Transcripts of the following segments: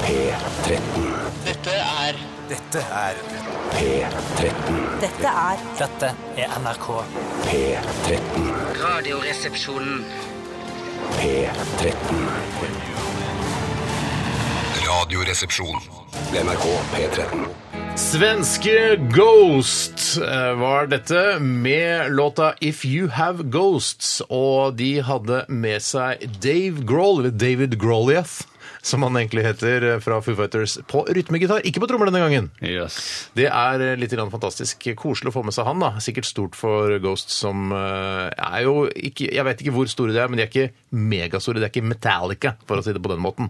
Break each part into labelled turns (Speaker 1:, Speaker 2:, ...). Speaker 1: P13.
Speaker 2: Dette er
Speaker 3: Dette er
Speaker 1: P13.
Speaker 4: Dette er
Speaker 5: Dette er NRK.
Speaker 1: P13.
Speaker 2: Radioresepsjonen.
Speaker 1: P13.
Speaker 6: Radioresepsjon.
Speaker 1: NRK P13.
Speaker 7: Svenske Ghost eh, var dette med låta If You Have Ghosts, og de hadde med seg Dave Grohl, eller David Groliath, som han egentlig heter eh, fra Foo Fighters, på rytmegitar, ikke på trommer denne gangen.
Speaker 8: Yes.
Speaker 7: Det er eh, litt grann fantastisk koselig å få med seg han, da. Sikkert stort for Ghost, som eh, er jo ikke Jeg vet ikke hvor store de er, men de er ikke megastore. De er ikke Metallica, for å si det på den måten.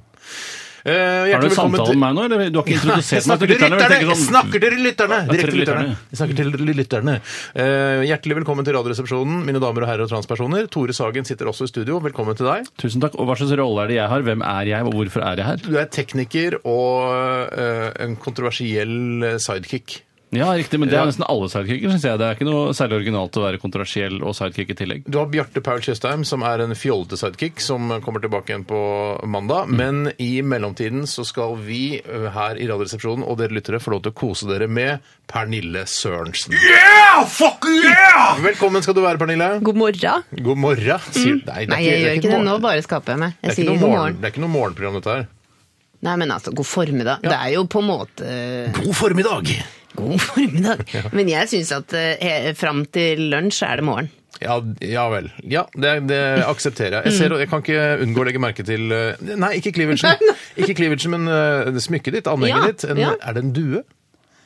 Speaker 7: Eh,
Speaker 8: Har du
Speaker 7: hjertelig velkommen
Speaker 8: samtale
Speaker 7: til-
Speaker 8: med meg nå, eller du har ikke
Speaker 7: jeg
Speaker 8: introdusert meg
Speaker 7: snakker
Speaker 8: til
Speaker 7: til
Speaker 8: lytterne? men jeg tenker sånn,
Speaker 7: lytterne! Jeg snakker til lytterne!
Speaker 8: Ja,
Speaker 7: Direkte
Speaker 8: til
Speaker 7: til lytterne.
Speaker 8: lytterne.
Speaker 7: Jeg snakker til lytterne. Eh, hjertelig velkommen til Radioresepsjonen, mine damer og herrer og transpersoner. Tore Sagen sitter også i studio. Velkommen til deg.
Speaker 8: Tusen takk. Og hva slags rolle er det jeg har? Hvem er jeg, og hvorfor er jeg her?
Speaker 7: Du er tekniker og eh, en kontroversiell eh, sidekick.
Speaker 8: Ja, riktig, men det
Speaker 7: Ja.
Speaker 8: er nesten alle sidekicker, syns jeg. Det er ikke noe særlig originalt å være kontroversiell og sidekick i tillegg.
Speaker 7: Du har Bjarte Paul Tjøstheim, som er en fjollete sidekick, som kommer tilbake igjen på mandag. Men i mellomtiden så skal vi eh, her i Radioresepsjonen og dere lyttere få lov til å kose dere med Pernille Sørensen. Yeah! Fuck yeah! Velkommen skal du være, Pernille.
Speaker 9: God morgen.
Speaker 7: God morgen, sier Nei, det er
Speaker 9: Mm. Nei, jeg gjør ikke det.
Speaker 7: morgen.
Speaker 9: Nå bare skaper jeg meg.
Speaker 7: Det
Speaker 9: Jeg
Speaker 7: er ikke
Speaker 9: sier
Speaker 7: noe
Speaker 9: god
Speaker 7: morgen.
Speaker 9: morgen.
Speaker 7: Det er ikke noe morgenprogram, dette her.
Speaker 9: Nei, men altså, god formiddag. Det er jo på en måte eh,
Speaker 7: God formiddag!
Speaker 9: god formiddag. Men jeg syns at eh, he- fram til lunsj er det morgen.
Speaker 7: Ja, ja vel. Ja, det, det aksepterer jeg. Jeg,
Speaker 9: Mm.
Speaker 7: ser, jeg kan ikke unngå å legge merke til eh, Nei, ikke cleavagen, ikke cleavagen men eh, det smykket ditt, anlegget
Speaker 9: Ja,
Speaker 7: ditt. En,
Speaker 9: ja.
Speaker 7: Er det en due?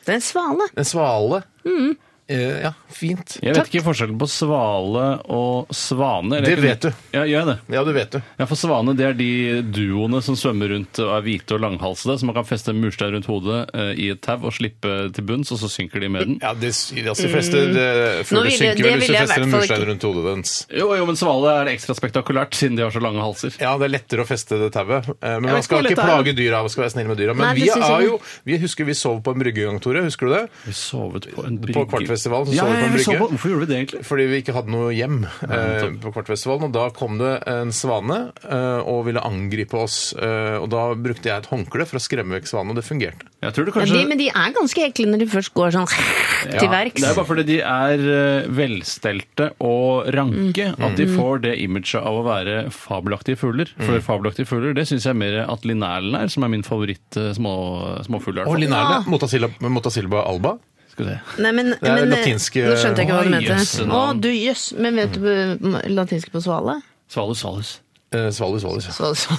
Speaker 9: Det er en svale.
Speaker 7: En svale?
Speaker 9: Mm.
Speaker 7: Eh, ja, fint.
Speaker 8: Jeg vet ikke forskjellen på svale og svane. eller
Speaker 7: Det
Speaker 8: jeg kunne-
Speaker 7: vet du.
Speaker 8: Ja, gjør jeg det?
Speaker 7: Ja, du vet det.
Speaker 8: Ja, for svane det er de duoene som svømmer rundt og er hvite og langhalsede, som man kan feste en murstein rundt hodet eh, i et tau og slippe til bunns, og så synker de med den.
Speaker 7: Ja, det, s- altså, de fleste eh,
Speaker 9: Mm. Nå
Speaker 7: fugler
Speaker 9: ville- det
Speaker 7: synker vel hvis du
Speaker 9: ville jeg i
Speaker 7: fester en
Speaker 9: hvert fall
Speaker 7: murstein
Speaker 9: ikke-
Speaker 7: rundt hodet dens.
Speaker 8: Jo, jo, men svale er ekstra spektakulært, siden de har så lange halser.
Speaker 7: Ja, det er lettere å feste det tauet. Eh,
Speaker 8: Jeg
Speaker 7: Men man
Speaker 8: vet ikke
Speaker 7: skal
Speaker 8: hvor
Speaker 7: ikke
Speaker 8: lett det er.
Speaker 7: plage dyra. Man skal være snill med dyra. Men
Speaker 9: Nei, det
Speaker 7: vi,
Speaker 9: synes jeg
Speaker 7: er
Speaker 9: ikke.
Speaker 7: jo, vi husker vi sov på en brygge en gang, Tore. Husker du det?
Speaker 8: Vi sovet på en brygge.
Speaker 7: På Kvartfestivalen så
Speaker 8: ja,
Speaker 7: sovet vi på
Speaker 8: ja,
Speaker 7: en
Speaker 8: vi sov
Speaker 7: brygge.
Speaker 8: Hvorfor gjorde vi det, egentlig?
Speaker 7: Fordi vi ikke hadde noe hjem eh,
Speaker 8: nettopp.
Speaker 7: på Kvartfestivalen. Og da kom det en svane eh, og ville angripe oss. Eh, og da brukte jeg et håndkle for å skremme vekk svanen, og det fungerte.
Speaker 8: Jeg tror det
Speaker 9: Ja,
Speaker 8: kanskje...
Speaker 9: de, men de er ganske ekle når de først går sånn til verks.
Speaker 8: Det er bare fordi de er eh, velstelte og ranke
Speaker 9: Mm.
Speaker 8: at de får det imaget av å være fabelaktige fugler.
Speaker 7: Mm.
Speaker 8: For fabelaktige fugler det syns jeg mer at linerlen er, som er min favoritt eh, små, småfugl. i hvert
Speaker 7: Og
Speaker 8: fall.
Speaker 7: linerle. Motasilba, motasilba alba.
Speaker 8: Skal vi se.
Speaker 9: Nei, men,
Speaker 7: er
Speaker 9: men, eh,
Speaker 7: latinske-
Speaker 9: Nå skjønte jeg ikke hva du
Speaker 8: Oi,
Speaker 9: mente.
Speaker 8: jøsse
Speaker 9: Å,
Speaker 8: navn.
Speaker 9: du jøss. Men vet du eh, latinsk på svale?
Speaker 8: Svalus, svalus.
Speaker 7: Eh, svalus, svalus.
Speaker 9: Så, så,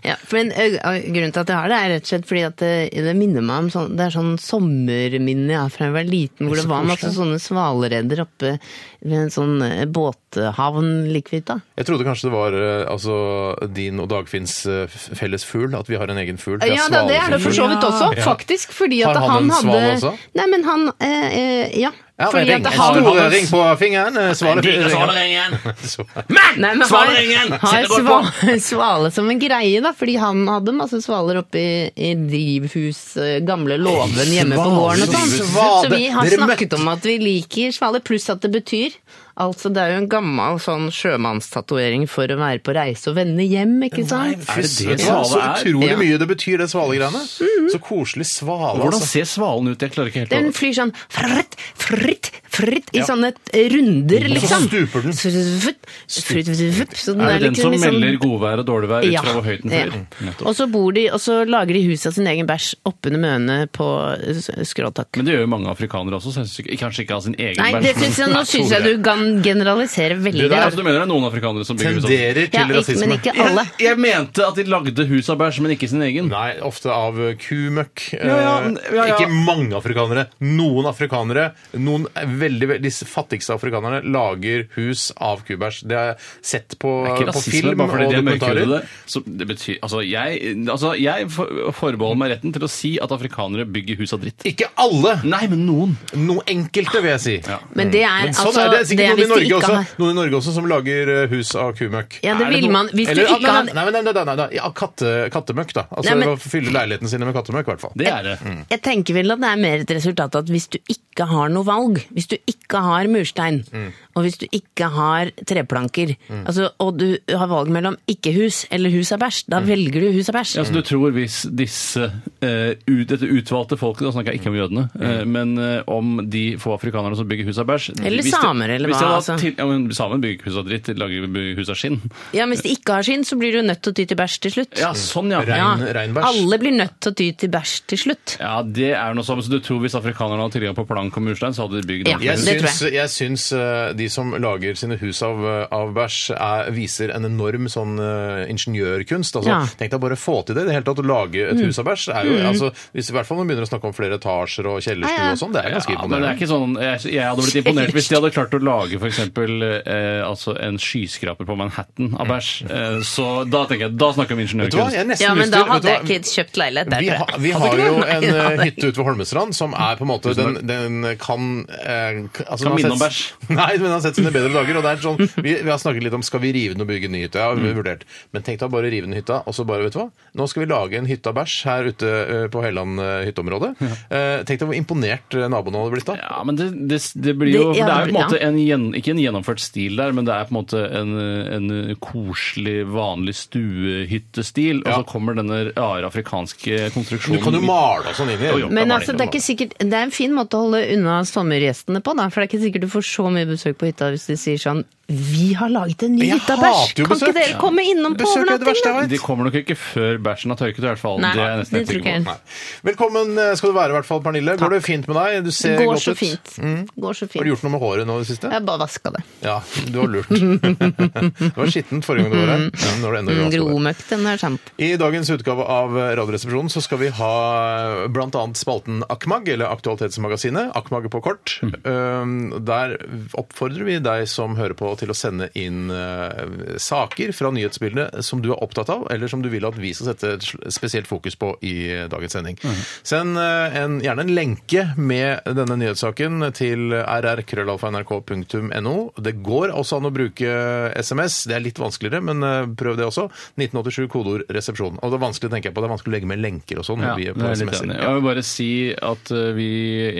Speaker 9: ja, men ø, grunnen til at jeg har det, er rett og slett fordi at det, det minner meg om sånn, det er sånn sommerminne jeg har fra jeg var liten, hvor det var masse sånne svaleredder oppe ved en sånn ø, båthavn like vidt da.
Speaker 7: Jeg trodde kanskje det var eh, altså, din og Dagfinns eh, f- felles fugl, at vi har en egen fugl.
Speaker 9: Ja, da, det er det for så vidt også,
Speaker 7: Ja.
Speaker 9: faktisk. Fordi
Speaker 7: Har
Speaker 9: at
Speaker 7: han
Speaker 9: han
Speaker 7: en
Speaker 9: hadde
Speaker 7: svale også?
Speaker 9: Nei, men han ø, ø, Ja.
Speaker 7: Ja,
Speaker 9: fordi
Speaker 7: ring,
Speaker 9: at
Speaker 7: en
Speaker 9: han
Speaker 7: stor ring på fingeren. eh, Svale
Speaker 9: Nei, men har, har sva, svale som en greie, da. Fordi han hadde masse svaler oppe i, i drivhus, eh, gamle låven hjemme på
Speaker 7: Svale,
Speaker 9: gården og sånn.
Speaker 7: svale.
Speaker 9: Så vi har
Speaker 7: Dere
Speaker 9: snakket
Speaker 7: møtte-
Speaker 9: om at vi liker svaler, pluss at det betyr Altså, det er jo en gammel sånn sjømannstatuering for å være på reise og vende hjem, ikke sant?
Speaker 7: Er det
Speaker 8: det
Speaker 7: det svale Så
Speaker 8: svale er? Mhm.
Speaker 7: utrolig
Speaker 9: Ja.
Speaker 7: mye det betyr, det svalegreiene. Så koselig svale,
Speaker 8: Hvordan
Speaker 7: altså.
Speaker 8: ser svalen ut? Jeg klarer ikke helt
Speaker 9: Den
Speaker 8: å
Speaker 9: flyr sånn fritt, fritt, fritt i sånne t- runder,
Speaker 7: Og så
Speaker 9: liksom.
Speaker 7: stuper den.
Speaker 9: Fritt, fritt, fritt, så den
Speaker 8: Er det den
Speaker 9: liksom
Speaker 8: som
Speaker 9: litt sånn-
Speaker 8: melder godvær og dårligvær ut fra hvor høyt den flyr?
Speaker 7: Mm.
Speaker 9: Ja.
Speaker 8: Nettopp.
Speaker 9: Og så bor de, og så lager de huset av sin egen bæsj oppunder møene på s- skråtak.
Speaker 8: Men det gjør jo mange afrikanere også, så jeg synes ikke- kanskje ikke av sin egen
Speaker 9: Nei,
Speaker 8: bæsj,
Speaker 9: det
Speaker 8: men-
Speaker 9: synes jeg, nå
Speaker 8: Nei,
Speaker 9: syns
Speaker 8: Tore.
Speaker 9: jeg du kan generalisere veldig.
Speaker 7: Det der
Speaker 9: da.
Speaker 8: Ja, så Du mener det altså? er altså noen afrikanere som bygger hus av
Speaker 7: Tenderer til
Speaker 9: Ja, ikke,
Speaker 7: rasisme.
Speaker 9: men ikke alle.
Speaker 8: Jeg, jeg mente at de lagde hus av bæsj, men ikke sin egen.
Speaker 7: Nei, ofte av eh, kumøkk. Eh,
Speaker 8: ja, men- ja, ja.
Speaker 7: Ikke mange afrikanere. Noen afrikanere, noen veldig, veldig, disse fattigste afrikanerne, lager hus av kubæsj. Det har jeg sett på,
Speaker 8: Det er ikke
Speaker 7: på
Speaker 8: rasisme,
Speaker 7: film
Speaker 8: bare
Speaker 7: og
Speaker 8: fordi de er
Speaker 7: dokumentarer.
Speaker 8: mørkhudede. Så Det betyr, altså, jeg, altså, jeg for- forbeholder meg retten til å si at afrikanere bygger hus av dritt.
Speaker 7: Ikke alle!
Speaker 8: Nei, men noen.
Speaker 7: Noen enkelte, vil jeg si.
Speaker 9: Men det er
Speaker 7: Men sånn
Speaker 9: altså
Speaker 7: er det. Det er sikkert noen i
Speaker 9: hvis de
Speaker 7: Norge
Speaker 9: ikke
Speaker 7: også,
Speaker 9: har-
Speaker 7: noen i Norge også som lager eh, hus av kumøkk.
Speaker 9: Ja, det
Speaker 8: Er det
Speaker 9: vil
Speaker 8: noe-
Speaker 9: man hvis du
Speaker 7: Eller, ah,
Speaker 9: ikke
Speaker 7: nei,
Speaker 9: hadde
Speaker 7: nei, nei, nei, nei, nei, nei, ja, katte, kattemøkk, da. Altså
Speaker 9: Nei, men-
Speaker 7: å fylle leilighetene sine med kattemøkk, i hvert fall.
Speaker 8: Det er det.
Speaker 9: Jeg tenker vel at det er mer et resultat av at hvis du ikke har noe valg, hvis du ikke har murstein,
Speaker 8: Mm.
Speaker 9: og hvis du ikke har treplanker, altså, og du har valg mellom ikke hus eller hus er bæsj, da velger du hus er bæsj.
Speaker 8: Mm. Ja, så du tror hvis disse eh, ut, dette utvalgte folket, da snakker jeg ikke om jødene, eh, men eh, om de få afrikanerne som bygger hus av bæsj
Speaker 9: Eller
Speaker 8: hvis de-
Speaker 9: samer, eller
Speaker 8: hvis
Speaker 9: hva,
Speaker 8: de hadde
Speaker 9: altså.
Speaker 8: hatt Til, ja, men samer bygger ikke hus av dritt, de lager bygger hus av skinn.
Speaker 9: Ja, men hvis de ikke har skinn, så blir du nødt til å ty til bæsj til slutt.
Speaker 8: Ja, sånn ja.
Speaker 7: Rein-
Speaker 8: Ja,
Speaker 9: Ja,
Speaker 7: reinbæsj.
Speaker 9: Alle blir nødt til å ty til bæsj til slutt.
Speaker 8: ja det er noe sånn. Så du tror hvis afrikanerne hadde tilgang på plank og murstein, så hadde de bygd
Speaker 9: Ja.
Speaker 8: ordentlig
Speaker 7: Jeg
Speaker 8: hus?
Speaker 9: det tror
Speaker 7: syns, jeg syns eh, de som lager sine hus av, eh, av bæsj, er, viser en enorm sånn eh, ingeniørkunst. Altså,
Speaker 9: Ja. Mm.
Speaker 7: Tenk deg bare å få til det. i Det hele tatt å lage et hus av bæsj er jo altså, hvis, I hvert fall når man begynner å snakke om flere etasjer og kjellerstue
Speaker 9: Ja, ja.
Speaker 7: og sånn. Det er ganske
Speaker 8: Ja, men det
Speaker 7: imponerende.
Speaker 8: er ikke sånn, jeg, jeg hadde blitt imponert hvis de hadde klart å lage f.eks. Eh, altså en skyskraper på Manhattan av bæsj. Eh, så da tenker jeg, da snakker vi om
Speaker 7: Mm. Vet du hva, jeg
Speaker 8: ingeniørkunst.
Speaker 7: er nesten
Speaker 9: Ja, men
Speaker 7: lyst
Speaker 9: da
Speaker 7: til- vet du
Speaker 9: hadde jeg
Speaker 7: hva?
Speaker 9: ikke kjøpt leilighet der. tror
Speaker 7: Vi,
Speaker 9: jeg.
Speaker 7: har- vi
Speaker 9: Hadde
Speaker 7: har
Speaker 9: ikke
Speaker 7: jo
Speaker 9: det?
Speaker 7: en
Speaker 9: Nei, det
Speaker 7: eh,
Speaker 9: hadde jeg
Speaker 7: hytte ute ved Holmestrand som er på en måte Den, den kan eh, k- altså, den har
Speaker 8: minne om
Speaker 7: sett-
Speaker 8: bæsj.
Speaker 7: Nei, men den har sett sine bedre dager. Og det er sånn, vi, vi har snakket litt om skal vi rive den og bygge en ny hytte. Ja, vi har vurdert. Men tenk deg å bare rive den hytta, og så bare, vet du hva Nå skal vi lage en hytte av bæsj her ute eh, på Helland eh, hytteområde. Eh, Tenk deg hvor imponert eh, naboene hadde blitt da.
Speaker 8: Ja, men det, det, det blir jo
Speaker 9: Det-
Speaker 8: Det,
Speaker 9: ja,
Speaker 8: er jo på en
Speaker 9: ja.
Speaker 8: måte en, gjen, ikke en gjennomført stil der, men det er på en måte en, en koselig, vanlig stuehyttestil. Og
Speaker 7: Ja.
Speaker 8: så kommer denne rare afrikanske
Speaker 7: Du
Speaker 8: konstruksjonen.
Speaker 7: kan jo male og sånn inn i
Speaker 8: Jo, jo.
Speaker 9: Men
Speaker 8: Da var
Speaker 9: altså,
Speaker 8: det
Speaker 9: det er ikke sikkert Det er en fin måte å holde unna sommergjestene på, da. For det er ikke sikkert du får så mye besøk på hytta hvis de sier sånn Vi har laget en ny
Speaker 7: Jeg
Speaker 9: hytte av
Speaker 7: hater
Speaker 9: bæsj!
Speaker 7: jo
Speaker 9: Kan ikke
Speaker 7: besøk.
Speaker 9: dere
Speaker 7: Ja.
Speaker 9: komme innom på
Speaker 7: Besøk er jo det
Speaker 9: overnatting?
Speaker 7: verste jeg
Speaker 9: da?»
Speaker 7: vet.
Speaker 8: De kommer nok ikke før bæsjen har tørket, i hvert fall.
Speaker 9: Nei,
Speaker 8: det er jeg nesten
Speaker 9: det
Speaker 8: helt
Speaker 9: tror
Speaker 8: sikker på.
Speaker 9: ikke jeg.
Speaker 7: Nei. Velkommen eh, skal du være, i hvert fall, Pernille. Går det fint med deg? Du ser
Speaker 9: Går
Speaker 7: godt
Speaker 9: så
Speaker 7: ut. Mm.
Speaker 9: fint. Går så
Speaker 7: Har du
Speaker 9: fint.
Speaker 7: gjort noe med håret nå i det siste?
Speaker 9: Jeg bare vaska det.
Speaker 7: Ja, du har lurt. det var skittent forrige gang du var her. Ja, nå er det enda
Speaker 9: Mm,
Speaker 7: grovere.
Speaker 9: Gromøkt, den er sant.
Speaker 7: I dagens utgave av Radioresepsjonen så skal vi ha bl.a. spalten Akmag, eller Aktualitetsmagasinet, Akmag på kort. Um, Der oppfordrer vi deg som hører på til å sende inn eh, saker fra nyhetsbildet som du er opptatt av, eller som du vil at vi skal sette et sl- spesielt fokus på i dagens sending.
Speaker 8: Mhm.
Speaker 7: Send eh, en, gjerne en lenke med denne nyhetssaken til rrkrøllalfa.nrk.no. Det går også an å bruke SMS, det er litt vanskeligere, men eh, prøv det også. 1987 kodeord resepsjon. Og det er vanskelig, tenker jeg på, det er vanskelig å legge med lenker og sånn
Speaker 8: Ja,
Speaker 7: når vi
Speaker 8: det
Speaker 7: er på
Speaker 8: er jeg litt
Speaker 7: SMS-er.
Speaker 8: enig. i. Jeg vil bare si at eh, vi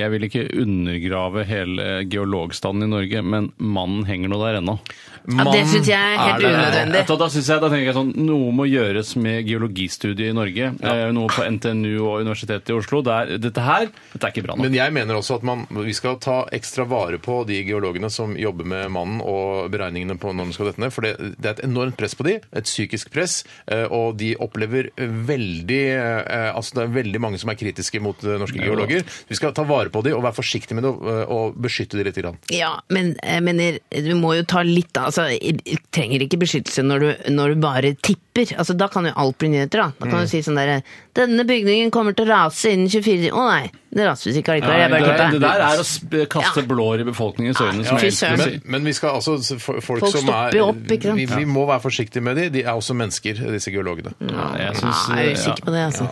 Speaker 8: Jeg vil ikke undergrave hele eh, geologstanden i Norge, men mannen henger nå der ennå.
Speaker 9: Ja, det syns jeg er helt
Speaker 7: er der.
Speaker 9: unødvendig.
Speaker 8: Da, da, synes jeg, da tenker jeg sånn Noe må gjøres med geologistudiet i Norge. Eh, Noe på NTNU og Universitetet i Oslo. Det er, dette her dette er ikke bra nok.
Speaker 7: Men jeg mener også at man, vi skal ta ekstra vare på de geologene som jobber med mannen og beregningene på når de skal dette ned, for det, det er et enormt press på de, et psykisk press, eh, og de opplever veldig eh, Altså det er veldig mange som er kritiske mot eh, norske geologer. Vi skal ta vare på de og være forsiktige med det og, eh, og beskytte de litt. Grann.
Speaker 9: Ja, men jeg mener, du må jo ta litt av altså, jeg Trenger ikke beskyttelse når du, når du bare tipper. Altså, da kan jo alt bli nyheter. Da Da kan
Speaker 8: Mm.
Speaker 9: du si sånn derre 'Denne bygningen kommer til å rase innen 24 Å nei, det raser visst ikke allikevel.
Speaker 8: Nei,
Speaker 9: Jeg bare
Speaker 8: det,
Speaker 9: klipper.
Speaker 8: det der er å sp- kaste
Speaker 9: Ja.
Speaker 8: blår i befolkningens øyne.
Speaker 9: Ja,
Speaker 8: som
Speaker 9: fy
Speaker 8: jeg elsker å
Speaker 9: søren.
Speaker 8: si.
Speaker 7: Men vi skal altså s- for- Folk,
Speaker 9: Folk
Speaker 7: som er
Speaker 9: stopper jo opp, ikke sant?
Speaker 7: Vi, vi må være forsiktige med de. De er også mennesker, disse geologene.
Speaker 8: Ja, jeg
Speaker 9: Nei,
Speaker 8: synes,
Speaker 9: jeg
Speaker 8: eh,
Speaker 9: er usikker på det, altså.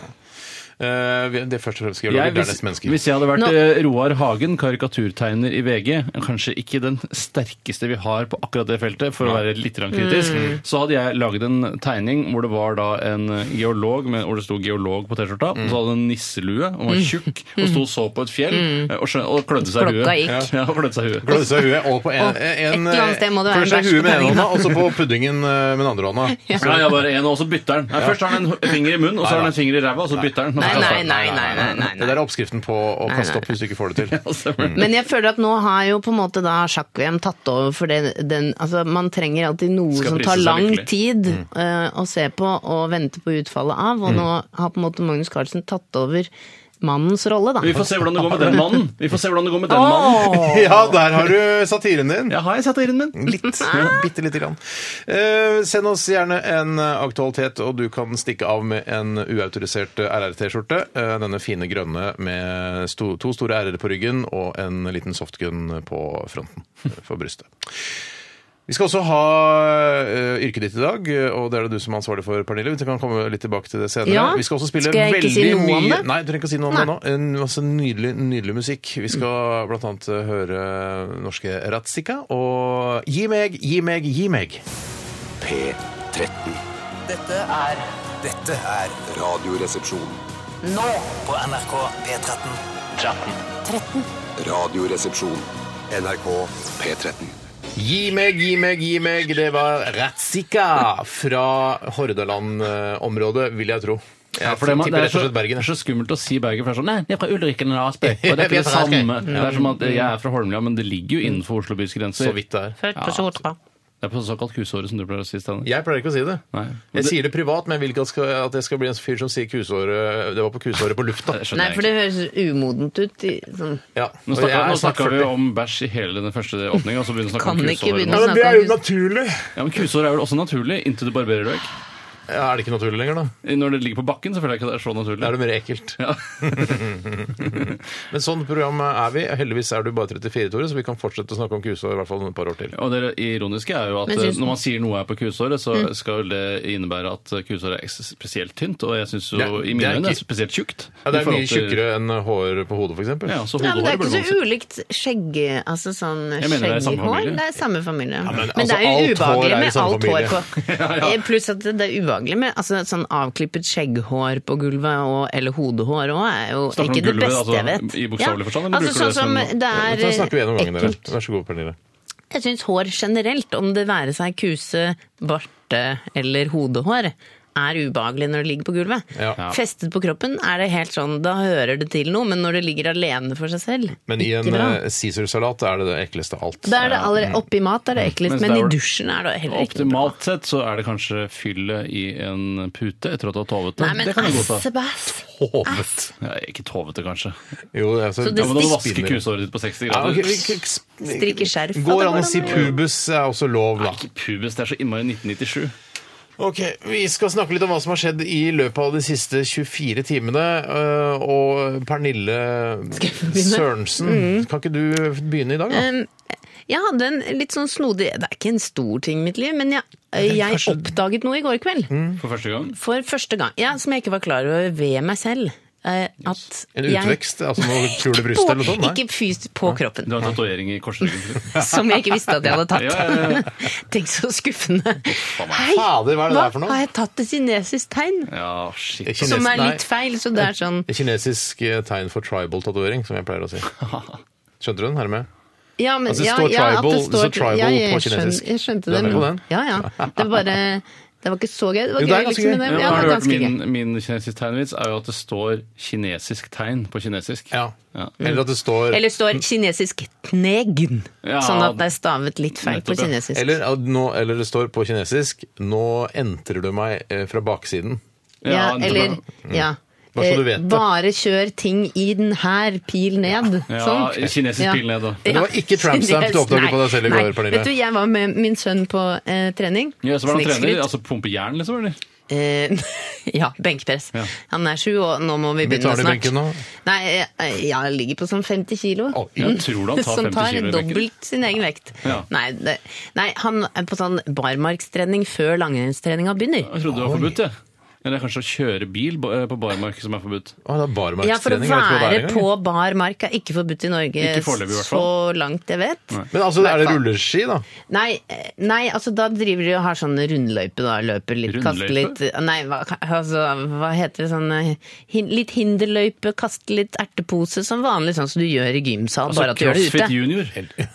Speaker 7: Eh, vi- det er først og fremst geologer,
Speaker 8: Jeg, hvis,
Speaker 7: dernest mennesker.
Speaker 8: hvis jeg hadde vært
Speaker 9: Nå-
Speaker 8: eh, Roar Hagen, karikaturtegner i VG, kanskje ikke den sterkeste vi har på akkurat det feltet, for å være litt grann kritisk,
Speaker 9: Mm.
Speaker 8: så hadde jeg laget en tegning hvor det var da en geolog, med, hvor det sto 'geolog' på T-skjorta, og
Speaker 7: Mm.
Speaker 8: så hadde han en nisselue, og var tjukk, og sto og så på et fjell, og, skjøn, og klødde seg i
Speaker 9: Mm. Klokka
Speaker 8: huet.
Speaker 9: gikk.
Speaker 8: Ja, og klødde seg i huet.
Speaker 7: Klødde seg i huet og på en,
Speaker 9: Og et
Speaker 7: en,
Speaker 9: eller annet sted må det være
Speaker 7: Først
Speaker 9: en
Speaker 7: i huet med ene
Speaker 9: verste
Speaker 7: hånda, og så på puddingen eh, med den andre hånda.
Speaker 8: Ja, ja, bare en, og så bytter han. Nei, Først har han en h- finger i munnen, og så har han en finger i ræva, og så bytter han.
Speaker 9: Nei, nei, nei, nei, nei, nei,
Speaker 7: Det der
Speaker 9: nei.
Speaker 7: er oppskriften på å kaste opp hvis du ikke får det til.
Speaker 9: Men jeg føler at nå har jo på en måte da sjakk-VM tatt over for det, den altså Man trenger alltid noe
Speaker 8: Skal
Speaker 9: som
Speaker 8: prise
Speaker 9: tar
Speaker 8: seg
Speaker 9: lang
Speaker 8: lykkelig. Mm.
Speaker 9: tid eh, å se på og vente på utfallet av, og nå har på en måte Magnus Carlsen tatt over mannens rolle, da.
Speaker 8: Vi får se hvordan det går med
Speaker 7: Mm.
Speaker 8: den mannen. Vi får se hvordan det går med den mannen.
Speaker 9: Åh!
Speaker 7: Ja, der har du satiren din.
Speaker 8: Ja, har jeg sett irren min?
Speaker 7: Litt. Bitte lite grann. Eh, send oss gjerne en eh, aktualitet, og du kan stikke av med en uautorisert eh, RRT-skjorte. Eh, denne fine grønne med sto, to store r-er på ryggen og en liten softgun på fronten eh, for brystet. Vi skal også ha eh, yrket ditt i dag, eh, og det er det du som er ansvarlig for, Pernille. Vi kan komme litt tilbake til det senere.
Speaker 9: Ja.
Speaker 7: Vi skal også spille
Speaker 9: Skal jeg ikke
Speaker 7: veldig
Speaker 9: si noe om
Speaker 7: mye-
Speaker 9: det?
Speaker 7: Nei, du trenger ikke å si noe om det nå. En masse nydelig, nydelig musikk. Vi skal blant annet eh, høre norske Ratzika og Gi meg, gi meg, gi meg.
Speaker 1: P13.
Speaker 3: Dette er Dette er
Speaker 6: Radioresepsjon.
Speaker 3: Nå på NRK P13
Speaker 6: Radioresepsjon.
Speaker 1: NRK P13.
Speaker 7: Gi meg, gi meg, gi meg. Det var Ratzika fra Hordaland-området, vil jeg tro. Jeg
Speaker 8: For det, man, det,
Speaker 7: tipper
Speaker 8: er
Speaker 7: rett og
Speaker 8: så,
Speaker 7: slett Bergen.
Speaker 8: det er
Speaker 7: jeg.
Speaker 8: så skummelt å si Bergen, for det er sånn Nei, jeg er fra Ulriken eller Asbø. Og det er
Speaker 7: Vi er
Speaker 8: ikke det
Speaker 7: fra Asker.
Speaker 8: samme. Det er som at eh, jeg er fra Holmlia, men det ligger jo innenfor Oslo bys grenser.
Speaker 7: Så vidt det er.
Speaker 8: Ja, altså. Det er på såkalt kusåret, som du pleier å si, Steinar.
Speaker 7: Jeg pleier ikke å si det.
Speaker 8: Nei.
Speaker 7: Jeg sier det privat, men jeg vil ikke at, skal, at jeg skal bli en fyr som sier kusåret Det var på kusåret på lufta.
Speaker 8: Det skjønner
Speaker 9: Nei,
Speaker 8: jeg
Speaker 9: for
Speaker 8: ikke.
Speaker 9: det høres umodent ut. i- Sånn.
Speaker 7: Ja.
Speaker 8: Nå snakka,
Speaker 7: og jeg er
Speaker 8: nå
Speaker 7: snart
Speaker 8: snakka vi
Speaker 7: 40.
Speaker 8: om bæsj i hele den første åpninga, og så begynner vi å snakke
Speaker 9: Kan
Speaker 8: om
Speaker 9: ikke
Speaker 8: kusår. nå.
Speaker 9: begynne å- men det er jo
Speaker 7: naturlig!
Speaker 8: Ja, men Kusår er vel også naturlig, inntil du barberer deg.
Speaker 7: Ja, er det ikke naturlig lenger, da?
Speaker 8: Når det ligger på bakken, så føler jeg ikke det er så
Speaker 7: Da er
Speaker 8: naturlig.
Speaker 7: det mer ekkelt.
Speaker 8: Ja.
Speaker 7: Men sånn program er vi. Heldigvis er du bare 34, Tore, så vi kan fortsette å snakke om kusår i hvert fall et par år til.
Speaker 8: Og det ironiske er jo at
Speaker 9: Men Mm.
Speaker 8: eh,
Speaker 9: syns-
Speaker 8: når man sier noe er på kusåret, så skal vel det innebære at kusåret er eks- spesielt tynt, og jeg syns jo
Speaker 7: Det
Speaker 8: i
Speaker 7: er- det
Speaker 8: mine
Speaker 7: er
Speaker 8: øyne er
Speaker 7: ikke-
Speaker 8: det spesielt tjukt.
Speaker 7: Ja,
Speaker 8: i
Speaker 7: det er
Speaker 8: forhold
Speaker 7: mye
Speaker 8: til-
Speaker 7: tjukkere enn hår på hodet, f.eks.
Speaker 8: Ja, så
Speaker 9: Nei, men det er
Speaker 8: hodehåret
Speaker 9: ikke
Speaker 8: burde man si.
Speaker 9: så ulikt skjegge... Altså sånn
Speaker 8: Jeg mener det er samme
Speaker 9: skjegghår.
Speaker 8: familie.
Speaker 9: Det er samme familie. men,
Speaker 7: altså,
Speaker 9: det er jo
Speaker 7: alt hår er
Speaker 9: ubehagelig
Speaker 7: i
Speaker 9: med
Speaker 7: samme
Speaker 9: alt hår på.
Speaker 8: ja.
Speaker 9: Eh, Pluss at det det er ubehagelig med altså, sånn avklippet skjegghår på gulvet, og, eller hodehår òg, er jo
Speaker 8: Snakker du om
Speaker 9: ikke det
Speaker 8: gulvet,
Speaker 9: beste jeg
Speaker 8: altså,
Speaker 9: vet.
Speaker 8: i bokstavelig forstand, eller bruker
Speaker 9: altså,
Speaker 8: du
Speaker 9: sånn
Speaker 8: det
Speaker 9: som
Speaker 8: som-
Speaker 9: det er
Speaker 7: Da snakker vi gjennom gangen, dere.
Speaker 9: ekkelt.
Speaker 7: Vær så god, Pernille.
Speaker 9: Jeg syns hår generelt, om det være seg kuse, barte eller hodehår, er ubehagelig når det ligger på gulvet.
Speaker 7: Ja.
Speaker 9: Festet på kroppen er det helt sånn, da hører det til noe, men når det ligger alene for seg selv
Speaker 7: Men i en
Speaker 9: ikke bra.
Speaker 7: eh, Mm. Caesar-salat er det det ekleste av alt.
Speaker 9: Da er det allerede Oppi mat er det ekkelt,
Speaker 8: Mm. Mens
Speaker 9: men
Speaker 8: der
Speaker 9: i
Speaker 8: hvor det-
Speaker 9: dusjen er det heller ikke noe bra.
Speaker 8: Optimalt sett så er det kanskje fyllet i en pute etter at du har tovet det.
Speaker 9: Nei, men altså,
Speaker 8: det kan jeg godta.
Speaker 9: assebæs!
Speaker 7: Hovet.
Speaker 8: Ja, ikke tovete, kanskje.
Speaker 7: Jo, det er så,
Speaker 9: Så det
Speaker 8: Ja, men da må du vaske
Speaker 7: Spinner.
Speaker 8: kusåret ditt på 60
Speaker 7: Ja,
Speaker 8: grader.
Speaker 7: ok, vi- k- sp-
Speaker 9: Strikke skjerf. Ja,
Speaker 7: Går
Speaker 9: det
Speaker 7: an
Speaker 9: går
Speaker 7: å si
Speaker 9: an.
Speaker 7: pubis er også lov, da.
Speaker 8: Ikke pubis, det er så innmari 1997.
Speaker 7: Ok, Vi skal snakke litt om hva som har skjedd i løpet av de siste 24 timene. øh, Og Pernille Sørensen,
Speaker 9: Mm.
Speaker 7: kan ikke du begynne i dag, da?
Speaker 9: Um, jeg hadde en litt sånn snodig Det er ikke en stor ting i mitt liv, men jeg, jeg
Speaker 7: kanskje- Mm.
Speaker 9: oppdaget noe i går kveld.
Speaker 8: For første gang.
Speaker 9: For første gang. Ja, som jeg ikke var klar over ved meg selv. eh, At
Speaker 7: En
Speaker 9: jeg-
Speaker 7: utvekst? altså noe kule
Speaker 9: Ikke
Speaker 7: bryst
Speaker 9: på-
Speaker 7: eller noe sånt? Nei.
Speaker 9: Ikke fysisk på kroppen.
Speaker 8: Du har en tatovering i korsryggen.
Speaker 9: Som jeg ikke visste at jeg hadde tatt.
Speaker 8: Ja, ja, ja.
Speaker 9: Tenk så skuffende. Hei,
Speaker 7: Fader, hva er det der for noe?
Speaker 9: har jeg tatt et kinesisk tegn?
Speaker 8: Ja, shit.
Speaker 7: Kines-
Speaker 9: Som er
Speaker 7: nei,
Speaker 9: litt feil, så det er sånn
Speaker 7: det er Kinesisk eh, tegn for tribal-tatovering, som jeg pleier å si. Skjønte du den? Er du med?
Speaker 9: ja, men,
Speaker 7: Altså, det
Speaker 9: ja,
Speaker 7: står
Speaker 9: ja, at
Speaker 7: tribal-
Speaker 9: det
Speaker 7: det står tribal
Speaker 9: ja, jeg
Speaker 7: på
Speaker 9: skjøn-
Speaker 7: kinesisk.
Speaker 9: Jeg skjønte
Speaker 7: Du er
Speaker 9: det.
Speaker 7: med på
Speaker 9: Men,
Speaker 7: den?
Speaker 9: ja, ja. Det var bare Det var ikke så gøy. Det var gøy,
Speaker 7: Jo, det er ganske
Speaker 9: liksom, men
Speaker 7: gøy.
Speaker 9: det,
Speaker 8: Ja,
Speaker 9: ja,
Speaker 8: har
Speaker 9: det
Speaker 8: du
Speaker 9: var
Speaker 8: hørt
Speaker 9: ganske gøy.
Speaker 8: min, min kinesisk tegnvits? er jo at det står kinesisk tegn på kinesisk.
Speaker 7: Ja.
Speaker 8: Ja.
Speaker 7: Eller at det står
Speaker 9: Eller står kinesisk knegen,
Speaker 8: Ja,
Speaker 9: sånn at det er stavet litt feil på
Speaker 8: nettopp, ja.
Speaker 9: kinesisk.
Speaker 7: eller, at nå, eller det står på kinesisk 'Nå entrer du meg eh, fra baksiden'.
Speaker 9: Ja,
Speaker 8: det-
Speaker 9: eller ja.
Speaker 7: Bare så du vet
Speaker 9: Eh,
Speaker 7: det.
Speaker 9: Bare kjør ting i den her, pil ned.
Speaker 8: Ja,
Speaker 9: sånn.
Speaker 8: kinesisk pil ned, da.
Speaker 7: Men det var ikke tramp stamp du oppdaget
Speaker 9: Nei,
Speaker 7: på deg selv i går,
Speaker 9: nei.
Speaker 7: Pernille.
Speaker 9: Vet du, jeg var med min sønn på eh, trening.
Speaker 8: Ja, så var det han trener,
Speaker 9: Snikskryt.
Speaker 8: altså pumpe jern, liksom? eller?
Speaker 9: Eh, ja, benkpress.
Speaker 8: Ja.
Speaker 9: Han er sju, og nå må vi
Speaker 7: Vi
Speaker 9: begynne
Speaker 7: tar det i
Speaker 9: snart.
Speaker 7: benken nå.
Speaker 9: Nei, eh, jeg ligger på sånn 50 kilo.
Speaker 7: Å,
Speaker 8: Jeg tror han tar
Speaker 9: Som
Speaker 8: 50
Speaker 9: tar
Speaker 8: kilo i benken.
Speaker 9: dobbelt sin egen vekt.
Speaker 8: Ja.
Speaker 9: Nei, det, nei, han er på sånn barmarkstrening før langrennstreninga begynner.
Speaker 8: Jeg trodde det var forbudt, jeg. Eller kanskje å kjøre bil ba- eh, på barmark som er forbudt.
Speaker 7: Å, det er
Speaker 9: Ja, for å
Speaker 7: barmarkstrening. jeg vet ikke hva det er
Speaker 9: være
Speaker 7: engang.
Speaker 9: på bar mark er ikke forbudt i Norge
Speaker 8: Ikke foreløpig, i hvert
Speaker 9: så langt jeg vet. Nei.
Speaker 7: Men altså, er det
Speaker 9: Hvertfall.
Speaker 7: rulleski, da?
Speaker 9: eh, nei, altså da driver de og har sånn rundløype, da. Løper litt, kaster
Speaker 8: Rundløype?
Speaker 9: litt Nei, hva, altså, hva heter det sånn eh, hin, Litt hinderløype, kaste litt ertepose som vanlig, sånn som du gjør i gymsal,
Speaker 8: Altså
Speaker 9: bare at du gjør det ute.
Speaker 8: CrossFit Junior.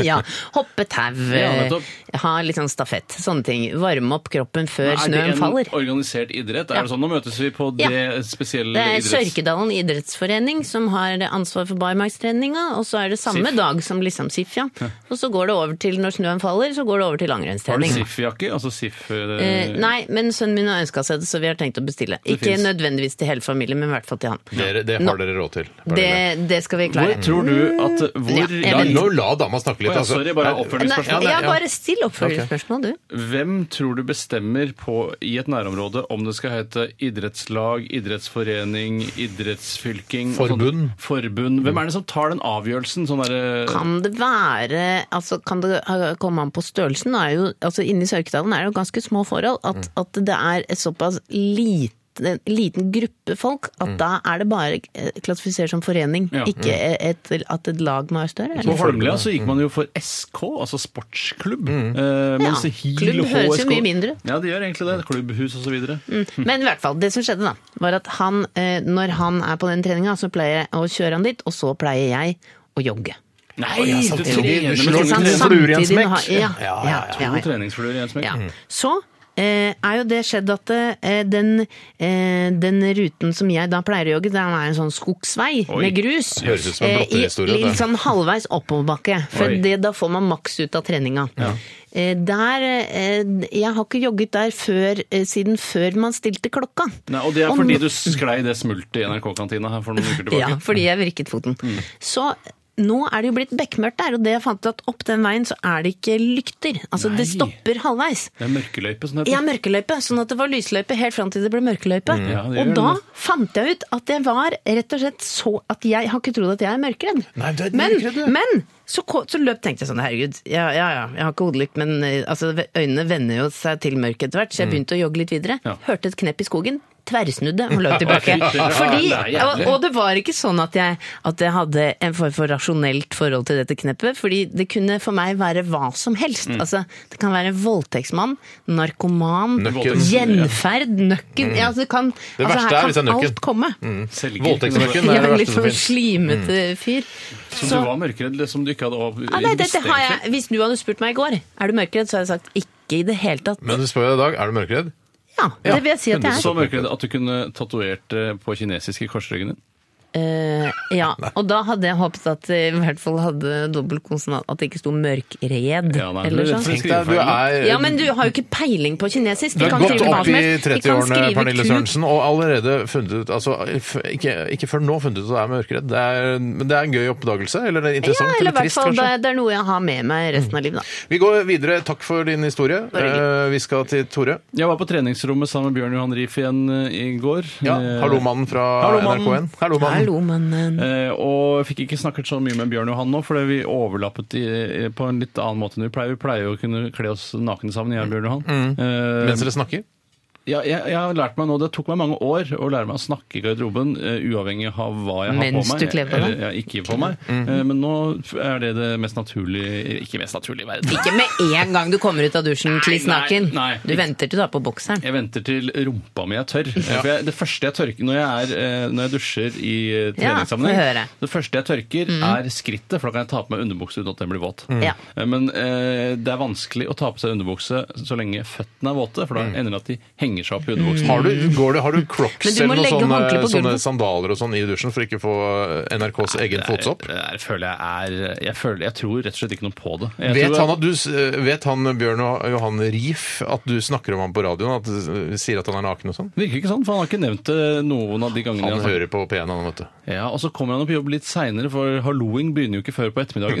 Speaker 9: ja, Hoppe tau,
Speaker 8: Ja,
Speaker 9: eh,
Speaker 8: nettopp.
Speaker 9: ha litt sånn stafett, sånne ting. Varme opp kroppen før
Speaker 8: Er det
Speaker 9: snøen
Speaker 8: en
Speaker 9: faller.
Speaker 8: organisert idrett?
Speaker 9: Ja.
Speaker 8: Er det sånn, Nå møtes vi på
Speaker 9: Ja.
Speaker 8: det spesielle
Speaker 9: Det er
Speaker 8: idretts...
Speaker 9: Sørkedalen idrettsforening som har ansvar for barmarkstreninga, og så er det samme
Speaker 8: Sif.
Speaker 9: dag som liksom SIF, ja. Og så går det over til, når snøen faller, så går det over til
Speaker 8: Har du
Speaker 9: langrennstrening.
Speaker 8: SIF-jakke? Altså SIF...
Speaker 9: Eh, nei, men sønnen min har ønska seg det, så vi har tenkt å bestille. Ikke
Speaker 8: finnes.
Speaker 9: nødvendigvis til hele familien, men i hvert fall til han.
Speaker 7: Dere, det har dere råd til. Pernille.
Speaker 9: Det, det skal vi
Speaker 8: Hvor
Speaker 9: klare.
Speaker 8: tror du at
Speaker 9: Mm. Ja,
Speaker 8: Hvor
Speaker 9: jeg
Speaker 8: ja,
Speaker 9: vet.
Speaker 7: Nå la dama snakke snakke litt.
Speaker 8: Å
Speaker 7: altså.
Speaker 8: ja, sorry, bare
Speaker 7: Nei,
Speaker 8: oppfølgingsspørsmål.
Speaker 9: Nei, ja,
Speaker 7: Ja, nei, ja.
Speaker 9: bare still oppfølgingsspørsmål, du.
Speaker 8: Hvem tror du bestemmer på, i et nærområde om det skal hete idrettslag, idrettsforening, idrettsfylking? og
Speaker 7: Forbund.
Speaker 8: sånn- Forbund. Hvem er det som tar den avgjørelsen? Sånn derre-
Speaker 9: Kan det være altså Kan det ha- komme an på størrelsen? Da Er jo, altså Inni Sørkedalen er det jo ganske små forhold. At,
Speaker 7: Mm.
Speaker 9: at det er et såpass lite en liten gruppe folk,
Speaker 7: Mm.
Speaker 9: at da er det bare eh, klassifisert som forening.
Speaker 8: Ja.
Speaker 9: Ikke et, at et lag må være større.
Speaker 8: På
Speaker 9: Eller?
Speaker 8: Holmlia så gikk man jo for SK, altså sportsklubb. Eh, mens
Speaker 9: Ja,
Speaker 8: HIL
Speaker 9: klubb
Speaker 8: og
Speaker 9: høres jo
Speaker 8: HSK
Speaker 9: mye mindre ut.
Speaker 8: Ja, det gjør egentlig det. Klubbhus osv.
Speaker 9: Mm. Men i hvert fall, det som skjedde da, var at han, eh, når han er på den treninga, så pleier jeg å kjøre han dit, og så pleier jeg å jogge.
Speaker 8: Nei, du
Speaker 7: samtidig-
Speaker 8: trener med
Speaker 7: du slår
Speaker 8: to
Speaker 7: ikke
Speaker 9: sant?
Speaker 7: ned
Speaker 8: trener-
Speaker 7: en fluer i en
Speaker 9: Samtidig
Speaker 7: smekk.
Speaker 9: har- Ja,
Speaker 7: Ja,
Speaker 9: ja,
Speaker 7: ja,
Speaker 9: ja,
Speaker 7: ja.
Speaker 9: sånn ja,
Speaker 8: to treningsfluer i en smekk.
Speaker 9: Ja. Så eh, er jo det skjedd at eh, den, eh, den ruten som jeg da pleier å jogge, den er en sånn skogsvei
Speaker 8: Oi.
Speaker 9: med grus.
Speaker 7: Høres ut som en
Speaker 9: Eh, i-
Speaker 7: blotterhistorie, dette.
Speaker 9: Litt sånn halvveis oppoverbakke, for
Speaker 8: Oi.
Speaker 9: det, da får man maks ut av treninga. Eh, Der, eh, jeg har ikke jogget der før, eh, siden før man stilte klokka.
Speaker 8: Nei, og det er
Speaker 9: Og
Speaker 8: fordi
Speaker 9: nå-
Speaker 8: du sklei det smultet i NRK-kantina her for noen uker tilbake.
Speaker 9: Ja, fordi jeg vrikket foten.
Speaker 8: Mm.
Speaker 9: Så nå er det jo blitt bekmørkt der, og det jeg fant ut at opp den veien så er det ikke lykter. Altså
Speaker 8: Nei.
Speaker 9: det stopper halvveis.
Speaker 8: Det er mørkeløype som heter.
Speaker 9: Ja, mørkeløype, sånn at det var lysløype helt fram til det ble mørkeløype.
Speaker 8: Ja, det gjør
Speaker 9: og da
Speaker 8: det.
Speaker 9: fant jeg ut at jeg var rett og slett så at jeg har ikke trodd at jeg er mørkredd.
Speaker 7: Nei, du er
Speaker 9: men,
Speaker 7: mørkredd, du.
Speaker 9: men så, ko- så løp tenkte jeg sånn, herregud, ja, ja, ja, jeg har ikke hodelykt, men eh, altså, øynene vender jo seg til mørket etter hvert, så jeg begynte å jogge litt videre.
Speaker 8: Mm. Ja.
Speaker 9: Hørte et knepp i skogen. Tverrsnudde og løp tilbake. Fordi,
Speaker 8: Ja, det er jævlig.
Speaker 9: og, og det var ikke sånn at jeg, at jeg hadde en form for rasjonelt forhold til dette kneppet, fordi det kunne for meg være hva som helst.
Speaker 7: Mm.
Speaker 9: Altså, det kan være en voldtektsmann, narkoman,
Speaker 7: Nøkken. Mm.
Speaker 9: gjenferd, nøkken ja, altså, det, kan,
Speaker 7: Det
Speaker 9: altså,
Speaker 7: verste er hvis
Speaker 9: Her
Speaker 7: det er
Speaker 9: kan
Speaker 7: nøkken.
Speaker 9: alt komme.
Speaker 8: Selger.
Speaker 7: Voldtektsnøkken
Speaker 9: Jeg
Speaker 7: er det
Speaker 9: er litt
Speaker 7: verste
Speaker 9: sånn
Speaker 7: som finnes.
Speaker 9: slimete
Speaker 7: Mm.
Speaker 9: fyr.
Speaker 8: Som
Speaker 9: Så-
Speaker 8: du var mørkeredd, eller som du ikke hadde av-
Speaker 9: ja, Ah, nei, dette
Speaker 8: bestemt
Speaker 9: har
Speaker 8: deg.
Speaker 9: jeg, hvis du hadde spurt meg i går, er du mørkredd, så hadde jeg sagt ikke i det hele tatt.
Speaker 7: Men du spør jeg i dag, er du mørkredd?
Speaker 9: Ja, det vil jeg si at
Speaker 8: Men du
Speaker 9: jeg
Speaker 8: så
Speaker 9: er.
Speaker 8: mørkredd at du kunne tatovert det på kinesisk i korsryggen din.
Speaker 9: Eh, ja, og da hadde jeg håpet at det i hvert fall hadde dobbeltkonsonant, at det ikke sto mørkred
Speaker 8: Ja, nei, det er rett
Speaker 9: eller sånn.
Speaker 8: og slett
Speaker 7: Tenk deg, du er
Speaker 9: Ja, men du har jo ikke peiling på kinesisk.
Speaker 7: Du
Speaker 9: De
Speaker 7: er
Speaker 9: kan
Speaker 7: godt
Speaker 9: skrive hva
Speaker 7: opp
Speaker 9: som
Speaker 7: i
Speaker 9: helst. De kan
Speaker 7: 30-årene,
Speaker 9: skrive
Speaker 7: Pernille
Speaker 9: ku.
Speaker 7: Sørensen, og allerede funnet ut altså, f- ikke, ikke før nå funnet ut at du er mørkredd. Det er, men det er en gøy oppdagelse, eller det er
Speaker 9: Ja,
Speaker 7: interessant
Speaker 9: eller i
Speaker 7: eller
Speaker 9: hvert
Speaker 7: trist,
Speaker 9: fall det,
Speaker 7: kanskje.
Speaker 9: det er noe jeg har med meg resten av livet, da.
Speaker 7: Vi går videre. Takk for din historie.
Speaker 9: Bare hyggelig.
Speaker 7: Eh, vi skal til Tore.
Speaker 8: Jeg var på treningsrommet sammen med Bjørn Johan Rief igjen eh, i går.
Speaker 7: Ja,
Speaker 8: Eh,
Speaker 7: Hallo, mannen fra
Speaker 8: Hallo, mannen.
Speaker 7: NRK1. Hallo, mannen.
Speaker 9: Hallo, mannen.
Speaker 8: Eh, Og fikk ikke snakket så mye med Bjørn Johan nå, fordi vi overlappet i, på en litt annen måte enn vi pleier. Vi pleier jo å kunne kle oss nakne sammen, jeg og Bjørn Johan. Eh,
Speaker 7: Mm. Mens dere snakker.
Speaker 8: ja, jeg, jeg har lært meg nå, Det tok meg mange år å lære meg å snakke i garderoben, eh, uavhengig av hva jeg har
Speaker 9: Mens
Speaker 8: på meg.
Speaker 9: du kler på deg?
Speaker 8: Eller, ja, ikke på meg.
Speaker 7: Mm.
Speaker 8: Eh, Men nå er det det mest naturlige Ikke mest naturlige i verden.
Speaker 9: Ikke med en gang du kommer ut av dusjen,
Speaker 8: Nei,
Speaker 9: kliss naken.
Speaker 8: nei, nei.
Speaker 9: Du venter til du er på bokseren.
Speaker 8: Jeg venter til rumpa mi er tørr. For jeg, det første jeg tørker når jeg, er, eh, når jeg dusjer i eh,
Speaker 9: Ja,
Speaker 8: treningssammenheng,
Speaker 9: få høre. Mm.
Speaker 8: det første jeg tørker, er skrittet. For da kan jeg ta på meg underbukse uten at den blir våt.
Speaker 9: Ja.
Speaker 8: Eh, Men eh, det er vanskelig å ta på seg underbukse så lenge føttene er våte, for da
Speaker 9: Mm.
Speaker 8: ender det at de henger seg opp i underbuksen.
Speaker 7: Har du, går du, har du crocs
Speaker 9: Men du må
Speaker 7: eller noen
Speaker 9: legge
Speaker 7: sånne,
Speaker 9: håndkle på
Speaker 7: sånne
Speaker 9: gulvet.
Speaker 7: sandaler og sånn i dusjen for ikke å få eh, NRKs egen fotsopp?
Speaker 8: Det er- føler Eh, jeg er jeg, føler, jeg tror rett og slett ikke noe på det. Jeg
Speaker 7: Vet
Speaker 8: tror-
Speaker 7: han, at du, s- eh, vet han Bjørn og Johan Rief at du snakker om ham på radioen? At du s- eh, sier at han er naken og sånn?
Speaker 8: Virker ikke sånn, for han har ikke nevnt det noen av de gangene. jeg har
Speaker 7: Han
Speaker 8: snakket-
Speaker 7: hører på P1, han, vet du.
Speaker 8: Ja, Og så kommer han opp på jobb litt seinere, for halloing begynner jo ikke før på ettermiddagen.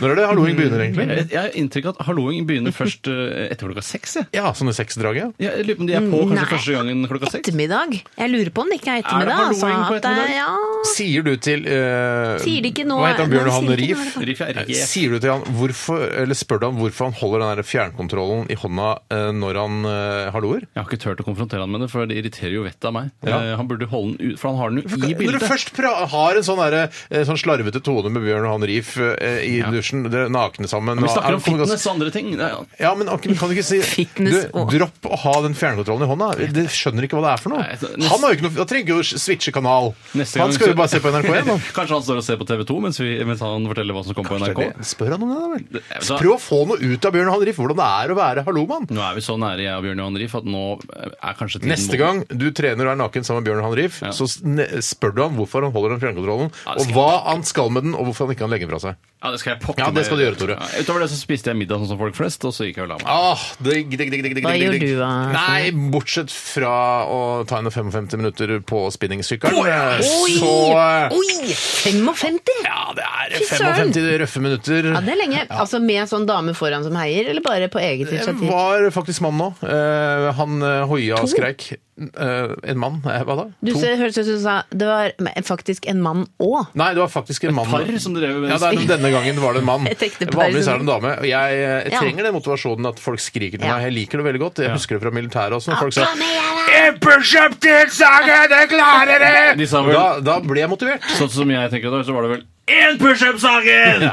Speaker 7: Når er det halloing begynner, egentlig?
Speaker 8: Jeg, jeg har inntrykk av at halloing begynner først eh, etter klokka seks. jeg.
Speaker 7: Ja, sånne sexdraget.
Speaker 8: Ja, Jeg lurer på om de er
Speaker 7: Mm.
Speaker 8: på kanskje
Speaker 9: Nei.
Speaker 8: første gangen klokka seks.
Speaker 9: Ettermiddag? Jeg lurer på om det ikke er ettermiddag. altså,
Speaker 8: Er det halloing på
Speaker 9: at det er-
Speaker 8: ettermiddag?
Speaker 9: Ja.
Speaker 7: Sier du til eh,
Speaker 9: Sier de ikke nå-
Speaker 7: Hva heter han,
Speaker 9: Nei,
Speaker 7: Bjørn Johan
Speaker 9: sier de ikke
Speaker 7: Rief? Eh,
Speaker 9: nå,
Speaker 8: Riff er ikke
Speaker 7: Sier du til han hvorfor, eller spør du han hvorfor han holder den der fjernkontrollen i hånda eh, når han eh, halloer?
Speaker 8: Jeg har ikke turt å konfrontere han med det, for det irriterer jo vettet av meg.
Speaker 7: Ja.
Speaker 8: Eh, Han burde holde den ut, for han har den jo i
Speaker 7: Når du
Speaker 8: bildet.
Speaker 7: først pra har en sånn, derre, eh, sånn slarvete tone med Bjørn Johan Rief eh, i
Speaker 8: Ja.
Speaker 7: dusjen, dere er nakne sammen
Speaker 8: Vi snakker om
Speaker 7: og- er-
Speaker 8: fitness og andre ting. Nei, ja.
Speaker 7: Ja, men ok, men kan du ikke si
Speaker 9: Fitness
Speaker 7: du,
Speaker 9: og-
Speaker 7: Dropp å ha den fjernkontrollen i hånda. Det skjønner ikke hva det er for noe.
Speaker 8: Nei, neste-
Speaker 7: Han har jo ikke noe, han trenger jo å switche kanal.
Speaker 8: Neste gang
Speaker 7: Han skal
Speaker 8: så-
Speaker 7: jo bare se på NRK1. han.
Speaker 8: Kanskje han står og ser på TV 2 mens, vi, mens han forteller hva som kommer på
Speaker 7: Det er
Speaker 8: NRK.
Speaker 7: det. Spør han om det, da vel.
Speaker 8: er-
Speaker 7: Så Prøv å få noe ut av Bjørn Johan Riff, hvordan det er å være hallomann.
Speaker 8: Nå er vi så nære jeg og Bjørn Johan Riff at nå er kanskje tiden
Speaker 7: Neste
Speaker 8: moden.
Speaker 7: gang du trener og er naken sammen med Bjørn Johan Riff,
Speaker 8: Mm. Ja.
Speaker 7: så s- ne- spør du han hvorfor han holder den fjernkontrollen,
Speaker 8: Ja, det
Speaker 7: og
Speaker 8: skal
Speaker 7: hva han skal med den, og hvorfor han ikke kan legge den fra seg.
Speaker 8: Ja, det skal jeg pokker
Speaker 7: Ja, det
Speaker 8: meg
Speaker 7: skal du gjøre, Tore.
Speaker 8: Ja, utover det så spiste jeg middag sånn som folk flest, og så gikk jeg og la meg.
Speaker 7: Ah, digg, digg, digg, digg, digg,
Speaker 9: Hva
Speaker 7: digg,
Speaker 9: gjør
Speaker 7: digg.
Speaker 9: du, da?
Speaker 7: Nei, bortsett fra å ta henne 55 minutter på spinningsykkelen,
Speaker 9: Oi!
Speaker 7: så eh,
Speaker 9: Oi! 55?
Speaker 8: Ja,
Speaker 7: det er
Speaker 9: Fy søren!
Speaker 7: 55 røffe minutter.
Speaker 9: Ja, det er lenge. Altså Med en sånn dame foran som heier, eller bare på eget
Speaker 7: Jeg
Speaker 9: initiativ?
Speaker 7: var faktisk mann nå. Eh, han eh, hoia og skreik. Eh, en mann? Eh, hva da?
Speaker 9: Du ser- hørtes ut som du sa det var faktisk en mann òg.
Speaker 7: Nei, det var faktisk en mann.
Speaker 8: Par som drev med
Speaker 7: Ja, det er, denne gangen var det en mann.
Speaker 9: Et ekte par.
Speaker 7: Vanligvis er det en dame. Og Jeg, jeg
Speaker 9: Ja.
Speaker 7: trenger den motivasjonen at folk skriker til
Speaker 9: Ja.
Speaker 7: meg. Jeg liker det veldig godt. Jeg husker det fra militæret også. Når folk sa
Speaker 9: Kom igjen, da!
Speaker 7: «En pushup til, Saga! Det klarer dere!»
Speaker 8: De sa vel-
Speaker 7: Da, da ble jeg motivert.
Speaker 8: Sånn som jeg tenker da, så var det vel én pushup-saken!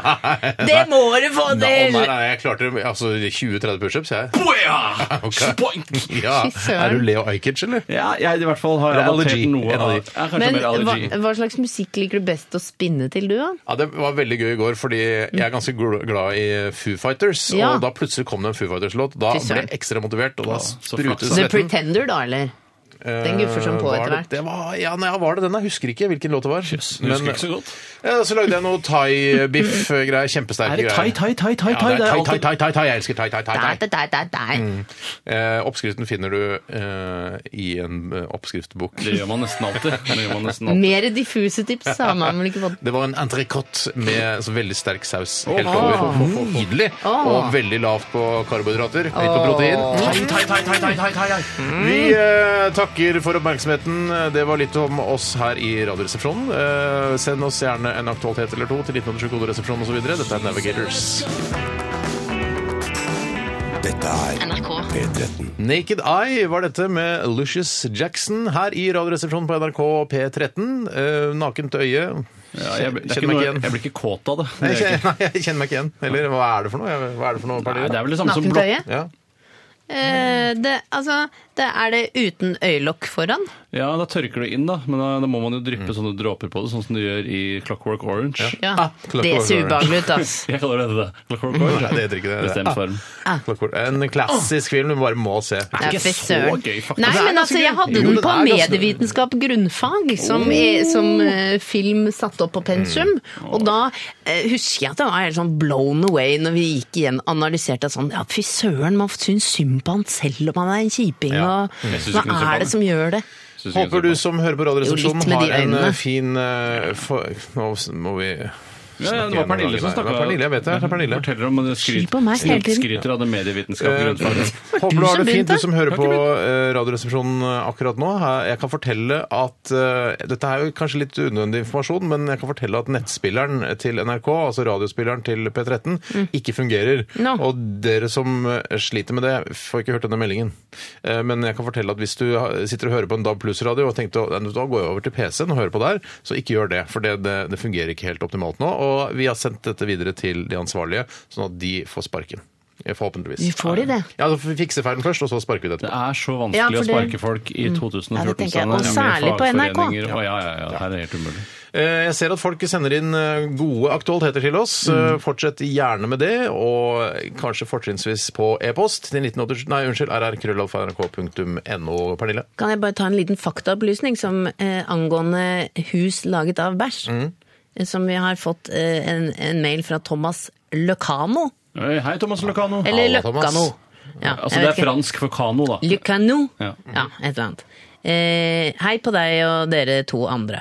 Speaker 9: Det må du få
Speaker 7: Nei, å nei,
Speaker 9: til!
Speaker 7: nei, jeg klarte altså, 20-30 pushups, jeg.
Speaker 8: Boja!
Speaker 7: Ok.
Speaker 8: Spoink!
Speaker 7: Ja.
Speaker 9: Fy søren.
Speaker 7: Er du Leo Ajkic, eller?
Speaker 8: Ja, jeg i hvert fall har
Speaker 7: Allergi,
Speaker 8: adoptert noe
Speaker 7: en av
Speaker 8: av
Speaker 7: de.
Speaker 8: Jeg er kanskje
Speaker 9: Men
Speaker 8: mer
Speaker 9: hva,
Speaker 8: allergi.
Speaker 9: hva slags musikk liker du best å spinne til, du, da?
Speaker 7: Ja, Det var veldig gøy i går, fordi jeg er ganske gl- glad i Foo Fighters.
Speaker 9: Ja.
Speaker 7: Og da plutselig kom det en Foo Fighters-låt. Da
Speaker 9: Fy søren.
Speaker 7: ble jeg ekstra motivert, og da
Speaker 8: så
Speaker 7: sprutet
Speaker 8: flaks.
Speaker 9: The
Speaker 7: svetten.
Speaker 9: Pretender, da, eller? Den guffer som på
Speaker 7: Eh, Var
Speaker 9: etter
Speaker 7: det-
Speaker 9: hvert.
Speaker 7: det var- Ja, nei, ja, var det den? Jeg husker ikke hvilken låt det var. eh,
Speaker 8: Jøss, jeg husker ikke så godt.
Speaker 7: Ja, så lagde jeg noe thai-biff-greier. Kjempesterke
Speaker 8: Er det thai,
Speaker 7: greier.
Speaker 8: thai, thai, thai,
Speaker 7: Ja,
Speaker 8: thai?
Speaker 7: det er thai, thai,
Speaker 8: alltid-
Speaker 7: thai, thai, thai. Jeg elsker thai, thai, thai.
Speaker 9: Da,
Speaker 7: thai.
Speaker 9: da, da, da, da.
Speaker 8: Mm.
Speaker 7: Eh, oppskriften finner du eh, i en eh, oppskriftbok.
Speaker 8: Det gjør man nesten alltid. Det gjør man nesten alltid.
Speaker 9: Mer diffuse tips har man vel ikke fått.
Speaker 7: Det var en entrecôte med så veldig sterk saus helt
Speaker 8: Åh.
Speaker 7: over. Nydelig!
Speaker 9: Åh.
Speaker 7: Og veldig lavt på karbohydrater. Høyt på protein.
Speaker 8: Thai, thai, thai, thai, thai, thai, thai.
Speaker 7: Vi eh, takker for oppmerksomheten. Det var litt om oss her i Radioresepsjonen. Eh, send oss gjerne en aktualitet eller to til 1987 koderesepsjon osv. Dette er Navigators.
Speaker 1: Dette er P13.
Speaker 7: Naked Eye var dette med Lucius Jackson her i Radioresepsjonen på NRK P13. Eh, nakent øye.
Speaker 8: Ja, jeg, ble- det er
Speaker 7: Kjenner
Speaker 8: ikke
Speaker 7: meg
Speaker 8: noe,
Speaker 7: ikke igjen.
Speaker 8: jeg blir ikke kåt av det.
Speaker 7: Nei,
Speaker 8: det
Speaker 7: jeg
Speaker 8: er jeg
Speaker 7: kjenner, nei, jeg kjenner meg ikke igjen. Eller hva er det for noe? Jeg- Hva er det for noe?
Speaker 8: ikke. Nei,
Speaker 7: Pernille?
Speaker 8: det er vel det samme som
Speaker 9: Nakent
Speaker 8: blå...
Speaker 9: øye?
Speaker 7: ja.
Speaker 9: Eh, det, altså, det er det uten øyelokk foran?
Speaker 8: Ja, da tørker det inn, da. Men eh, da, da må man jo dryppe
Speaker 7: Mm.
Speaker 8: sånne dråper på det, sånn som du gjør i Clockwork Orange.
Speaker 9: Ja.
Speaker 7: Ah,
Speaker 9: det
Speaker 7: Clockwork
Speaker 9: ser
Speaker 7: Orange.
Speaker 9: ubehagelig ut, ass.
Speaker 8: Jeg kaller det det. Clockwork Orange.
Speaker 7: Mm. Nei, det heter ikke det.
Speaker 8: Bestemt form.
Speaker 7: Clockwork- En klassisk film du bare må se.
Speaker 9: Ja,
Speaker 8: ikke
Speaker 9: fy
Speaker 8: så
Speaker 9: søren.
Speaker 8: gøy, faktisk.
Speaker 9: Nei,
Speaker 8: Det er
Speaker 9: men
Speaker 8: ganske
Speaker 9: altså, jeg
Speaker 8: gøy.
Speaker 9: hadde
Speaker 7: Jo,
Speaker 9: den
Speaker 7: den
Speaker 9: på
Speaker 7: er ganske-
Speaker 9: medievitenskap grunnfag, som,
Speaker 8: Oh.
Speaker 9: er, som eh, film satt opp på pensum.
Speaker 8: Mm.
Speaker 9: Og da eh, husker jeg at jeg var helt sånn blown away når vi gikk igjen analyserte at sånn, ja fy søren, man syns synd på han selv om han er en kjiping,
Speaker 7: Ja.
Speaker 8: Jeg synes
Speaker 9: og
Speaker 8: ikke noe synd
Speaker 9: hva
Speaker 8: på han,
Speaker 9: er det som gjør det?
Speaker 8: Synes jeg
Speaker 7: Håper
Speaker 8: det
Speaker 7: du
Speaker 8: er så
Speaker 7: som hører på Radioresepsjonen
Speaker 9: Jo, litt med de
Speaker 7: har en eh,
Speaker 9: øynene.
Speaker 7: fin eh, for... Nå s- må vi
Speaker 8: bra. Ja, ja, det var Pernille som snakka.
Speaker 7: Det var Pernille, jeg vet det. Det er Pernille.
Speaker 8: Forteller om det skryt,
Speaker 9: Skyld på meg hele
Speaker 8: skryt,
Speaker 9: tiden.
Speaker 8: skryter av det medievitenskapelige grunnfaget.
Speaker 7: Håper du Eh, har
Speaker 9: som
Speaker 7: det fint,
Speaker 9: begynte.
Speaker 7: du som hører på eh, Radioresepsjonen eh, akkurat nå. Her- Jeg kan fortelle at eh, Dette er jo kanskje litt unødvendig informasjon, men jeg kan fortelle at nettspilleren til NRK, altså radiospilleren til P13, ikke fungerer.
Speaker 9: No.
Speaker 7: Og dere som eh, sliter med det, får ikke hørt denne meldingen. Eh, Men jeg kan fortelle at hvis du ha- sitter og hører på en DAB pluss-radio og tenkte å, "Nei, da går jeg over til PC-en og hører på der, så ikke gjør det. For det, det, det fungerer ikke helt optimalt nå. Og vi har sendt dette videre til de ansvarlige, sånn at de får sparken. Eh, Forhåpentligvis.
Speaker 9: Vi får de det.
Speaker 7: Ja, så får vi fikser feilen først, og så sparker vi det
Speaker 8: Det
Speaker 7: etterpå.
Speaker 8: er så vanskelig
Speaker 9: Ja, for
Speaker 8: å
Speaker 9: det-
Speaker 8: sparke folk i
Speaker 9: Ja, det
Speaker 8: 2014.
Speaker 9: tenker jeg. Og særlig på NRK.
Speaker 8: Ja, ja, ja, ja. Her er det helt umulig.
Speaker 7: Eh, Jeg ser at folk sender inn eh, gode aktualiteter til oss. Eh, Fortsett gjerne med det, og kanskje fortrinnsvis på e-post til 1987 Nei, unnskyld, rrkrøllalfa.nrk.no, Pernille.
Speaker 9: Kan jeg bare ta en liten faktaopplysning som eh, angående hus laget av bæsj?
Speaker 8: Mm.
Speaker 9: Eh, Som vi har fått eh, en, en mail fra Thomas Løkano.
Speaker 8: Hei, Hei, Thomas Locano.
Speaker 9: Eller
Speaker 7: Halla, Thomas.
Speaker 9: Løkkano. Ja,
Speaker 8: Altså,
Speaker 9: jeg
Speaker 8: det
Speaker 9: vet
Speaker 8: er
Speaker 9: ikke.
Speaker 8: fransk for kano, da.
Speaker 9: Lucano.
Speaker 8: Ja.
Speaker 9: Ja. et eller annet. Eh, hei på deg og dere to andre.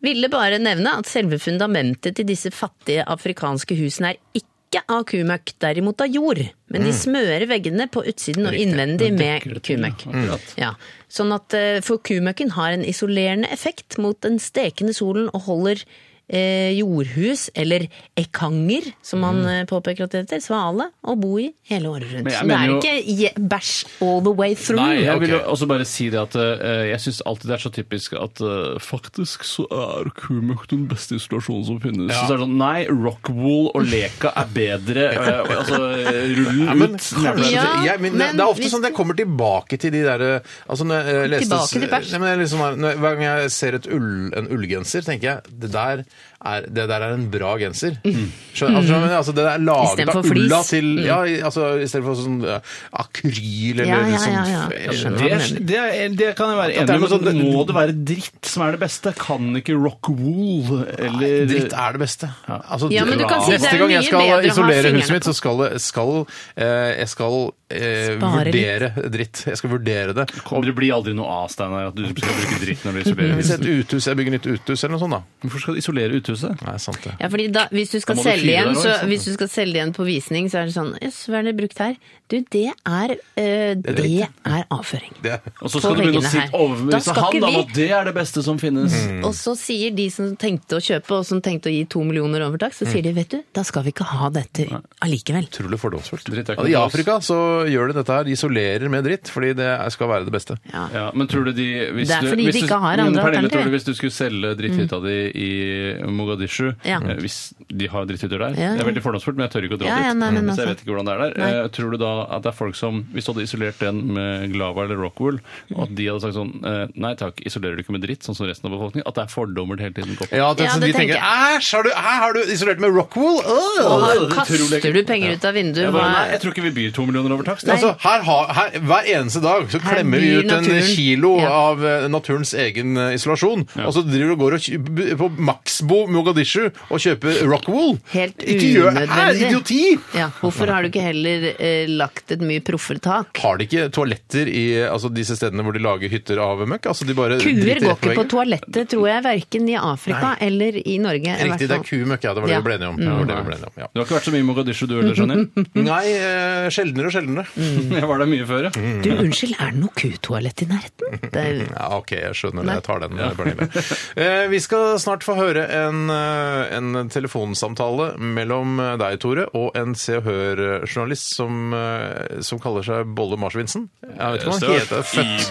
Speaker 9: Ville bare nevne at selve fundamentet til disse fattige afrikanske husene er ikke av kumøkk, derimot av jord. Men de smører veggene på utsiden og innvendig med kumøkk.
Speaker 8: Akkurat.
Speaker 9: Ja. Mm. Sånn at eh, for kumøkken har en isolerende effekt mot den stekende solen og holder eh, jordhus, eller ekanger, som han eh, påpeker at det heter, svale å bo i hele året rundt.
Speaker 8: Mm. Men jeg
Speaker 9: Så det
Speaker 8: mener
Speaker 9: er
Speaker 8: jo-
Speaker 9: ikke je- bæsj all the way through.
Speaker 8: Nei, jeg vil jo
Speaker 7: ok.
Speaker 8: også bare si det at eh, jeg syns alltid det er så typisk at eh, faktisk så er kumøkk den beste isolasjonen som finnes. Så er det sånn, nei, Rockwool og Leka er bedre. eh, altså, rull
Speaker 7: Ja, men,
Speaker 8: ut.
Speaker 7: kanskje,
Speaker 9: Ja,
Speaker 7: det- jeg, men, det-
Speaker 9: men
Speaker 7: det er ofte
Speaker 9: hvis-
Speaker 7: sånn at jeg kommer tilbake til de der altså når jeg eh, leste,
Speaker 9: Tilbake til bæsj?
Speaker 7: Nei, men jeg liksom, har- når, Hver gang jeg ser et ull, en ullgenser, tenker jeg det der er, det der er en bra genser. Skjønner, altså, skjønner du? altså, det er laget
Speaker 9: Mm. Istedenfor
Speaker 7: av
Speaker 9: flis.
Speaker 7: ulla
Speaker 9: Mm.
Speaker 7: til ja, i- altså, Istedenfor sånn eh, akryl
Speaker 9: Ja,
Speaker 7: eller
Speaker 9: ja,
Speaker 7: sånn
Speaker 9: ja, ja.
Speaker 7: f-
Speaker 9: Jeg skjønner.
Speaker 8: Det, er- det, er- det kan jeg være
Speaker 7: At
Speaker 8: enig
Speaker 7: det er
Speaker 8: i,
Speaker 7: noe
Speaker 8: men
Speaker 7: sånn-
Speaker 8: må det være dritt som er det beste? Kan ikke Rockwool eller
Speaker 7: Dritt er det beste. Altså,
Speaker 9: Ja, men du kan si det er
Speaker 7: neste gang
Speaker 9: mye
Speaker 7: jeg skal
Speaker 9: bedre å ha
Speaker 7: isolere
Speaker 9: fingrene
Speaker 7: huset mitt,
Speaker 9: på.
Speaker 7: så skal, det- skal eh, jeg skal eh,
Speaker 9: Spare
Speaker 7: vurdere dritt. Jeg skal vurdere det.
Speaker 8: Og det blir aldri noe av, Steinar, at du skal bruke dritt når du isolerer
Speaker 7: Hvis
Speaker 8: huset.
Speaker 7: et uthus, jeg bygger nytt uthus eller noe sånt, da.
Speaker 8: Hvorfor skal du isolere uthuset?
Speaker 7: Nei, sant det.
Speaker 9: Ja, fordi da, hvis, du skal
Speaker 8: Da må du
Speaker 9: selge
Speaker 8: fyre
Speaker 9: igjen,
Speaker 8: der også,
Speaker 9: så,
Speaker 8: ikke sant?
Speaker 9: hvis du skal selge igjen på visning, så er det sånn Jøss, hva er det brukt her? Du, det er, eh, det er avføring.
Speaker 7: det.
Speaker 8: Og så
Speaker 9: På
Speaker 8: skal du begynne å
Speaker 9: veggene
Speaker 8: si
Speaker 9: her. Da
Speaker 8: overbevise
Speaker 9: skal
Speaker 8: han
Speaker 9: ikke
Speaker 8: da, om
Speaker 9: vi- Mm.
Speaker 8: at det er det beste som finnes.
Speaker 9: Og så sier de som tenkte å kjøpe, og som tenkte å gi to millioner overtak, så
Speaker 8: Mm.
Speaker 9: sier de vet du, da skal vi ikke ha dette allikevel.
Speaker 7: Utrolig fordomsfullt.
Speaker 8: Dritt er ikke
Speaker 7: I
Speaker 8: noe
Speaker 7: Afrika så gjør de dette her. De isolerer med dritt, fordi det er- skal være det beste.
Speaker 9: Ja.
Speaker 8: Ja, men tror du de hvis
Speaker 9: Det er
Speaker 8: du-
Speaker 9: fordi
Speaker 8: hvis
Speaker 9: de
Speaker 8: du-
Speaker 9: ikke har
Speaker 8: men
Speaker 9: andre
Speaker 8: Pernille, tror
Speaker 9: alternativer. Mm.
Speaker 8: du hvis du skulle selge dritthytta di i Mogadishu
Speaker 9: Ja.
Speaker 8: eh, Hvis de har dritthytter der
Speaker 9: Ja, ja.
Speaker 8: Det er veldig fordomsfullt, men jeg tør ikke å dra
Speaker 9: Ja, ja,
Speaker 8: dit.
Speaker 9: nei,
Speaker 8: så
Speaker 9: men
Speaker 8: jeg
Speaker 9: altså.
Speaker 8: vet ikke hvordan det er der.
Speaker 9: Nei.
Speaker 8: Eh, tror du da at det er folk som Hvis du hadde isolert den med Glava eller Rockwool, og at de hadde sagt sånn eh, Nei takk, isolerer du ikke med dritt, sånn som resten av befolkningen? At det er fordommer det hele tiden går på.
Speaker 7: Ja, det,
Speaker 9: Ja,
Speaker 7: så
Speaker 9: det
Speaker 7: de tenker
Speaker 9: tenker
Speaker 7: Æsj, har, du- hæ, har du isolert med Rockwool?
Speaker 9: Og
Speaker 7: Øh!»
Speaker 9: da
Speaker 8: det er utrolig-
Speaker 9: kaster du penger ut av vinduet.
Speaker 8: Jeg, bare, nei,
Speaker 9: Hva
Speaker 8: jeg tror ikke vi byr to millioner over takst.
Speaker 7: Altså, her, har- her, hver eneste dag så
Speaker 9: Her
Speaker 7: klemmer vi
Speaker 9: blir
Speaker 7: ut en
Speaker 9: naturen-
Speaker 7: kilo
Speaker 9: Ja.
Speaker 7: av eh, naturens egen eh, isolasjon, og så driver du og går og kjø- b- på Maxbo Mogadishu og kjøper Rockwool.
Speaker 9: Helt
Speaker 7: Ikke gjør det her!
Speaker 9: unødvendig.
Speaker 7: Idioti!
Speaker 9: ja, hvorfor har du ikke heller eh, lagt et mye proffere tak?
Speaker 7: Har de ikke toaletter i eh, altså, disse stedene hvor de lager hytter av møkk? Altså, de bare
Speaker 9: Kuer
Speaker 7: driter
Speaker 9: går
Speaker 7: rett
Speaker 9: ikke på
Speaker 7: veggen.
Speaker 9: toalettet, tror jeg, verken i Afrika eller i Norge. i
Speaker 7: Riktig,
Speaker 9: hvert
Speaker 7: det er
Speaker 9: fall.
Speaker 7: kumøkk, ja. Det var
Speaker 9: sånn-
Speaker 7: det
Speaker 9: Ja.
Speaker 7: vi ble enige om. Det var det vi ble enige om ja.
Speaker 8: Du har ikke vært så mye i Mogadishu du heller, skjønner jeg.
Speaker 9: Mm.
Speaker 7: Nei, eh, sjeldnere og sjeldnere.
Speaker 8: Jeg var der mye før, ja.
Speaker 7: Mm.
Speaker 9: Du, unnskyld, er det noe kutoalett i nærheten? Det er,
Speaker 7: Ja, ok, jeg skjønner det.
Speaker 9: Nei.
Speaker 7: Jeg tar den. Pernille. Eh, vi skal snart få høre en, eh, en telefonsamtale mellom eh, deg, Tore, og en Se og Hør-journalist som, eh, som kaller seg Bolle Marsvinsen. Jeg vet ikke hva han heter. Født.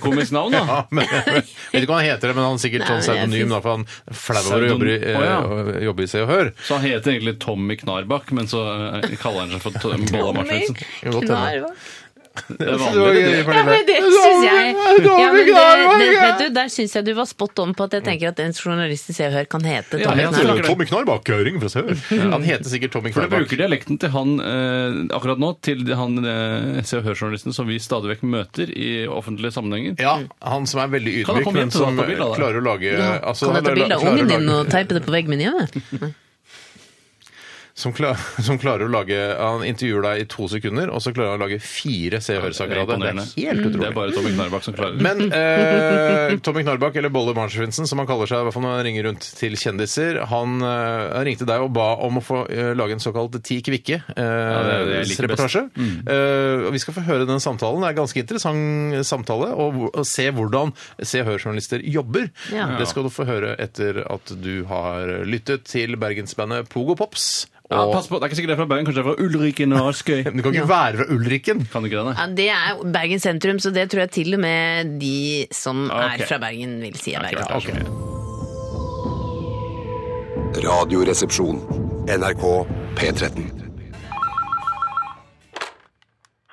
Speaker 8: Iber-komisk navn, da.
Speaker 7: Ja, men, jeg vet ikke hva han heter, men han er sikkert sånn
Speaker 9: Nei, jeg
Speaker 7: pseudonym,
Speaker 9: synes-
Speaker 7: da, for han er flau over å jobbe i, eh,
Speaker 8: Pseudon- Å, ja.
Speaker 7: å jobbe i Se og Hør.
Speaker 8: Så han heter egentlig Tommy Knarbakk, men så eh, kaller han seg for Tom- Bolla Martinsen.
Speaker 7: Kan godt hende.
Speaker 9: Knarva.
Speaker 8: Det er
Speaker 7: Det var
Speaker 8: vanlig.
Speaker 7: gøy,
Speaker 9: Ja,
Speaker 7: Pernille.
Speaker 9: men det syns jeg ja, men det, det,
Speaker 7: Knarbakk,
Speaker 9: vet du, Der syns jeg du var spot on på at jeg tenker at en journalist i Se og Hør kan hete
Speaker 8: Ja,
Speaker 9: Tommy
Speaker 8: jeg
Speaker 9: Knarva.
Speaker 8: tror-
Speaker 7: Tommy Knarbakk, høring fra Se og Hør. Han heter sikkert Tommy
Speaker 8: For de
Speaker 7: Knarbakk.
Speaker 8: bruker dialekten til han eh, akkurat nå, til han eh, Se og Hør-journalisten som vi stadig vekk møter i offentlige sammenhenger.
Speaker 7: Ja, han som er veldig
Speaker 8: Kan han
Speaker 7: ydmyk,
Speaker 8: komme
Speaker 7: men
Speaker 8: hjem til
Speaker 7: som
Speaker 8: deg og ta bilde av det?
Speaker 7: klarer å lage altså,
Speaker 9: kan jeg ta
Speaker 7: han
Speaker 9: bilde av
Speaker 7: klarer å
Speaker 9: ungen din
Speaker 7: lage-
Speaker 9: og teipe det på veggen min hjemme?
Speaker 7: som, klar, som klarer å lage Han intervjuer deg i to sekunder, og så klarer han å lage fire Se og Hør-saker av det. Det er
Speaker 8: Imponerende.
Speaker 7: helt
Speaker 8: Det er
Speaker 7: utrolig.
Speaker 8: bare Tommy Knarbakk som klarer det.
Speaker 7: Men eh, Tommy Knarbakk, eller Bolle Marsvinsen, som han kaller seg i hvert fall når han ringer rundt til kjendiser, han eh, han ringte deg og ba om å få eh, lage en såkalt Ti eh,
Speaker 8: det er det jeg liker Mm.
Speaker 7: kvikke-reportasje. Eh, vi skal få høre den samtalen. Det er en ganske interessant samtale. Og, hvor- og se hvordan Se og Hør-journalister jobber.
Speaker 9: Ja.
Speaker 7: Det skal du få høre etter at du har lyttet til bergensbandet Pogo Pops. Og,
Speaker 8: Ja, pass på, Det er ikke sikkert det er fra Bergen, kanskje det er fra Ulriken og Askøy.
Speaker 7: Men du kan ikke være fra Ulrikken.
Speaker 8: Kan du ikke det,
Speaker 9: Ja,
Speaker 8: nei?
Speaker 9: det er jo Bergen sentrum, så det tror jeg til og med de som
Speaker 8: Ah, Ok.
Speaker 9: er fra Bergen, vil si er Bergen.
Speaker 8: Ok, ok.
Speaker 6: Radioresepsjon. NRK P13.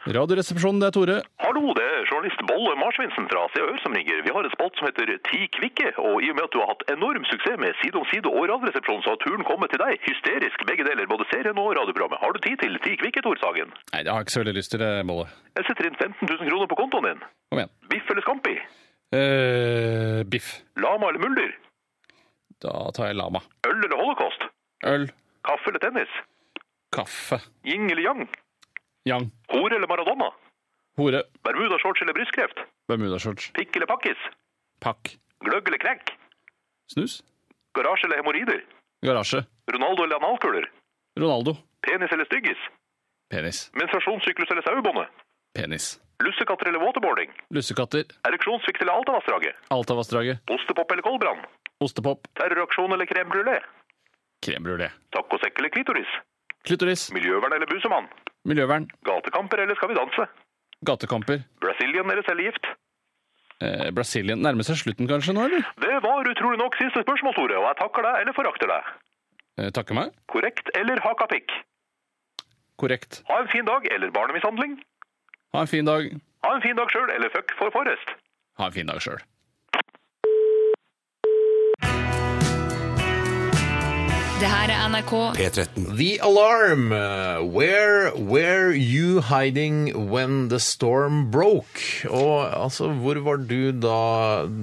Speaker 8: Radioresepsjonen, det er Tore.
Speaker 4: Hallo, det er journalist Bolle Marsvinsen fra Se og Hør som ringer. Vi har en spalt som heter Ti kvikke, og i og med at du har hatt enorm suksess med Side om side og Radioresepsjonen, så har turen kommet til deg. Hysterisk begge deler, både serien og radioprogrammet. Har du tid til Ti kvikke, Tor Sagen?
Speaker 8: Nei, det har jeg ikke så veldig lyst til, det, Bolle.
Speaker 4: Jeg setter inn 15 000 kroner på kontoen din.
Speaker 8: Kom igjen.
Speaker 4: Biff eller Scampi?
Speaker 8: Eh, biff.
Speaker 4: Lama eller Mulder?
Speaker 8: Da tar jeg lama.
Speaker 4: Øl eller Holocaust?
Speaker 8: Øl.
Speaker 4: Kaffe eller tennis?
Speaker 8: Kaffe.
Speaker 4: Ying eller Yang?
Speaker 8: Yang.
Speaker 4: Hore eller Maradona?
Speaker 8: Hore.
Speaker 4: Bermuda-shorts eller brystkreft?
Speaker 8: Bermudashorts.
Speaker 4: Pikk eller pakkis?
Speaker 8: Pakk.
Speaker 4: Gløgg eller knekk?
Speaker 8: Snus.
Speaker 4: Garasje eller hemoroider?
Speaker 8: Garasje.
Speaker 4: Ronaldo eller analkuler?
Speaker 8: Ronaldo.
Speaker 4: Penis eller styggis?
Speaker 8: Penis.
Speaker 4: Menstruasjonssyklus eller sauebåndet?
Speaker 8: Penis.
Speaker 4: Lussekatter eller waterboarding?
Speaker 8: Lussekatter.
Speaker 4: Ereksjonssvikt eller Altavassdraget?
Speaker 8: Altavassdraget.
Speaker 4: Ostepop eller koldbrann?
Speaker 8: Ostepop.
Speaker 4: Terroraksjon eller crème brulé?
Speaker 8: Crème brulé.
Speaker 4: Tacosekk eller klitoris?
Speaker 8: Klitoris.
Speaker 4: Miljøvern eller busemann?
Speaker 8: Miljøvern.
Speaker 4: Gatekamper eller Skal vi danse?
Speaker 8: Gatekamper.
Speaker 4: Brazilian eller cellegift?
Speaker 8: Eh, Brasilien. Nærmer seg slutten kanskje nå, eller?
Speaker 4: Det var utrolig nok siste spørsmål, Tore, og jeg takker deg eller forakter deg.
Speaker 8: Eh, takker meg.
Speaker 4: Korrekt eller hakapikk?
Speaker 8: Korrekt.
Speaker 4: Ha en fin dag eller barnemishandling?
Speaker 8: Ha en fin dag.
Speaker 4: Ha en fin dag sjøl eller fuck for Forrest?
Speaker 8: Ha en fin dag sjøl.
Speaker 5: Det her er NRK.
Speaker 6: P13.
Speaker 7: The Alarm. eh, Where were you hiding when the storm broke? Og altså, hvor var du da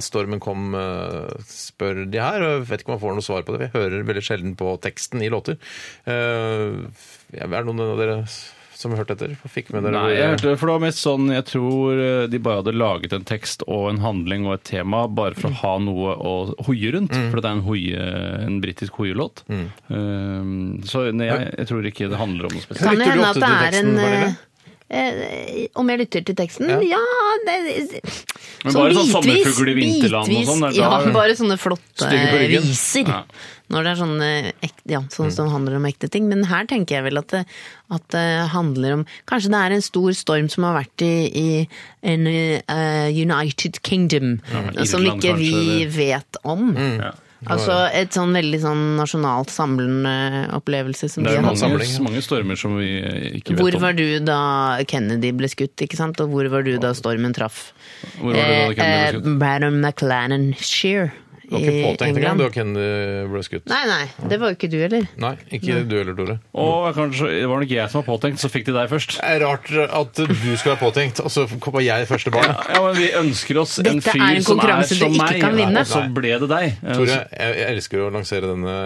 Speaker 7: stormen kom, eh, spør de her. Og Jeg vet ikke om jeg får noe svar på det, for jeg hører veldig sjelden på teksten i låter. Eh, Er det noen av dere s- som hørte etter? Fikk med dere
Speaker 8: Nei, jeg hørte det, for det var mest sånn Jeg tror eh, de bare hadde laget en tekst og en handling og et tema bare for å ha noe å hoie rundt. For det er en, hoie, en britisk hoielåt. Um, så nei, jeg, jeg tror ikke det handler om noe spesielt.
Speaker 9: Kan det
Speaker 7: Lytter du
Speaker 9: hende at
Speaker 7: ofte
Speaker 9: det
Speaker 7: til
Speaker 9: er en
Speaker 7: teksten, Pernille?
Speaker 9: eh, eh, Om jeg lytter til teksten? Ja, det,
Speaker 8: Men bare sånn sommerfugl i vinterland og
Speaker 9: bitvis,
Speaker 8: sånn, det er
Speaker 9: Ja,
Speaker 8: da-
Speaker 9: bare sånne flotte
Speaker 7: Stygge på ryggen.
Speaker 9: viser.
Speaker 8: Ja. Mm.
Speaker 9: Når det er sånne, ek- ja, sånn som handler om ekte ting. Men her tenker jeg vel at det, at det handler om Kanskje det er en stor storm som har vært i, i en, eh, United Kingdom,
Speaker 8: Ja,
Speaker 9: som
Speaker 8: Irland
Speaker 9: ikke
Speaker 8: kanskje,
Speaker 9: vi
Speaker 8: eller- Mm.
Speaker 9: vet om.
Speaker 8: Ja.
Speaker 9: Altså et sånn veldig sånn nasjonalt samlende opplevelse som
Speaker 8: Det
Speaker 9: vi
Speaker 8: er
Speaker 9: har hatt.
Speaker 8: mange,
Speaker 7: samling, ja.
Speaker 8: mange stormer som vi eh, ikke
Speaker 9: Hvor
Speaker 8: vet om.
Speaker 9: var du da Kennedy ble skutt, ikke sant? Og hvor var du da stormen traff? Eh,
Speaker 8: Hvor var det da Kennedy ble skutt?
Speaker 9: Baron McLannanshire
Speaker 7: Du var ikke
Speaker 9: i
Speaker 7: påtenkt engang,
Speaker 9: England.
Speaker 7: du og Kenny ble skutt.
Speaker 9: Nei, nei, det var jo ikke du heller.
Speaker 7: Nei, ikke du heller, Tore.
Speaker 9: eh,
Speaker 8: Og kanskje, det var nok jeg som var påtenkt, så fikk de deg først.
Speaker 7: Det er rart at du skal være påtenkt, og så kommer jeg første barn.
Speaker 8: Ja, men Vi ønsker oss en
Speaker 9: Dette
Speaker 8: fyr
Speaker 9: er en
Speaker 8: som er
Speaker 9: konkurranse du
Speaker 8: som
Speaker 9: ikke
Speaker 8: meg,
Speaker 9: kan vinne.
Speaker 8: og så ble det deg. Eh,
Speaker 7: Tore, jeg, jeg elsker jo å lansere denne,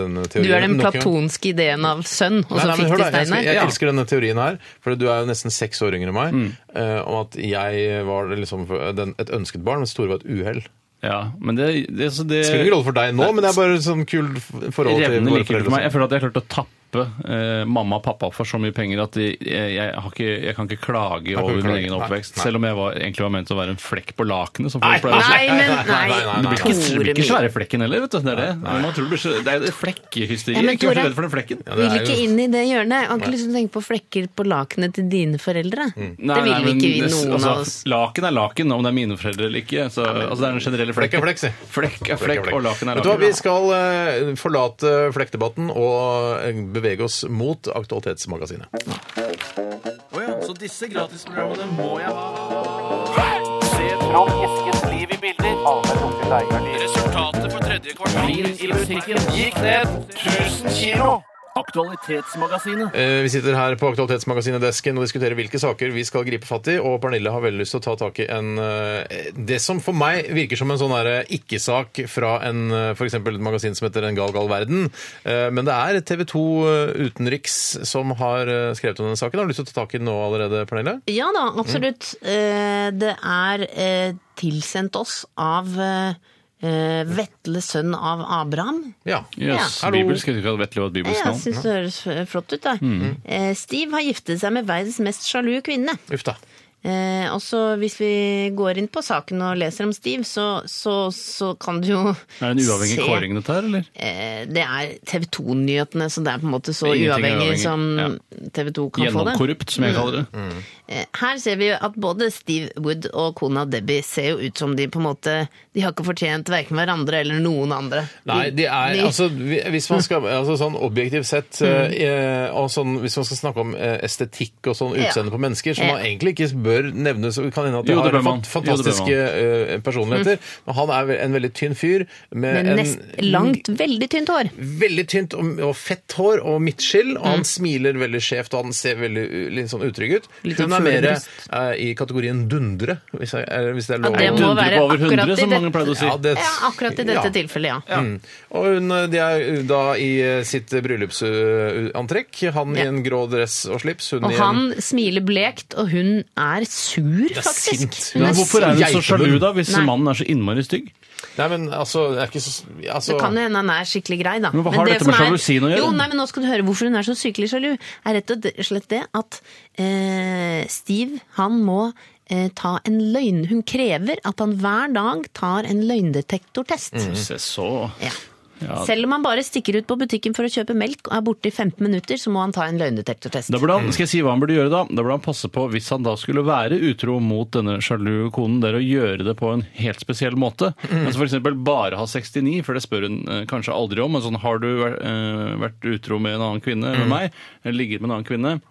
Speaker 7: denne
Speaker 9: Du er den
Speaker 7: teorien.
Speaker 9: altså
Speaker 7: Nok en gang.
Speaker 9: platonske ideen av sønn, og
Speaker 7: Nei,
Speaker 9: så
Speaker 7: nei, men
Speaker 9: fikk de
Speaker 7: hør da, jeg, skal-
Speaker 9: Steinar.
Speaker 7: jeg
Speaker 8: Ja. Mm.
Speaker 7: elsker denne teorien her, for du er jo nesten seks år yngre enn meg. eh, Om at jeg var liksom den, et ønsket barn, mens Tore var et uhell.
Speaker 8: Ja, men det, det, så det
Speaker 7: Det spiller ingen rolle for deg nå, men det er bare sånn kult forhold til
Speaker 8: revner
Speaker 7: våre
Speaker 8: like mye for meg.
Speaker 7: foreldre.
Speaker 8: Jeg føler at jeg har klart å tappe eh, mamma og pappa for så mye penger at de, jeg, jeg, har ikke, jeg kan ikke klage
Speaker 7: kan
Speaker 8: over min
Speaker 7: ikke klage.
Speaker 8: egen
Speaker 7: Nei,
Speaker 8: oppvekst.
Speaker 7: nei.
Speaker 8: Selv om jeg var, egentlig var ment å være en flekk på lakenet. som folk pleier å si.
Speaker 9: Nei, men
Speaker 7: Nei, nei, nei,
Speaker 9: nei.
Speaker 8: Du blir ikke, du blir
Speaker 9: Tore
Speaker 8: ikke
Speaker 9: min.
Speaker 8: svære flekken heller, vet du. Det er det. Man tror du blir, så- det er jo flekkehysteri.
Speaker 9: Ja, men
Speaker 8: ikke vær så
Speaker 9: Tore-
Speaker 8: redd for den flekken.
Speaker 7: det
Speaker 9: Vil
Speaker 7: er
Speaker 9: ikke
Speaker 7: jo-
Speaker 9: inn i det hjørnet. Jeg Har ikke lyst til å tenke på flekker på lakenet til dine foreldre. Det
Speaker 8: Nei,
Speaker 9: vil
Speaker 8: nei,
Speaker 9: vi
Speaker 8: men
Speaker 9: ikke, vi,
Speaker 8: det-
Speaker 9: noen
Speaker 8: altså,
Speaker 9: av oss.
Speaker 8: Laken er laken, om det er mine foreldre eller ikke. Så, altså, det er den generelle
Speaker 7: Flekk
Speaker 8: flekken.
Speaker 7: er flekk, si.
Speaker 8: Flekk er flekk, og laken er
Speaker 7: Vet du hva,
Speaker 8: laken.
Speaker 7: Vi skal eh, forlate flekkdebatten og eh, bevege oss mot Aktualitetsmagasinet.
Speaker 8: Så disse gratisprogrammene må jeg ha. Resultatet på tredje kvartal i musikken gikk ned 1000 kilo. Aktualitetsmagasinet.
Speaker 7: Eh, Vi sitter her på Aktualitetsmagasinet-desken og diskuterer hvilke saker vi skal gripe fatt i. Og Pernille har veldig lyst til å ta tak i en eh, Det som for meg virker som en sånn derre ikke-sak fra en f.eks. et magasin som heter En gal gal verden. Eh, Men det er TV 2 eh, Utenriks som har eh, skrevet om denne saken. Har du lyst til å ta tak i den nå allerede, Pernille?
Speaker 9: Ja da, absolutt. Eh, Det er eh, tilsendt oss av eh, eh, Vetle sønn av Abraham.
Speaker 7: Ja.
Speaker 8: Jøs,
Speaker 7: Ja.
Speaker 8: bibelsk. Jeg tror ikke jeg vet
Speaker 9: Ja,
Speaker 8: bibelsk
Speaker 9: Jeg
Speaker 8: navn.
Speaker 9: syns det høres eh, flott ut. Da.
Speaker 8: Mm.
Speaker 9: Eh, Steve har giftet seg med verdens mest sjalu kvinne.
Speaker 7: Uff da.
Speaker 9: Eh, og så Hvis vi går inn på saken og leser om Steve, så, så, så kan du jo
Speaker 8: Er det en uavhengig
Speaker 9: se-
Speaker 8: kåring dette her, eller?
Speaker 9: Eh, det er TV 2-nyhetene, så det er på en måte så
Speaker 8: Ingenting er
Speaker 9: uavhengig
Speaker 8: uavhengig,
Speaker 9: som TV 2 kan få det.
Speaker 8: Gjennomkorrupt, som jeg kaller det.
Speaker 9: Eh, Her ser vi jo at både Steve Wood og kona Debbie ser jo ut som de på en måte De har ikke fortjent verken hverandre eller noen andre.
Speaker 7: Nei, de er,
Speaker 9: de- Mm.
Speaker 7: altså, vi- hvis man skal, altså sånn objektivt sett, eh, og sånn, hvis man skal snakke om eh, estetikk og sånn
Speaker 9: Ja.
Speaker 7: utseende på mennesker, som
Speaker 9: Ja.
Speaker 7: man egentlig ikke bør nevne, så kan hende at de
Speaker 8: Jo, det
Speaker 7: har
Speaker 8: bør man.
Speaker 7: fant-
Speaker 8: Jo, det bør
Speaker 7: fantastiske eh, personligheter, men han er en veldig tynn fyr, med
Speaker 9: Mm. Men
Speaker 7: en
Speaker 9: nest, langt, veldig tynt hår.
Speaker 7: veldig tynt og, og fett hår og midtskill, og
Speaker 9: Mm.
Speaker 7: han smiler veldig skjevt, og han ser veldig u- litt sånn utrygg ut.
Speaker 9: Litt
Speaker 7: Hun
Speaker 9: sånn
Speaker 7: er mer
Speaker 9: fuglebrust.
Speaker 7: eh, i kategorien dundre, hvis, jeg, eh, hvis det er
Speaker 9: Ja,
Speaker 7: lov.
Speaker 9: det
Speaker 7: å-
Speaker 9: må
Speaker 8: Dundre
Speaker 9: være
Speaker 8: på over
Speaker 9: akkurat
Speaker 8: 100,
Speaker 9: i
Speaker 8: som mange
Speaker 9: dette-
Speaker 8: pleide å si.
Speaker 7: Ja, det-
Speaker 9: Ja, akkurat i dette
Speaker 7: Ja.
Speaker 9: tilfellet, ja.
Speaker 7: Mm. Og hun, de er da i eh, sitt bryllupsantrekk. Han
Speaker 9: Ja.
Speaker 7: i en grå dress og slips. Hun
Speaker 9: Og
Speaker 7: i en
Speaker 9: han smiler blekt, og hun er sur,
Speaker 7: er
Speaker 9: faktisk.
Speaker 7: sint.
Speaker 9: Hun
Speaker 7: Ja,
Speaker 9: er
Speaker 7: hvorfor
Speaker 8: Hvorfor er hun så
Speaker 7: Geitemunn.
Speaker 8: sjalu, da, hvis
Speaker 9: Nei.
Speaker 8: mannen er så innmari stygg?
Speaker 7: Nei, men altså, det er ikke så altså,
Speaker 9: Det kan jo hende han er skikkelig grei, da.
Speaker 8: Men hva har
Speaker 9: det
Speaker 8: dette med
Speaker 9: som er-
Speaker 8: sjalusien å gjøre?
Speaker 9: Jo, nei, men nå skal du høre hvorfor hun er så sykelig sjalu. er rett og slett det at eh, Steve, han må eh, ta en løgn... Hun krever at han hver dag tar en løgndetektortest.
Speaker 8: Se så Mm.
Speaker 9: Ja.
Speaker 8: Ja.
Speaker 9: Selv om han bare stikker ut på butikken for å kjøpe melk og er borte i 15 minutter, så må han ta en løgndetektortest.
Speaker 8: Da burde han, skal jeg si hva han burde gjøre da? Da burde han passe på, hvis han da skulle være utro mot denne sjalu konen, det er å gjøre det på en helt spesiell måte. Altså for eksempel bare ha 69, for det spør hun eh, kanskje aldri om. Men sånn, har du vært, Mm. eh, vært utro med en annen kvinne enn meg? Eller ligget med en annen kvinne?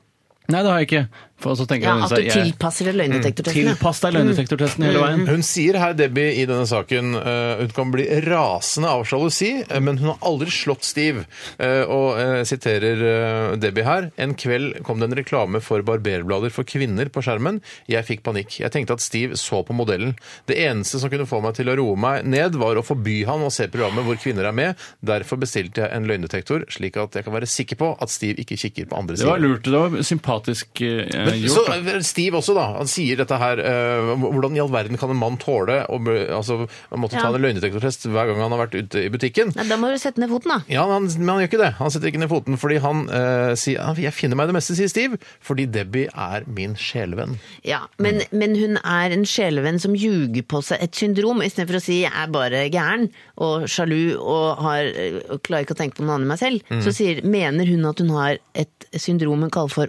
Speaker 8: Nei, det har jeg ikke. For så tenker
Speaker 9: Ja,
Speaker 8: hun
Speaker 9: at
Speaker 8: seg,
Speaker 9: du
Speaker 8: jeg- Mm.
Speaker 9: tilpasser deg løgndetektortestene.
Speaker 8: Tilpass deg Mm. løgndetektortesten hele veien.
Speaker 7: Hun sier her, Debbie, i denne saken eh, hun kan bli rasende av sjalusi, eh, men hun har aldri slått Stiv. Eh, og eh, siterer eh, Debbie her. En kveld kom det en reklame for barberblader for kvinner på skjermen. Jeg fikk panikk. Jeg tenkte at Stiv så på modellen. Det eneste som kunne få meg til å roe meg ned, var å forby han å se programmet hvor kvinner er med. Derfor bestilte jeg en løgndetektor, slik at jeg kan være sikker på at Stiv ikke kikker på andre
Speaker 8: Det var
Speaker 7: sider.
Speaker 8: lurt. Det var sympatisk eh,
Speaker 7: Men,
Speaker 8: gjort.
Speaker 7: så
Speaker 8: da.
Speaker 7: eh, Steve også, da. Han sier dette her eh, Hvordan i all verden kan en mann tåle å bli- altså, å måtte
Speaker 9: Ja.
Speaker 7: ta en løgndetektortest hver gang han har vært ute i butikken?
Speaker 9: Nei, da må du sette ned foten, da.
Speaker 7: Ja, han, Men han gjør ikke det. Han setter ikke ned foten fordi han eh, sier «Ah, 'Jeg finner meg i det meste', sier Steve, fordi Debbie er min sjelevenn.
Speaker 9: Ja, men, men hun er en sjelevenn som ljuger på seg et syndrom, istedenfor å si 'jeg er bare gæren og sjalu og, har, og klarer ikke å tenke på noen annen enn meg selv', så sier, mener hun at hun har et syndrom hun kaller for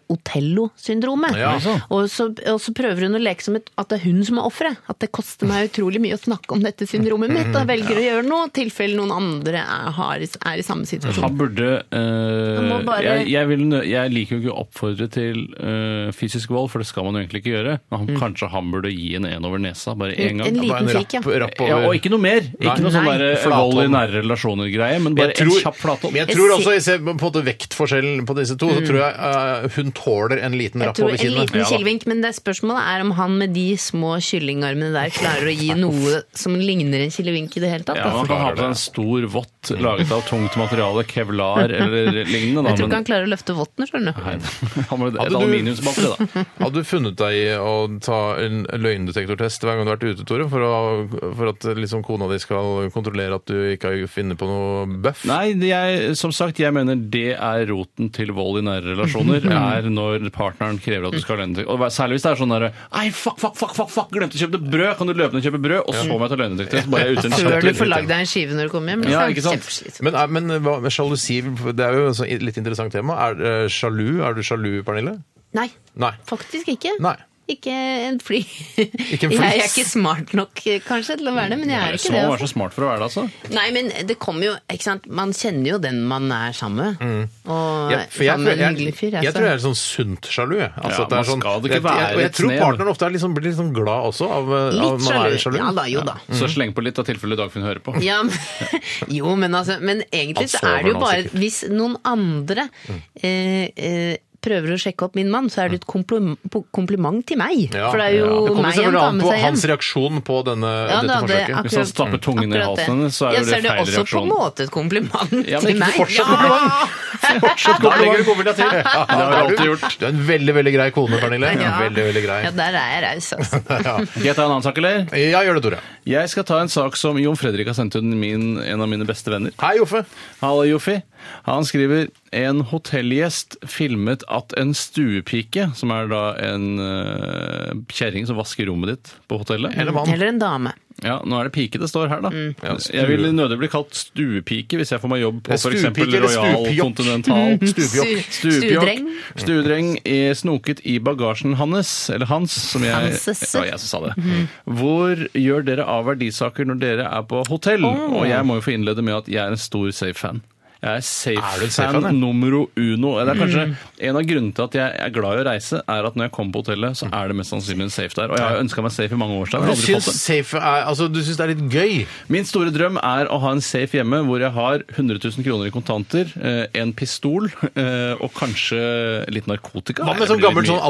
Speaker 9: Otello-syndromet.
Speaker 7: Ja.
Speaker 9: Og, så- og så prøver hun å leke som et, at det er hun som er offeret. At det koster meg utrolig mye å snakke om dette syndromet mitt, og jeg velger å gjøre noe, i tilfelle noen andre er, har, er i samme situasjon.
Speaker 8: Han burde eh,
Speaker 9: Han må bare-
Speaker 8: jeg, jeg, vil, nø- jeg liker jo ikke å oppfordre til eh, fysisk vold, for det skal man jo egentlig ikke gjøre. Men han,
Speaker 7: Mm.
Speaker 8: kanskje han burde gi en en over nesa, bare én
Speaker 9: En
Speaker 8: gang.
Speaker 9: liten
Speaker 7: Bare en rapp,
Speaker 9: krik, ja.
Speaker 7: rapp over
Speaker 8: Ja, og ikke noe mer! Ikke noe sånn
Speaker 9: Nei.
Speaker 8: der eh,
Speaker 7: Flathånd.
Speaker 8: vold i nære relasjoner-greie, men bare
Speaker 7: Jeg tror-
Speaker 8: en kjapp flathånd.
Speaker 7: Men jeg
Speaker 9: Jeg
Speaker 7: tror
Speaker 9: ser-
Speaker 7: også, jeg ser på en måte vektforskjellen på disse to, så tror jeg eh, hun tåler en liten
Speaker 9: Jeg
Speaker 7: rapp
Speaker 9: tror
Speaker 7: over
Speaker 9: en
Speaker 7: kinnet.
Speaker 9: liten
Speaker 7: Ja, da.
Speaker 9: kilvink, men det spørsmålet er om han med de små kyllingarmene der klarer å gi noe som ligner en kilevink i det hele tatt.
Speaker 8: Ja, man
Speaker 9: altså.
Speaker 8: kan ha på seg en stor vott laget av tungt materiale, kevlar eller lignende. Da,
Speaker 9: Jeg tror ikke
Speaker 8: men-
Speaker 9: han klarer å løfte votten, skjønner du.
Speaker 8: Nei, han må et
Speaker 7: Hadde du-
Speaker 8: aluminiumsbatteri, da.
Speaker 7: Hadde du funnet deg i å ta en løgndetektortest hver gang du har vært ute, Tore, for, å, for at liksom kona di skal kontrollere at du ikke har funnet på noe bøff?
Speaker 8: Nei, det- jeg, som sagt, jeg mener det er roten til vold i nære relasjoner. er når partneren krever at du skal lønne Og Særlig hvis det er sånn derre Ei, fuck, fuck, fuck, fuck, fuck, glemte å kjøpe det brød! Kan du løpe ned og kjøpe brød? Og så må jeg ta lønnedetektor. Så bare er jeg ute en
Speaker 9: Før
Speaker 8: kjapp
Speaker 9: du
Speaker 8: tur.
Speaker 9: får lagd deg en skive når du kommer hjem.
Speaker 8: Ja,
Speaker 9: liksom.
Speaker 8: ikke sant?
Speaker 9: Kjempeslitsomt.
Speaker 7: Men, er, men hva, med sjalusi, det er jo et sånt litt interessant tema. Er eh, sjalu? Er du sjalu, Pernille?
Speaker 9: Nei,
Speaker 7: Nei.
Speaker 9: faktisk ikke.
Speaker 7: Nei.
Speaker 9: Ikke en fly.
Speaker 7: Ikke en flis.
Speaker 9: Jeg er ikke smart nok kanskje til å være det, men jeg er ikke
Speaker 8: Så
Speaker 9: det.
Speaker 8: man var
Speaker 9: Altså.
Speaker 8: så smart for å være det, altså.
Speaker 9: Nei, men det kommer jo, ikke sant? Man kjenner jo den man er sammen med. Og
Speaker 7: Jeg, Mm. for jeg,
Speaker 9: sammen med en
Speaker 7: jeg,
Speaker 9: hyggelig fyr.
Speaker 7: jeg,
Speaker 9: altså.
Speaker 7: tror jeg er sånn sunt sjalu. jeg. Altså,
Speaker 8: Ja,
Speaker 7: at det
Speaker 8: man
Speaker 7: er sånn,
Speaker 8: skal det ikke
Speaker 7: jeg, jeg,
Speaker 8: være
Speaker 7: og jeg
Speaker 8: litt
Speaker 7: tror
Speaker 8: snev.
Speaker 7: partneren ofte er liksom, blir liksom glad også av, eh, av
Speaker 9: Litt
Speaker 7: man er
Speaker 9: sjalu.
Speaker 7: sjalu.
Speaker 9: Ja da, Eh, jo da. Mm.
Speaker 8: Så sleng på litt av tilfelle Dagfinn hører på.
Speaker 9: Ja, men, jo, men, altså, men
Speaker 8: Han
Speaker 9: egentlig så
Speaker 8: sover
Speaker 9: er det jo
Speaker 8: nå,
Speaker 9: bare
Speaker 8: sikkert.
Speaker 9: Hvis noen andre
Speaker 7: Mm.
Speaker 9: eh, eh, prøver å sjekke opp min mann, så er det et komplim kompliment til meg.
Speaker 7: Ja,
Speaker 9: for det er jo
Speaker 7: ja. Det kommer
Speaker 9: meg han
Speaker 7: selvfølgelig
Speaker 9: tar
Speaker 7: an
Speaker 9: med
Speaker 7: på
Speaker 9: seg hjem.
Speaker 7: hans reaksjon på denne,
Speaker 9: Ja, da,
Speaker 7: dette
Speaker 9: det er
Speaker 7: forsøket.
Speaker 8: Hvis han
Speaker 9: akkurat-
Speaker 8: stapper tungen ned i
Speaker 9: akkurat det.
Speaker 8: halsen hennes, så er jo det
Speaker 9: Ja,
Speaker 8: feil
Speaker 9: så er det også på
Speaker 8: reaksjon.
Speaker 9: en måte et kompliment
Speaker 8: Ja, men
Speaker 9: til
Speaker 8: ikke
Speaker 9: meg.
Speaker 8: fortsatt
Speaker 9: Ja.
Speaker 8: kompliment! Fortsatt kompliment. Det har jeg alltid gjort.
Speaker 7: Du er en veldig, veldig grei kone, Pernille.
Speaker 9: Ja.
Speaker 7: Veldig, veldig grei.
Speaker 9: Ja, der er jeg raus, altså.
Speaker 7: Ja.
Speaker 8: Skal jeg ta en annen sak, eller?
Speaker 7: ja, gjør det, Tore.
Speaker 8: Jeg skal ta en sak som Jon Fredrik har sendt ut min, en av mine beste venner.
Speaker 7: Hei, Joffe.
Speaker 8: Hallo, Joffi. Han skriver en hotellgjest filmet at en stuepike, som er da en uh, kjerring som vasker rommet ditt på hotellet
Speaker 7: Eller mann.
Speaker 9: Eller en dame.
Speaker 8: Ja, nå er det pike det står her, da.
Speaker 7: Ja, stue.
Speaker 8: Jeg vil nødig bli kalt stuepike hvis jeg får meg jobb på
Speaker 7: Ja,
Speaker 8: f.eks.
Speaker 7: stuepike eller Mm.
Speaker 8: Royal
Speaker 7: stupjokk.
Speaker 8: Continental.
Speaker 7: Stupjokk.
Speaker 9: Stuedreng.
Speaker 8: Stuedreng i- snoket i bagasjen hans, eller hans, som jeg
Speaker 9: Hanses.
Speaker 8: Ja, jeg som sa det. Hvor gjør dere av verdisaker når dere er på hotell? Og jeg må jo få innlede med at jeg er en stor safe-fan. Jeg er
Speaker 7: Er du en
Speaker 8: safe-fan
Speaker 7: safe-fan, ja?
Speaker 8: numero uno. Det er kanskje En av grunnene til at jeg er glad i å reise, er at når jeg kommer på hotellet, så er det mest sannsynlig en safe der. Og jeg har ønska meg safe i mange år. så jeg har
Speaker 7: Du
Speaker 8: aldri fått
Speaker 7: syns,
Speaker 8: det.
Speaker 7: safe er, altså, du syns det er litt gøy?
Speaker 8: Min store drøm er å ha en safe hjemme hvor jeg har 100 000 kroner i kontanter, eh, en pistol eh, og kanskje litt narkotika.
Speaker 7: Hva med sånn gammel sånn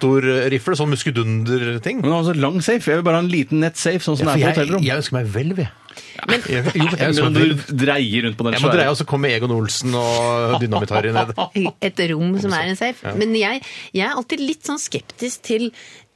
Speaker 7: alligatorrifle? Sånn muskedunderting?
Speaker 8: Men altså, lang safe. Jeg vil bare ha en liten nettsafe, sånn som
Speaker 7: Ja,
Speaker 8: det er på
Speaker 7: for jeg,
Speaker 8: hotellrom.
Speaker 7: jeg ønsker meg hvelv, jeg. Jeg- jo, jeg
Speaker 8: Men
Speaker 7: ønsker meg
Speaker 8: du
Speaker 7: hvelv.
Speaker 8: dreier rundt på den
Speaker 7: Jeg må dreie,
Speaker 8: svære.
Speaker 7: og så kommer Egon Olsen og dynamittharry ned.
Speaker 9: et rom som er en safe. Men jeg, jeg er alltid litt sånn skeptisk til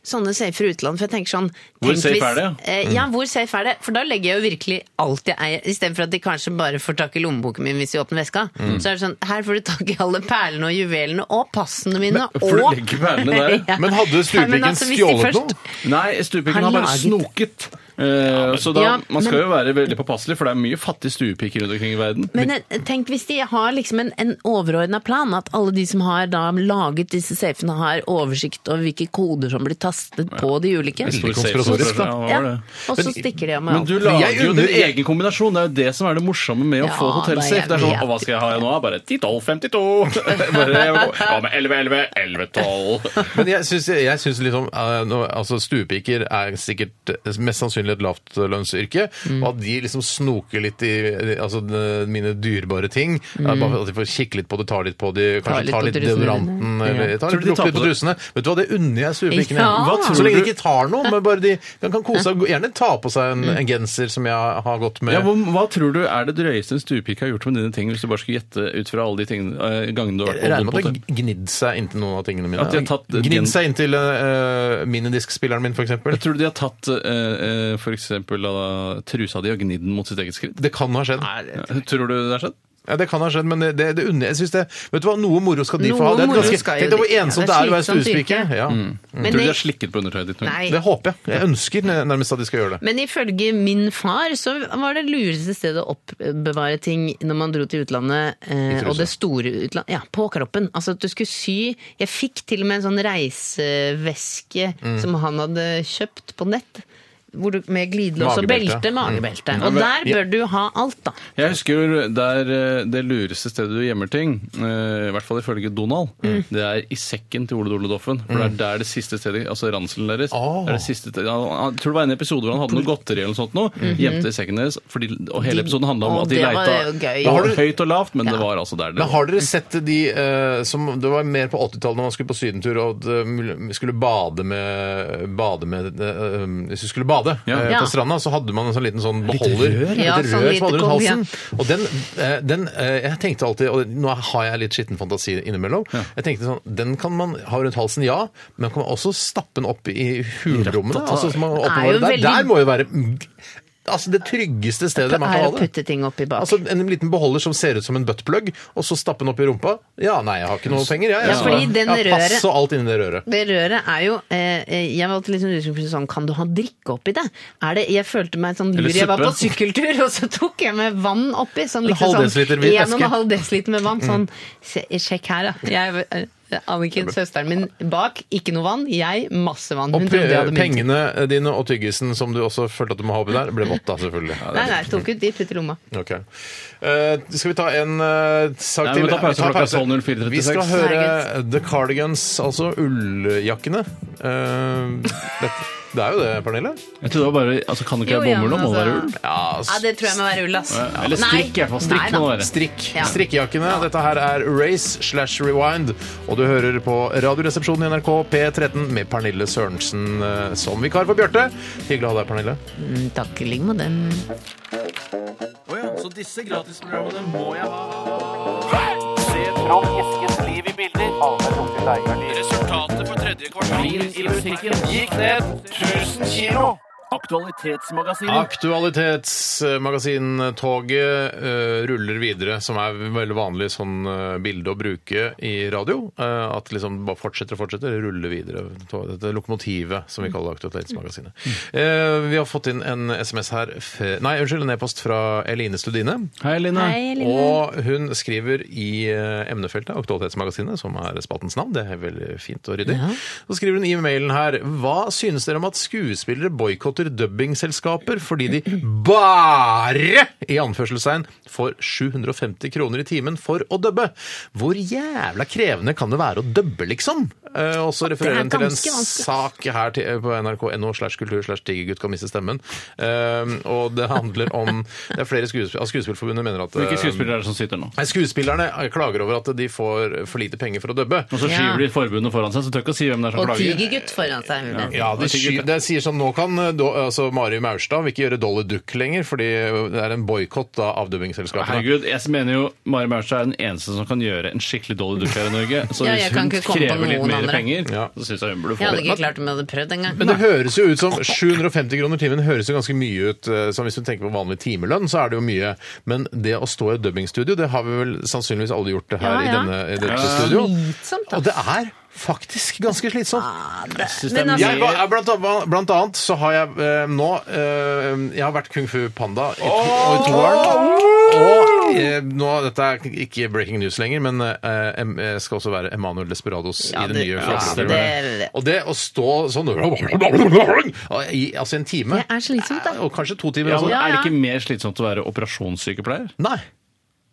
Speaker 9: sånne safer i utlandet, for jeg tenker sånn
Speaker 8: Hvor
Speaker 9: tenk
Speaker 8: safe
Speaker 9: hvis-
Speaker 8: er det?
Speaker 9: Eh, ja, hvor safe er det? For da legger jeg jo virkelig alt jeg eier, istedenfor at de kanskje bare får tak i lommeboken min hvis de åpner veska.
Speaker 7: Mm.
Speaker 9: Så er det sånn, her får du tak i alle perlene og juvelene og passene mine og
Speaker 8: For du legger perlene der.
Speaker 9: Ja.
Speaker 7: Men
Speaker 9: Nei,
Speaker 7: hadde
Speaker 9: men
Speaker 7: stuepiken
Speaker 9: altså, hvis de
Speaker 7: stjålet
Speaker 9: først-
Speaker 7: noe?
Speaker 8: Nei, stuepikken
Speaker 9: Har
Speaker 8: har bare
Speaker 9: laget-
Speaker 8: snoket. Eh, så da,
Speaker 9: Ja,
Speaker 8: Man skal
Speaker 9: men-
Speaker 8: jo være veldig påpasselig, for det er mye fattige stuepiker rundt omkring i verden.
Speaker 9: Men eh, tenk hvis de har liksom en, en overordna plan, at alle de som har da laget disse safene, har oversikt over hvilke koder som blir tastet på de ulike.
Speaker 8: Stor safe-
Speaker 7: konspiratorisk, da.
Speaker 8: Ja, hva
Speaker 9: Ja,
Speaker 8: var det?
Speaker 9: og så stikker de av
Speaker 8: Men
Speaker 9: med
Speaker 8: du
Speaker 9: alt.
Speaker 8: lager
Speaker 7: Jeg
Speaker 8: jo din
Speaker 7: unner- jeg-
Speaker 8: egen kombinasjon. Det er jo det som er det morsomme med å
Speaker 9: Ja,
Speaker 8: få
Speaker 9: da,
Speaker 8: hotell safe.
Speaker 9: jeg
Speaker 8: Det er sånn,
Speaker 9: vet
Speaker 8: «Å, hva skal jeg ha nå? Bare 10-12-52! Bare, Hva med 11-11? 11-12?
Speaker 7: Men jeg syns, jeg syns liksom eh, nå, altså Stuepiker er sikkert eh, mest sannsynlig et lavtlønnsyrke. Og at de liksom snoker litt i eh, altså, de- mine dyrebare ting. eh, Bare for at de får kikke litt på det, tar litt på det,
Speaker 9: Tar Mm.
Speaker 7: kanskje
Speaker 9: litt
Speaker 7: tar
Speaker 9: på
Speaker 7: litt
Speaker 9: trusene
Speaker 7: deodoranten eller tar
Speaker 8: Tror
Speaker 7: litt,
Speaker 8: du de
Speaker 7: lukter
Speaker 8: tar
Speaker 7: litt på
Speaker 8: på det?
Speaker 7: trusene. Vet du hva, det unner jeg stuepikene.
Speaker 9: Ja. Hva tror
Speaker 7: Så lenge
Speaker 8: du-
Speaker 7: de ikke tar noe, men bare de, de kan kose seg. Gjerne ta på seg en, en genser som jeg har gått med.
Speaker 8: Ja, hva, hva tror du er det drøyeste en stuepike har gjort med dine ting, hvis du bare skulle gjette ut fra alle de tingene, eh, gangene du har vært på
Speaker 7: Jeg regner med at
Speaker 8: hotell?
Speaker 7: det har gnidd seg inntil noen av tingene mine.
Speaker 8: At de har tatt-
Speaker 7: gnidd seg inntil uh, minidiskspilleren min, f.eks.
Speaker 8: Jeg tror du de har tatt eh, eh, for eksempel da, trusa di og gnidd den mot sitt eget skritt?
Speaker 7: Det kan ha skjedd.
Speaker 8: Ja, Tror du det sånn? har skjedd?
Speaker 7: Ja, Det kan ha skjedd, men det, det, det unner jeg synes det. Vet du hva, Noe moro skal de få ha.
Speaker 9: Noe
Speaker 7: Det er
Speaker 9: moro
Speaker 7: ganske,
Speaker 9: skal jo
Speaker 7: tenk deg hvor
Speaker 9: de- ja,
Speaker 7: ensomt
Speaker 9: det
Speaker 7: det
Speaker 9: er
Speaker 7: er å være
Speaker 9: slitsomt Mm.
Speaker 7: stuespiker.
Speaker 9: yrke.
Speaker 7: Ja.
Speaker 9: Men
Speaker 8: Tror du de
Speaker 9: jeg-
Speaker 8: har slikket på undertøyet ditt? noen gang?
Speaker 9: Nei.
Speaker 7: Det håper jeg. Jeg ønsker nærmest at de skal gjøre det.
Speaker 9: Men ifølge min far så var det lureste stedet å oppbevare ting når man dro til utlandet, eh, og det store utlandet, ja, på kroppen. Altså at du skulle sy. Jeg fikk til og med en sånn reiseveske
Speaker 7: Mm.
Speaker 9: som han hadde kjøpt på nett. Hvor du, med glidelås og
Speaker 7: Magebelte. Mm.
Speaker 9: belte, magebelte. Og der bør du ha alt, da.
Speaker 8: Jeg husker jo der eh, det lureste stedet du gjemmer ting, eh, i hvert fall ifølge Donald,
Speaker 9: Mm.
Speaker 8: det er i sekken til Ole Dole Doffen. For det er der det siste stedet, altså ranselen deres
Speaker 7: Åh.
Speaker 9: Ah.
Speaker 8: er det siste stedet, han, han- Jeg tror det var en episode hvor han hadde noe godteri eller noe sånt nå, gjemte i sekken deres, fordi, og hele
Speaker 9: Mhm. De-
Speaker 8: episoden handla om
Speaker 9: Åh,
Speaker 8: at de
Speaker 9: det var
Speaker 8: leita
Speaker 9: jo gøy.
Speaker 8: det var høyt og lavt, men det
Speaker 9: Ja.
Speaker 8: var altså der det
Speaker 7: Men
Speaker 8: var.
Speaker 7: Har dere sett de eh, som Det var mer på 80-tallet når man skulle på sydentur og eh, skulle bade med, bade med eh, Hvis du skulle bade
Speaker 8: Ja.
Speaker 7: eh,
Speaker 9: Ja.
Speaker 7: på stranda, så hadde man en sånn liten sånn beholder. Et
Speaker 9: Ja,
Speaker 7: lite
Speaker 9: sånn
Speaker 7: rør
Speaker 9: lite
Speaker 7: som hadde rundt
Speaker 9: koll, ja.
Speaker 7: halsen. Og den, eh, den eh, Jeg tenkte alltid Og nå har jeg litt skitten fantasi innimellom. Jeg tenkte sånn Den kan man ha rundt halsen, ja, men man kan også stappe den opp i hulrommene. Altså, så man
Speaker 9: Det er
Speaker 7: oppbevarer
Speaker 9: jo
Speaker 7: der.
Speaker 9: veldig-
Speaker 7: der må jo være Altså, det tryggeste stedet man
Speaker 9: Er å
Speaker 7: kan ha det.
Speaker 9: putte ting oppi bak.
Speaker 7: Altså En liten beholder som ser ut som en buttplug, og så stappe den opp i rumpa. Ja, nei, jeg har ikke noe penger. Jeg,
Speaker 9: Ja,
Speaker 7: Så-
Speaker 9: fordi den
Speaker 7: ja, pass
Speaker 9: røret-
Speaker 7: og alt inni det røret.
Speaker 9: Det røret er jo eh, eh, Jeg var alltid litt sånn usikker på sånn Kan du ha drikke oppi det? Er det jeg følte meg sånn lur.
Speaker 8: Eller
Speaker 9: Jeg var på
Speaker 8: suppe.
Speaker 9: sykkeltur, og så tok jeg med vann oppi. Sånn,
Speaker 7: En
Speaker 9: lite
Speaker 7: halv
Speaker 9: sånn,
Speaker 7: desiliter hvit
Speaker 9: en og
Speaker 7: væske.
Speaker 9: en halv desiliter med vann.
Speaker 8: Mm.
Speaker 9: Sånn se, Sjekk her, da. Jeg, eh, Anniken, søsteren min bak, ikke noe vann. Jeg, masse vann.
Speaker 7: Og
Speaker 9: Hun trodde jeg
Speaker 7: pe-
Speaker 9: hadde mynt.
Speaker 7: pengene dine og tyggisen som du også følte at du må ha oppi der, ble vått da, selvfølgelig.
Speaker 9: Nei, nei, tok ut de, putt i lomma.
Speaker 7: Ok. Eh, skal vi ta en eh, sak
Speaker 8: Nei,
Speaker 7: til?
Speaker 8: vi tar pause,
Speaker 7: Vi tar
Speaker 8: klokka er
Speaker 7: pause.
Speaker 8: 12.04.36.
Speaker 7: Vi skal høre The Cardigans, altså ulljakkene. Eh, det, det er jo det, Pernille?
Speaker 8: Jeg trodde det var bare altså, Kan du ikke
Speaker 9: Jo,
Speaker 8: ha
Speaker 9: ja,
Speaker 8: bomull nå? Må det være
Speaker 9: altså-
Speaker 8: ull?
Speaker 7: Ja,
Speaker 9: Ja, det tror jeg må være ull, ass.
Speaker 8: Eller strikk, i hvert fall. Strikk må det være.
Speaker 7: Strikk.
Speaker 9: Ja.
Speaker 7: Strikkejakkene. Dette her er Race slash Rewind, og du hører på Radioresepsjonen i NRK P13 med Pernille Sørensen eh, som vikar for Bjarte. Hyggelig å ha deg, Pernille.
Speaker 9: Mm, Takk i like måte.
Speaker 8: Så disse gratisprogrammene må jeg ha. Resultatet på tredje kvartal i musikken gikk ned 1000 kilo. Aktualitetsmagasinet.
Speaker 7: Aktualitetsmagasintoget eh, ruller videre, som er veldig vanlig sånn eh, bilde å bruke i radio. eh, at liksom bare fortsetter og fortsetter, ruller videre. Tog- Dette lokomotivet, som vi kaller Aktualitetsmagasinet.
Speaker 9: Mm.
Speaker 7: Eh, vi har fått inn en SMS her f- Nei, unnskyld, en e-post fra Eline Studine.
Speaker 8: Hei, Line.
Speaker 7: Og hun skriver i eh, emnefeltet Aktualitetsmagasinet, som er spaltens navn. Det er veldig fint og ryddig. Så skriver hun i mailen her Hva synes dere om at skuespillere boikotter dubbingselskaper fordi de bare i anførselstegn får 750 kroner i timen for å dubbe? Hvor jævla krevende kan det være å dubbe, liksom? Eh, Og så refererer hun til en
Speaker 9: ganske vanskelig.
Speaker 7: sak her til, på nrk.no slash kultur slash digergutt kan miste stemmen. Eh, og det handler om Det er flere skuespill, Skuespillforbundet mener at
Speaker 8: Hvilke
Speaker 7: eh,
Speaker 8: skuespillere er det som sitter nå?
Speaker 7: Nei, Skuespillerne klager over at de får for lite penger for å dubbe.
Speaker 8: Og så
Speaker 9: Ja.
Speaker 8: skyver de forbundet foran seg, så tør ikke å si hvem det er som
Speaker 9: Og
Speaker 8: klager.
Speaker 9: tigergutt foran seg. vil jeg si.
Speaker 7: Ja, de sky, det sier sånn, Nå kan eh, do, altså Mari Maurstad vil ikke gjøre Dolly Duck lenger, fordi det er en boikott av dubbingselskapene.
Speaker 8: Herregud, jeg mener jo Mari Maurstad er den eneste som kan gjøre en skikkelig dårlig dupp her i Norge. Så
Speaker 9: Ja,
Speaker 8: hvis
Speaker 9: jeg kan
Speaker 8: hun
Speaker 9: ikke komme på
Speaker 8: krever litt
Speaker 9: noen
Speaker 8: mer
Speaker 9: andre.
Speaker 8: penger,
Speaker 7: Ja.
Speaker 8: så syns jeg hun burde få
Speaker 9: Jeg
Speaker 8: det.
Speaker 9: hadde ikke klart om jeg hadde prøvd engang.
Speaker 7: Men det høres jo ut som 750 kroner timen høres jo ganske mye ut. eh, som Hvis du tenker på vanlig timelønn, så er det jo mye. Men det å stå i et dubbingstudio, det har vi vel sannsynligvis alle gjort det her
Speaker 9: Ja, ja.
Speaker 7: i denne i dette
Speaker 8: Ja.
Speaker 7: studio.
Speaker 9: Slitsomt, da.
Speaker 7: Og det er Faktisk ganske slitsomt.
Speaker 8: Jeg synes det er
Speaker 10: Men altså-
Speaker 7: Jeg, var- jeg, blant, annet- blant annet så har jeg eh, nå eh, Jeg har vært Kung Fu Panda i, to- i to år. Og eh, nå, dette er ikke breaking news lenger, men eh, em- jeg skal også være Emanuel Desperados
Speaker 9: Ja,
Speaker 7: i det
Speaker 9: det-
Speaker 7: nye
Speaker 9: ja,
Speaker 7: Flåttstedet.
Speaker 9: det- det-
Speaker 7: Og det å stå sånn i altså en time
Speaker 9: Det er slitsomt, da.
Speaker 7: Og kanskje to timer
Speaker 8: Ja,
Speaker 7: også.
Speaker 8: men
Speaker 10: Ja,
Speaker 8: altså, er det
Speaker 10: ja.
Speaker 8: ikke mer slitsomt å være operasjonssykepleier?
Speaker 7: Nei!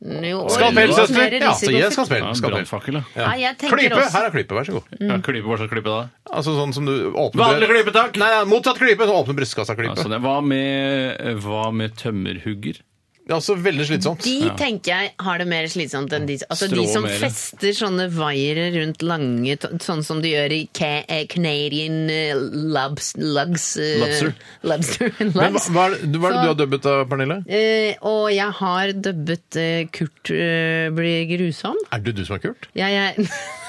Speaker 9: Jo,
Speaker 7: Skalpell,
Speaker 9: og-
Speaker 7: søster!
Speaker 10: mer
Speaker 7: Ja, så
Speaker 10: risiko
Speaker 7: jeg
Speaker 10: for-
Speaker 7: skalpell.
Speaker 8: Ja,
Speaker 7: skalpell.
Speaker 8: Brannfakkel, ja.
Speaker 7: Ja.
Speaker 10: Nei, jeg tenker
Speaker 7: Klype!
Speaker 10: også-
Speaker 7: Her er klype, vær så god.
Speaker 9: Mm.
Speaker 8: ja. Klype, hva slags klype da?
Speaker 7: Altså sånn som du åpner
Speaker 8: Vanlig klype, takk!
Speaker 7: Nei, nei, motsatt klype! Så åpner brystkassa-klype.
Speaker 8: Altså, det, hva, med, hva med tømmerhugger?
Speaker 7: Det er også veldig slitsomt.
Speaker 9: De tenker jeg har det mer slitsomt enn de Altså de
Speaker 8: Strå
Speaker 9: som
Speaker 8: mer.
Speaker 9: fester sånne vaiere rundt lange t- Sånn som de gjør i ca eh, Canadian eh, lobs, lugs eh,
Speaker 8: Lobster.
Speaker 9: Lobster. lobs.
Speaker 7: Men hva, hva er det hva er det
Speaker 9: Så-
Speaker 7: du har dubbet da, Pernille?
Speaker 9: Eh, og jeg har dubbet eh, Kurt eh, blir grusom.
Speaker 7: Er det du som er kult?
Speaker 9: Jeg, jeg,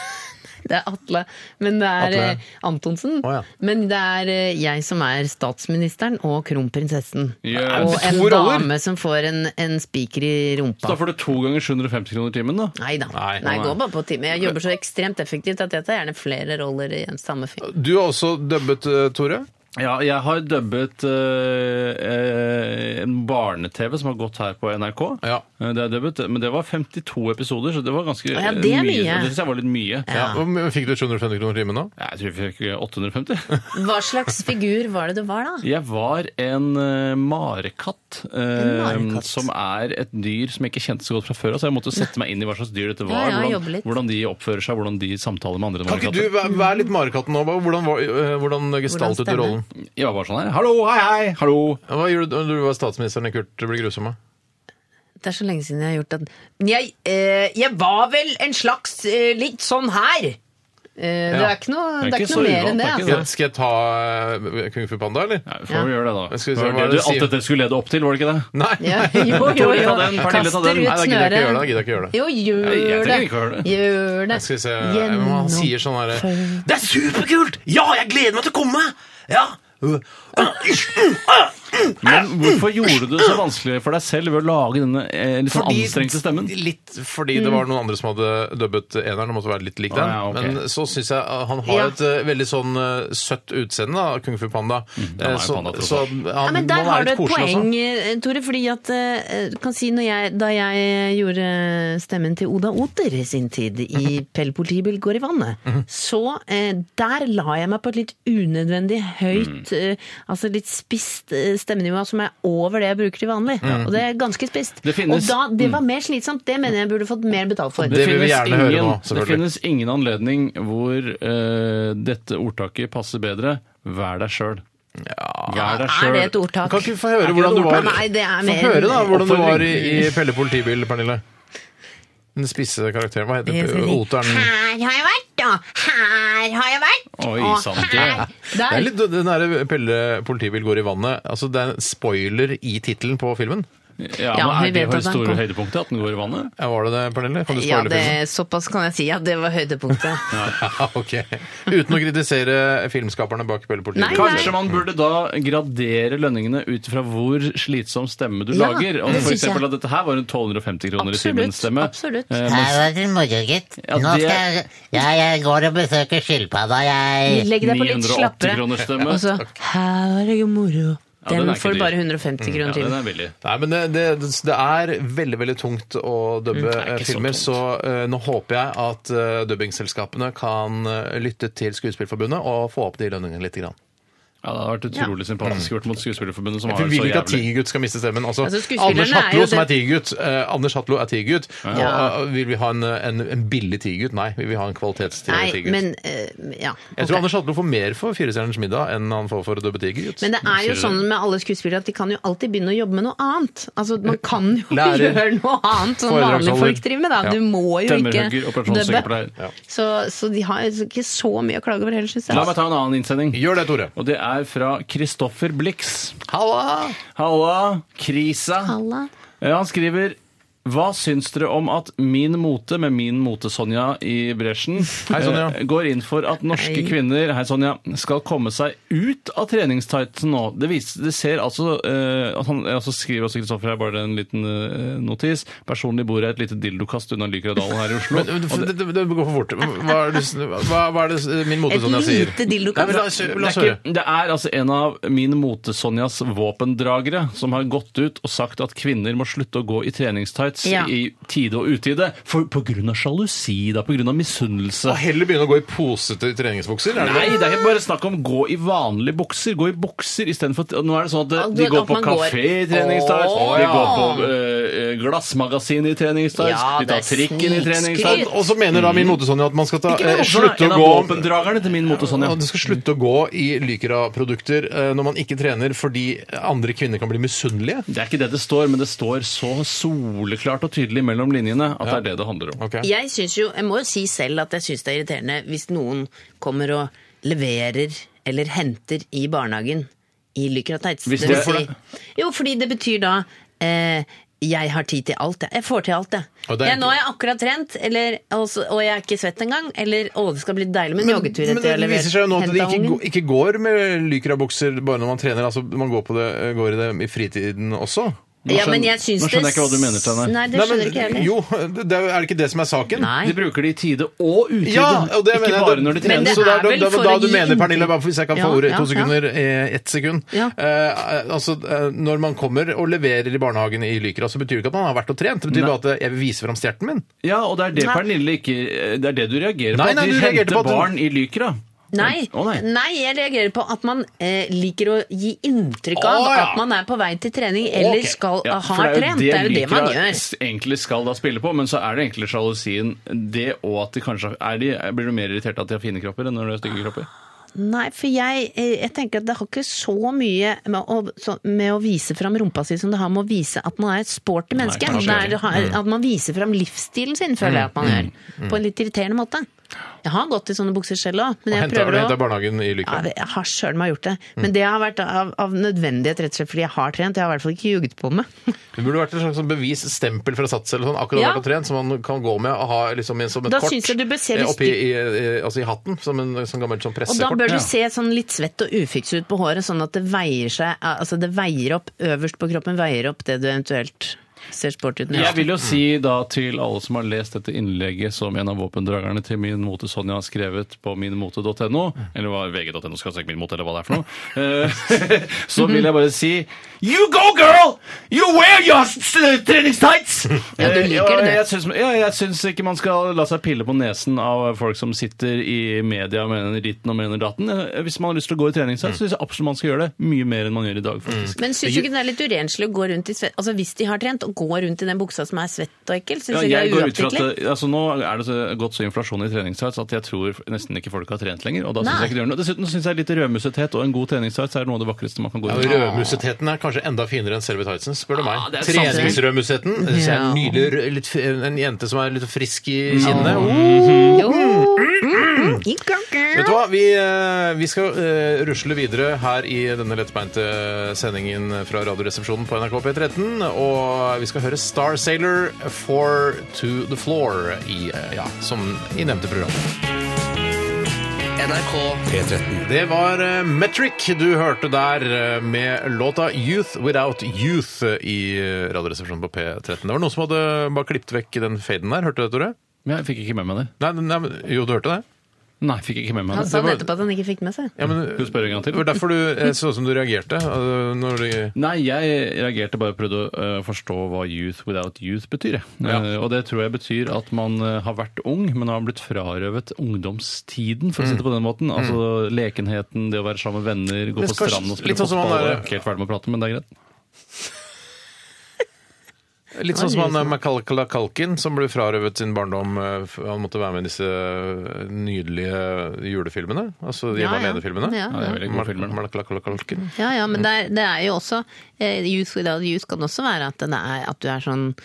Speaker 9: det er Atle, men det er
Speaker 7: Atle.
Speaker 9: eh, Antonsen.
Speaker 7: Å, ja.
Speaker 9: Men det er eh, jeg som er statsministeren og kronprinsessen.
Speaker 8: Ja.
Speaker 9: Og en
Speaker 7: To roller?
Speaker 9: dame som får en, en spiker i rumpa.
Speaker 8: Da får du to ganger 750 kroner timen, da.
Speaker 9: Nei da.
Speaker 7: Nei.
Speaker 9: Nei, jeg går bare på time. Jeg jobber så ekstremt effektivt at jeg tar gjerne flere roller i en samme film.
Speaker 7: Du har også dubbet, eh, Tore.
Speaker 8: Ja, jeg har dubbet eh, eh, en barne-TV som har gått her på NRK.
Speaker 7: Ja.
Speaker 8: Eh, Det er dubbet, men det var 52 episoder, så det var ganske
Speaker 9: Ja, det er
Speaker 8: eh,
Speaker 9: mye.
Speaker 8: Det synes jeg var litt mye.
Speaker 7: Ja. Hvor mye Fikk du 750 kroner timen nå?
Speaker 8: Jeg tror vi fikk 850.
Speaker 9: Hva slags figur var det du var, da?
Speaker 8: Jeg var en eh, marekatt, eh,
Speaker 9: En marekatt.
Speaker 8: som er et dyr som jeg ikke kjente så godt fra før. Så jeg måtte sette meg inn i hva slags dyr dette var,
Speaker 9: Ja, ja, jobbe
Speaker 8: hvordan,
Speaker 9: litt.
Speaker 8: hvordan de oppfører seg, hvordan de samtaler med andre
Speaker 7: Kan ikke
Speaker 8: marekatter.
Speaker 7: du væ- være litt marekatten nå? Hva- Hvordan, var- eh, hvordan gestaltet du
Speaker 9: stemmer?
Speaker 7: rollen?
Speaker 8: Jeg var bare sånn her. Hallo, hei, hei, hallo.
Speaker 7: Hva gjorde du da du var statsministeren i Kurt blir grusomme?
Speaker 9: Det er så lenge siden jeg har gjort det. Jeg, eh, jeg var vel en slags eh, litt sånn her. Eh, det
Speaker 7: Ja.
Speaker 9: er ikke noe, det
Speaker 8: Det er
Speaker 9: er
Speaker 8: ikke
Speaker 9: ikke
Speaker 8: så
Speaker 9: noe mer
Speaker 8: uvant,
Speaker 9: enn det.
Speaker 8: det er ikke
Speaker 9: Altså.
Speaker 7: Ja. Skal jeg ta eh, Kung Fu Panda, eller?
Speaker 8: Ja, får vi gjøre det, da.
Speaker 7: Skal vi se,
Speaker 8: Det var
Speaker 7: hva
Speaker 8: det
Speaker 7: er det
Speaker 8: du-
Speaker 7: du sier?
Speaker 8: Alt dette skulle lede opp til, var det ikke det?
Speaker 7: Nei.
Speaker 9: Ja. Jo, jo,
Speaker 8: Tore,
Speaker 9: jo.
Speaker 8: ta den. Pernille, ta
Speaker 9: Kaster
Speaker 8: den.
Speaker 9: ut
Speaker 7: Nei, da gidder jeg ikke gjøre det. Da gidder jeg
Speaker 9: snøret.
Speaker 7: ikke gjøre det.
Speaker 9: Jo, gjør
Speaker 8: Jeg- jeg
Speaker 9: det.
Speaker 8: trenger ikke å gjøre det.
Speaker 9: Gjør det.
Speaker 7: Skal vi se eh, Han sier sånn her eh,
Speaker 3: Det er superkult! Ja, jeg gleder meg til å komme! Ja!
Speaker 8: Men hvorfor gjorde du det så vanskelig for deg selv ved å lage denne eh, litt sånn anstrengte stemmen?
Speaker 7: Litt fordi
Speaker 9: Mm.
Speaker 7: det var noen andre som hadde dubbet eneren og måtte være litt lik den.
Speaker 8: Å, ja, ok.
Speaker 7: Men så syns jeg uh, han har
Speaker 9: Ja.
Speaker 7: et uh, veldig sånn uh, søtt utseende, da, Kung Fu Panda.
Speaker 8: han Mm, er
Speaker 7: Eh,
Speaker 8: jo
Speaker 7: så
Speaker 8: panda, tross
Speaker 7: så
Speaker 8: alt.
Speaker 7: han
Speaker 9: Ja, men
Speaker 7: må
Speaker 9: der har
Speaker 7: være
Speaker 9: du
Speaker 7: litt
Speaker 9: et
Speaker 7: koselig
Speaker 9: poeng,
Speaker 7: også.
Speaker 9: eh, Tore. fordi at eh, du kan si når jeg, Da jeg gjorde stemmen til Oda Oter i sin tid i
Speaker 7: Mhm.
Speaker 9: Pell politibil går i vannet, så eh, der la jeg meg på et litt unødvendig høyt,
Speaker 7: Mhm.
Speaker 9: eh, altså litt spisst eh, stemmenivå som er over det jeg bruker til vanlig.
Speaker 7: Mhm.
Speaker 9: Og det er ganske spisst.
Speaker 8: Det finnes-
Speaker 9: Og da, det var mer slitsomt. Det mener jeg burde fått mer betalt for.
Speaker 7: Det vil vi gjerne høre nå,
Speaker 8: det
Speaker 7: selvfølgelig.
Speaker 8: finnes ingen anledning hvor eh, dette ordtaket passer bedre. Vær deg sjøl. Vær deg
Speaker 9: er
Speaker 8: sjøl.
Speaker 9: det et ordtak?
Speaker 7: Kan ikke vi få høre
Speaker 8: ikke
Speaker 7: hvordan
Speaker 8: det
Speaker 7: du var
Speaker 9: ordtak? Nei, det er
Speaker 7: Få
Speaker 9: mer-
Speaker 7: høre da hvordan du var i, i
Speaker 8: Oppfordring.
Speaker 7: Pelle politibil, Pernille. Den spisse karakteren. Hva
Speaker 9: Jeg
Speaker 7: heter
Speaker 9: skal
Speaker 7: det?
Speaker 9: si,
Speaker 7: Oteren?
Speaker 9: Her har jeg vært, og her har jeg vært,
Speaker 8: Oi,
Speaker 9: og
Speaker 8: sant, det
Speaker 9: her.
Speaker 8: er-
Speaker 7: Det er
Speaker 9: Der.
Speaker 7: litt den der Pelle politibil går i vannet. Altså, det er en spoiler i tittelen på filmen.
Speaker 8: Ja, men er
Speaker 9: Ja, vi
Speaker 8: det
Speaker 9: vet
Speaker 8: det
Speaker 9: at han
Speaker 8: store
Speaker 9: kom.
Speaker 8: høydepunktet? At den går i vannet?
Speaker 7: Ja, var det det, Pernille? Kan du
Speaker 9: Ja,
Speaker 7: spoile filmen?
Speaker 9: det, såpass kan jeg si. Ja, det var høydepunktet.
Speaker 7: Ja, ok. Uten å kritisere filmskaperne bak Pelle Politiet.
Speaker 9: Nei,
Speaker 8: Kanskje man burde da gradere lønningene ut fra hvor slitsom stemme du
Speaker 9: Ja,
Speaker 8: lager.
Speaker 9: det
Speaker 8: Og for
Speaker 9: synes jeg.
Speaker 8: eksempel at dette her var en 1250 kroner i
Speaker 9: Absolutt,
Speaker 8: timen-stemme. Eh,
Speaker 9: absolutt.
Speaker 10: Her var det moro, gitt.
Speaker 8: Ja,
Speaker 10: Nå
Speaker 8: det-
Speaker 10: skal jeg Ja, jeg går og besøker skilpadda, jeg.
Speaker 9: Legg deg på litt
Speaker 8: 980
Speaker 9: slappere.
Speaker 8: kroner stemme.
Speaker 9: Og så Her var det jo moro.
Speaker 8: Ja, den
Speaker 9: Den
Speaker 8: er ikke dyr.
Speaker 9: får du bare 150
Speaker 8: Ja,
Speaker 9: kroner til.
Speaker 8: den er billig.
Speaker 7: Nei, men det, det, det er veldig veldig tungt å
Speaker 9: Mm,
Speaker 7: dubbe
Speaker 8: det er
Speaker 7: eh,
Speaker 8: ikke så
Speaker 7: filmer,
Speaker 8: tungt.
Speaker 7: så, eh, nå håper jeg at eh, dubbingselskapene kan eh, lytte til Skuespillforbundet og få opp de lønningene litt. Grann.
Speaker 8: Ja, det hadde vært utrolig sympatisk gjort mot Skuespillerforbundet, som har
Speaker 7: For
Speaker 8: det
Speaker 7: vi
Speaker 8: så
Speaker 7: vil ikke at
Speaker 8: jævlig.
Speaker 7: Tigergutt skal miste stemmen. Altså,
Speaker 9: Altså, skuespillerne
Speaker 7: Anders
Speaker 9: er jo
Speaker 7: Hatlo, som er
Speaker 9: det-
Speaker 7: tigergutt, eh, Anders Hatlo er tigergutt. Og
Speaker 9: Ja.
Speaker 7: eh, vil vi ha en, en, en billig tigergutt? Nei, vi vil ha en
Speaker 9: Nei,
Speaker 7: kvalitetstigergutt.
Speaker 9: men eh, Ja.
Speaker 7: Jeg tror
Speaker 9: ok.
Speaker 7: Anders Hatlo får mer for Firestjerners middag enn han får for å dubbe tigergutt.
Speaker 9: Men det er
Speaker 8: Sier
Speaker 9: jo
Speaker 8: du
Speaker 9: sånn med alle skuespillere at de kan jo alltid begynne å jobbe med noe annet. Altså, Man kan jo
Speaker 7: Lærer.
Speaker 9: gjøre noe annet som
Speaker 7: Foredragsholder.
Speaker 9: vanlige folk driver med, da.
Speaker 7: Ja.
Speaker 9: Du må jo ikke
Speaker 8: Tømmerhugger, operasjonssykepleier.
Speaker 7: Ja.
Speaker 9: Så, så de har ikke så mye å klage over heller, syns jeg.
Speaker 8: La meg ta en annen innsending.
Speaker 7: Gjør det, Tore.
Speaker 8: Og det er fra Kristoffer Blix.
Speaker 7: Halla!
Speaker 8: Halla, krisa.
Speaker 9: Halla.
Speaker 8: Ja, Han skriver Hva syns dere om at Min Mote, med Min Mote-Sonja i bresjen,
Speaker 7: Hei, Sonja.
Speaker 8: eh, går inn for at norske
Speaker 9: Hei.
Speaker 8: kvinner hei Sonja, skal komme seg ut av treningstightsen nå? Det, viser, det ser altså eh, at han, altså skriver også Kristoffer her, bare en liten eh, notis. Personlig bor jeg et lite dildokast unna Lykradalen her i Oslo.
Speaker 7: Men, men, det, det, det går for fort. Hva er det, hva, hva er det min mote
Speaker 9: Et
Speaker 7: Sonja sier?
Speaker 9: lite dildokast.
Speaker 7: Nei, men La oss la oss
Speaker 8: det, er
Speaker 7: høre.
Speaker 8: ikke, det er altså en av min mote-Sonjas våpendragere som har gått ut og sagt at kvinner må slutte å gå i treningstights
Speaker 9: Ja.
Speaker 8: i tide og utide. For på grunn av sjalusi, da. På grunn av misunnelse.
Speaker 7: Og heller begynne å gå i posete treningsbukser? Er det
Speaker 8: Nei, det er ikke bare snakk om gå i vanlige bukser. Gå i bukser istedenfor Nå er det sånn at eh,
Speaker 9: Ah, du
Speaker 8: de
Speaker 9: vet
Speaker 8: går
Speaker 9: at
Speaker 8: på
Speaker 9: man går-
Speaker 8: kafé i treningstights,
Speaker 9: Åh,
Speaker 8: de
Speaker 9: ja.
Speaker 8: går på eh, glassmagasin i treningstights,
Speaker 9: Ja,
Speaker 8: de tar
Speaker 9: det er
Speaker 8: trikken i
Speaker 7: Og-
Speaker 8: treningstights.
Speaker 9: snikskryt.
Speaker 7: Og så mener da min mote Sonja at man skal ta, eh, slutte
Speaker 8: en av
Speaker 7: å gå
Speaker 8: våpendragerne til min
Speaker 9: sånn,
Speaker 8: mote-Sonja.
Speaker 7: Og du skal slutte å gå i Lycra-produkter eh, når man ikke trener fordi andre kvinner kan bli misunnelige.
Speaker 8: Det er ikke det det står, men det står så soleklart og tydelig mellom linjene at det er det det handler om.
Speaker 7: Ok.
Speaker 9: Jeg, synes jo, jeg må jo si selv at jeg syns det er irriterende hvis noen kommer og leverer eller henter i barnehagen i Lycra Tights.
Speaker 8: Hvis
Speaker 9: Det
Speaker 8: det-
Speaker 9: vil si- Jo, fordi det betyr da eh, jeg har tid til alt, jeg. Jeg får til alt, jeg.
Speaker 7: Og det er
Speaker 9: jeg nå har jeg akkurat trent, eller, og, så- og jeg er ikke svett engang. Eller å, det skal bli deilig med en joggetur
Speaker 7: Men
Speaker 9: etter jeg har
Speaker 7: det viser seg jo nå at de
Speaker 9: hentet
Speaker 7: ikke,
Speaker 9: ungen.
Speaker 7: gå- ikke går med Lycra-bukser bare når man trener. Altså, man går, på det, går i det i fritiden også.
Speaker 9: Ja, men
Speaker 8: skjønner-
Speaker 9: jeg syns
Speaker 8: nå skjønner jeg
Speaker 9: det-
Speaker 8: ikke hva du mener, Steinar.
Speaker 9: Nei, det
Speaker 7: Nei, men-
Speaker 9: skjønner ikke jeg heller.
Speaker 7: Jo, det det er er det ikke det som er saken?
Speaker 9: Nei.
Speaker 8: De bruker det i tide og utide,
Speaker 7: Ja, og det
Speaker 8: ikke
Speaker 7: mener jeg.
Speaker 8: bare når de
Speaker 9: Men
Speaker 8: trener.
Speaker 9: det
Speaker 7: så det
Speaker 9: er
Speaker 7: er da,
Speaker 9: vel
Speaker 7: da,
Speaker 9: for
Speaker 7: da
Speaker 9: å
Speaker 7: du
Speaker 9: gi
Speaker 7: mener,
Speaker 9: inntrykk-
Speaker 7: Pernille, bare hvis jeg kan få
Speaker 9: Ja,
Speaker 7: ordet
Speaker 9: ja,
Speaker 7: to
Speaker 9: ja.
Speaker 7: sekunder, eh, ett sekund
Speaker 9: Ja.
Speaker 7: Eh, altså, eh, Når man kommer og leverer i barnehagen i Lykra, så betyr det ikke at man har vært og trent. Det
Speaker 8: Nei.
Speaker 7: betyr bare at eh, jeg vil vise fram stjerten min.
Speaker 8: Ja, og det er det
Speaker 9: Nei.
Speaker 8: Pernille ikke Det er det du reagerer
Speaker 7: Nei,
Speaker 8: på.
Speaker 7: nei,
Speaker 8: At
Speaker 7: du
Speaker 8: de henter
Speaker 7: reagerte på at du-
Speaker 8: barn i Lykra.
Speaker 9: Nei,
Speaker 8: Å, nei.
Speaker 9: nei. jeg reagerer på at man eh, liker å gi inntrykk av
Speaker 7: Å, ja.
Speaker 9: at man er på vei til trening eller
Speaker 7: Ok.
Speaker 9: skal
Speaker 8: Ja,
Speaker 9: ha
Speaker 8: for det er jo
Speaker 9: trent. Det er jo det man
Speaker 8: Lycra
Speaker 9: gjør.
Speaker 8: s- egentlig skal da spille på, men så er det egentlig sjalusien det, og at de kanskje er de, Blir du mer irritert av at de har fine kropper enn når de har stygge kropper?
Speaker 9: Nei, for jeg, eh, jeg tenker at det har ikke så mye med å, så, med å vise fram rumpa si som det har med å vise at man er et sporty menneske.
Speaker 8: kanskje
Speaker 9: det er, det har- at man viser fram livsstilen sin, føler jeg at man gjør. På en litt irriterende måte. Jeg har gått i sånne bukser selv òg, men jeg
Speaker 7: Henta
Speaker 9: prøver å
Speaker 7: henta barnehagen i
Speaker 9: Ja,
Speaker 7: Lykra.
Speaker 9: jeg har sjøl meg gjort det. Men det har vært av, av nødvendighet, rett og slett fordi jeg har trent. Jeg har i hvert fall ikke ljuget på meg.
Speaker 7: Det burde vært et slags sånn bevis, stempel fra Sats eller sånn, akkurat
Speaker 9: Ja.
Speaker 7: vært og trent, som man kan gå med og ha liksom, i- som et
Speaker 9: Da
Speaker 7: kort
Speaker 9: synes jeg du bør se
Speaker 7: eh,
Speaker 9: litt
Speaker 7: oppi i, eh, altså, i hatten, som en sånn gammel
Speaker 9: Og
Speaker 7: sånn
Speaker 9: da
Speaker 7: pressekort.
Speaker 9: bør
Speaker 7: Ja.
Speaker 9: du se sånn litt svett og ufiks ut på håret, sånn at det veier seg Altså det veier opp øverst på kroppen, veier opp det du eventuelt ser sporty ut med.
Speaker 8: Jeg vil jo si da til alle som har lest dette innlegget som en av våpendragerne til Min Mote Sonja har skrevet på minmote.no, eller hva vg.no skal sagt Min Mote, eller hva det er for noe, eh, så vil jeg bare si You go, girl! You wear your s- s- treningstights!
Speaker 9: Ja, du liker
Speaker 8: Eh,
Speaker 9: det.
Speaker 8: Jeg syns, ja, jeg syns ikke man skal la seg pille på nesen av folk som sitter i media og mener ditten og mener datten. Eh, Hvis man har lyst til å gå i treningstights, syns jeg absolutt man skal gjøre det. Mye mer enn man gjør i dag, faktisk.
Speaker 9: Men syns du ikke det er litt urenslig å gå rundt i svett Altså hvis de har trent, å gå rundt i den buksa som er svett og ekkel? Syns
Speaker 8: Ja,
Speaker 9: du det
Speaker 8: jeg
Speaker 9: er
Speaker 8: går ut fra
Speaker 9: uopptikkelig?
Speaker 8: at altså, Nå er det så, gått så inflasjon i treningstights at jeg tror nesten ikke folk har trent lenger. og da synes
Speaker 9: Nei.
Speaker 8: jeg ikke det gjør noe. Dessuten syns jeg litt rødmussethet og en god treningstights er noe av det vakreste man kan gå
Speaker 7: Ja,
Speaker 8: ut
Speaker 7: og
Speaker 8: med.
Speaker 7: Rødmussetheten er kanskje enda finere enn selve tightsen, spør du
Speaker 8: Ah,
Speaker 7: meg.
Speaker 8: det er sant.
Speaker 7: Treningsrødmussetheten. Det synes jeg er
Speaker 9: Ja.
Speaker 7: Nydelig, rød- litt, f- en jente som er litt frisk i kinnet.
Speaker 9: Jo. Mm, mm,
Speaker 7: Vet du hva, vi, eh, vi skal eh, rusle videre her i denne lettbeinte sendingen fra Radioresepsjonen på NRK P13. Og vi skal høre Star Sailor for To The Floor i, eh, ja, som i nevnte program.
Speaker 2: NRK
Speaker 6: P13.
Speaker 7: Det var eh, Metric du hørte der eh, med låta Youth Without Youth eh, i eh, Radioresepsjonen på P13. Det var noen som hadde bare klippet vekk den faden der. Hørte du det, Tore?
Speaker 8: Men jeg fikk ikke med meg det.
Speaker 7: Nei, nei, men- jo, du hørte det?
Speaker 8: Nei, fikk ikke med meg
Speaker 9: Han
Speaker 8: det.
Speaker 9: sa
Speaker 7: var-
Speaker 9: nettopp at han ikke fikk med seg.
Speaker 7: Ja, men,
Speaker 8: Mm. Hun spør en gang
Speaker 7: det
Speaker 8: til.
Speaker 7: var derfor du eh, så ut som du reagerte. eh, Når du,
Speaker 8: Nei, jeg reagerte bare og prøvde å eh, forstå hva youth without youth betyr. jeg.
Speaker 7: Ja.
Speaker 8: Eh, og det tror jeg betyr at man eh, har vært ung, men har blitt frarøvet ungdomstiden, for å si det på den måten. Altså lekenheten, det å være sammen med venner, gå
Speaker 7: Mm. Men
Speaker 8: på
Speaker 7: kanskje
Speaker 8: stranden og
Speaker 7: litt
Speaker 8: spille
Speaker 7: sånn som han
Speaker 8: fotball. Jeg
Speaker 7: der-
Speaker 8: er ikke helt ferdig med å prate, men det er greit.
Speaker 7: litt sånn som han eh, Macaulay Culkin som ble frarøvet sin barndom. eh, f- Han måtte være med i disse eh, nydelige julefilmene. Altså de
Speaker 9: Ja, ja.
Speaker 7: alene-filmene.
Speaker 9: Ja,
Speaker 8: Ja, det er veldig gode filmer. da.
Speaker 7: Macaulay Culkin.
Speaker 9: Ja, ja, men det er, det er jo også eh, Youth without youth kan også være at, det er, at du er sånn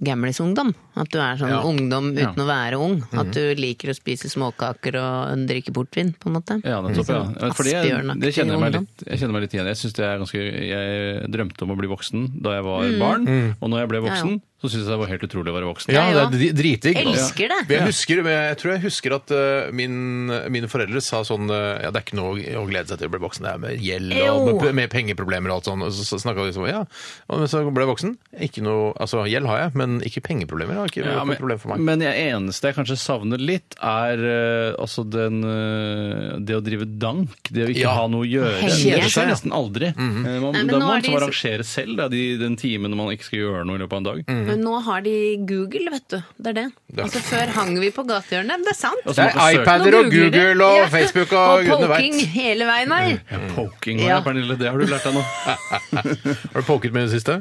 Speaker 9: gamlisungdom. At du er sånn
Speaker 7: Ja.
Speaker 9: ungdom uten
Speaker 8: Ja.
Speaker 9: å være ung. At du liker å spise småkaker og drikke portvin, på en måte.
Speaker 8: Ja, nettopp. ja.
Speaker 9: Sånn
Speaker 8: Fordi jeg,
Speaker 9: Asbjørnaktig
Speaker 8: det kjenner jeg, meg
Speaker 9: ungdom.
Speaker 8: litt, jeg kjenner meg litt igjen. Jeg synes det er ganske, jeg drømte om å bli voksen da jeg var barn, og når jeg ble
Speaker 9: Mm. Ja, ja.
Speaker 8: voksen, så syntes jeg det var helt utrolig å være voksen.
Speaker 7: Mm. Ja,
Speaker 9: Jeg
Speaker 7: det
Speaker 9: òg.
Speaker 7: er dri- dritdigg.
Speaker 9: Elsker det.
Speaker 7: Ja. Jeg, husker, men jeg tror jeg husker at eh, min, mine foreldre sa sånn eh, Ja, det er ikke noe å glede seg til å bli voksen. Det er med gjeld og
Speaker 9: Jo.
Speaker 7: med, med pengeproblemer og alt sånn. Og så, så snakka de sånn Ja, og men så ble jeg voksen. Ikke noe Altså, gjeld har jeg, men ikke pengeproblemer. Det har ikke
Speaker 8: Ja,
Speaker 7: vært noe problem for meg.
Speaker 8: men det eneste jeg kanskje savner litt, er eh, altså den, eh, det å drive dank. Det å ikke
Speaker 7: Ja. Mm-hmm.
Speaker 8: ha noe å gjøre.
Speaker 9: Henge.
Speaker 8: Det skjer nesten aldri. Eh, man,
Speaker 9: Nei, men
Speaker 8: da
Speaker 9: nå
Speaker 8: må man
Speaker 9: er de
Speaker 8: liksom
Speaker 9: så-
Speaker 8: arrangere selv da, de, den timen man ikke skal gjøre noe i løpet av en dag.
Speaker 7: Mm.
Speaker 9: Men nå har de Google, vet du. Det er det. Altså, før hang vi på gatehjørnet. Men det er sant.
Speaker 8: Og så må
Speaker 7: Det er
Speaker 8: man forsøke-
Speaker 7: iPad. Ipader
Speaker 9: Nå
Speaker 7: og
Speaker 9: googler de.
Speaker 7: Google og
Speaker 9: Ja.
Speaker 7: Facebook og gudene
Speaker 9: Og
Speaker 7: vet.
Speaker 9: poking hele veien her.
Speaker 7: Mm.
Speaker 8: Poking, ja.
Speaker 9: Ja.
Speaker 8: Pernille, det har du lært deg nå.
Speaker 7: Har du poket med i det siste?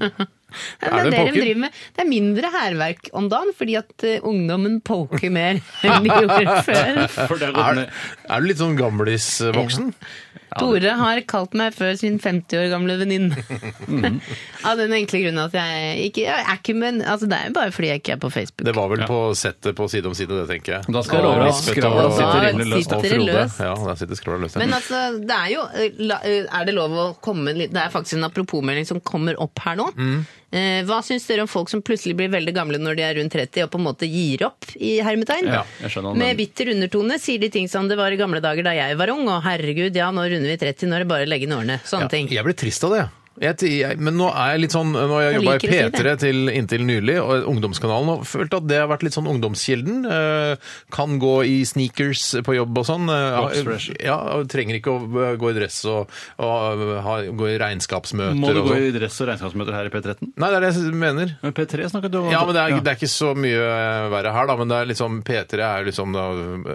Speaker 9: Det
Speaker 7: Er
Speaker 9: er,
Speaker 7: det
Speaker 9: det,
Speaker 7: poking?
Speaker 9: de driver med. det er mindre hærverk om dagen, fordi at eh, ungdommen poker mer enn de gjorde før.
Speaker 8: For det har gått
Speaker 7: Er,
Speaker 8: ned.
Speaker 7: er du litt sånn gamlisvoksen?
Speaker 9: Tore har kalt meg før sin 50 år gamle venninne. Av den enkle grunnen at jeg ikke jeg er ikke men, altså Det er jo bare fordi jeg ikke er på Facebook.
Speaker 7: Det var vel på settet på Side om side, det, tenker jeg.
Speaker 8: Da skal jeg love deg at skravla
Speaker 7: Og-
Speaker 8: sitter rimelig
Speaker 9: Da
Speaker 8: løst.
Speaker 9: sitter det
Speaker 8: Frode.
Speaker 9: løst.
Speaker 7: Ja, der sitter skravla løst.
Speaker 9: Men altså, det er jo eh, la- eh, Er det lov å komme litt Det er faktisk en apropos-melding som kommer opp her nå.
Speaker 8: Mm.
Speaker 9: Eh, Hva syns dere om folk som plutselig blir veldig gamle når de er rundt 30 og på en måte gir opp i hermetegn?
Speaker 8: Ja, jeg skjønner hva du
Speaker 9: Med
Speaker 8: mener.
Speaker 9: bitter undertone sier de ting som det var i gamle dager da jeg var ung, og herregud, ja, nå runder vi 30, nå er det bare å legge inn årene. Sånne
Speaker 7: Ja,
Speaker 9: ting.
Speaker 7: Jeg blir trist av det. Jeg, jeg, men nå er jeg litt sånn, nå har jeg
Speaker 9: Jeg
Speaker 7: jobba i
Speaker 9: liker å si
Speaker 7: P3 til inntil nylig, og ungdomskanalen, og følt at det har vært litt sånn ungdomskilden. Eh, kan gå i sneakers på jobb og sånn. Eh,
Speaker 8: Box fresh.
Speaker 7: ja, og trenger ikke å eh, gå i dress og, og eh, ha, gå i regnskapsmøter
Speaker 8: Må du
Speaker 7: og
Speaker 8: gå
Speaker 7: sånn.
Speaker 8: i dress og regnskapsmøter her i P13?
Speaker 7: Nei, det er det jeg mener.
Speaker 8: Men P3 snakket du om.
Speaker 7: Ja, men det er, det er ikke så mye eh, verre her, da. Men det er liksom, P3 er jo liksom da,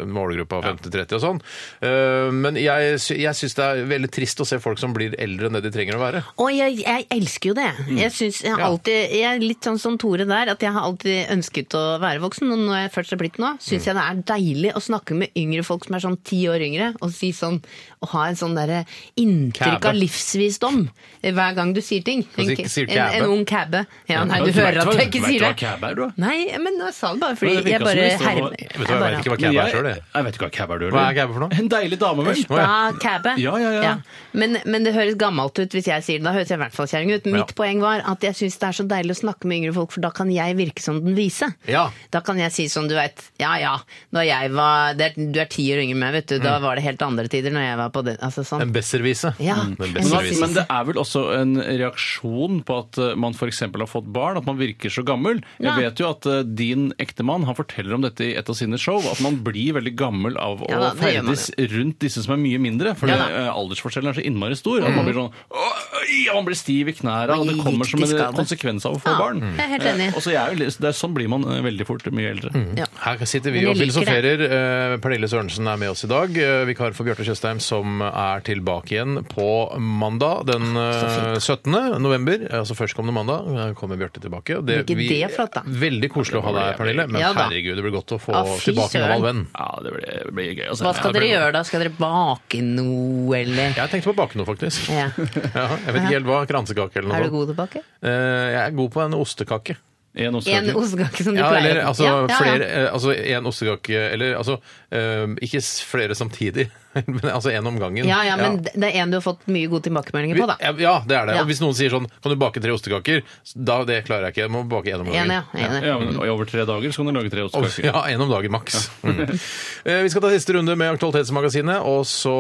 Speaker 7: målgruppa 50-30 og sånn. Eh, men jeg, sy- jeg syns det er veldig trist å se folk som blir eldre enn det de trenger å være.
Speaker 9: Og jeg, jeg elsker jo det.
Speaker 8: Mm.
Speaker 9: Jeg, synes jeg, har
Speaker 7: Ja.
Speaker 9: alltid, jeg er litt sånn som Tore der, at jeg har alltid ønsket å være voksen. Og når jeg først har blitt nå,
Speaker 8: Mm.
Speaker 9: syns jeg det er deilig å snakke med yngre folk som er sånn ti år yngre, og si sånn, og ha en sånn derre inntrykk
Speaker 7: Kæbe.
Speaker 9: av livsvisdom eh, hver gang du sier ting.
Speaker 7: Og
Speaker 9: En,
Speaker 7: si- sier
Speaker 9: en,
Speaker 7: kæbe.
Speaker 9: en ung cabbe. Ja, nei, du hører at jeg ikke
Speaker 8: Vet
Speaker 9: sier
Speaker 8: du hva
Speaker 9: det.
Speaker 8: cab er, du? da?
Speaker 9: Nei, men jeg sa det bare
Speaker 8: Men
Speaker 9: fordi
Speaker 8: det virker
Speaker 9: jeg bare
Speaker 8: som det står-
Speaker 9: hermer.
Speaker 8: Vet
Speaker 7: Vet du hva, jeg vet ikke
Speaker 8: Men
Speaker 7: hva cab er
Speaker 8: jeg-
Speaker 7: sjøl, jeg.
Speaker 8: Jeg vet ikke hva cab er, du.
Speaker 7: Hva er
Speaker 8: eller?
Speaker 7: cab for noe?
Speaker 8: En deilig dame, vel?
Speaker 7: Å, ja.
Speaker 9: Bra kæbe.
Speaker 8: Ja, ja, ja.
Speaker 9: Men, men det høres gammelt ut hvis jeg sier det. Da høres jeg i hvert fall kjerring ut. Mitt
Speaker 7: Ja.
Speaker 9: poeng var at jeg syns det er så deilig å snakke med yngre folk, for da kan jeg virke som den vise.
Speaker 7: Ja.
Speaker 9: Da kan jeg si som du veit, ja ja, da jeg var det er, Du er ti år yngre enn meg, vet du. Da var det helt andre tider når jeg var på den. Altså sånn.
Speaker 7: Mm. En besservise.
Speaker 9: Ja.
Speaker 7: Mm, en
Speaker 9: Men hva
Speaker 7: besservise.
Speaker 9: sier-
Speaker 8: Men det er vel også en reaksjon på at eh, man f.eks. har fått barn, at man virker så gammel. Jeg
Speaker 9: Nei.
Speaker 8: vet jo at eh, din ektemann han forteller om dette i et av sine show, at man blir veldig gammel av å
Speaker 9: Ja da, det gjør man
Speaker 8: ferdes rundt disse som er mye mindre. For
Speaker 9: Ja
Speaker 8: det,
Speaker 9: da. Mm.
Speaker 8: eh, aldersforskjellen er så innmari stor. At man blir sånn «Åh, ja, Man blir stiv i knærne, og det
Speaker 9: Blir
Speaker 8: kommer som en
Speaker 9: riktig skadet.
Speaker 8: konsekvens av å få
Speaker 9: Ja,
Speaker 8: barn.
Speaker 9: jeg er helt enig. Mm.
Speaker 8: Eh, Og så jeg er jo litt- det er, sånn blir man eh, veldig fort mye eldre.
Speaker 9: ja.
Speaker 7: Her sitter vi
Speaker 9: Men jeg
Speaker 7: og
Speaker 9: liker det.
Speaker 7: filosoferer. Eh, Pernille Sørensen er med oss i dag. eh, Vikar for Bjarte Tjøstheim, som er tilbake igjen på mandag den
Speaker 9: Ah,
Speaker 7: eh, 17. november. Eh, Altså førstkommende mandag eh, kommer Bjarte tilbake. og
Speaker 9: Blir ikke det flott, da?
Speaker 7: Veldig koselig å ha deg her, Pernille. Men
Speaker 9: Ja da.
Speaker 7: herregud, det blir godt å få
Speaker 9: Å, fy
Speaker 7: tilbake en
Speaker 9: søren.
Speaker 7: gammel venn.
Speaker 8: Ja, det blir, det blir gøy. altså. å se.
Speaker 9: Hva skal
Speaker 8: Ja, det
Speaker 9: dere
Speaker 8: blir-
Speaker 9: gjøre da? Skal dere bake noe, eller?
Speaker 7: Jeg tenkte på å bake noe, faktisk.
Speaker 9: Ja.
Speaker 7: Ja, jeg vet ikke helt hva. Kransekake eller
Speaker 9: Er
Speaker 7: noe
Speaker 9: du
Speaker 7: sånt.
Speaker 9: god til å bake?
Speaker 7: Eh, Jeg er god på en ostekake.
Speaker 8: En
Speaker 9: En
Speaker 8: ostekake.
Speaker 9: ostekake som du
Speaker 7: Ja,
Speaker 9: pleier?
Speaker 7: eller altså
Speaker 9: Ja, ja, ja.
Speaker 7: flere eh, Altså en ostekake Eller altså eh, Ikke s- flere samtidig, men altså en om gangen.
Speaker 9: Ja, ja, men det er en du har fått mye gode tilbakemeldinger på, da.
Speaker 7: Ja, ja, det er det.
Speaker 9: Ja.
Speaker 7: Og hvis noen sier sånn Kan du bake tre ostekaker? Da det klarer jeg ikke. Jeg må bake én om
Speaker 9: En,
Speaker 7: dagen.
Speaker 9: ja. En, ja.
Speaker 8: Ja, men I over tre dager så kan du lage tre
Speaker 7: Og-
Speaker 8: ostekaker.
Speaker 7: Ja, én om dagen maks. Mm. Eh, Vi skal ta siste runde med Aktualitetsmagasinet, og så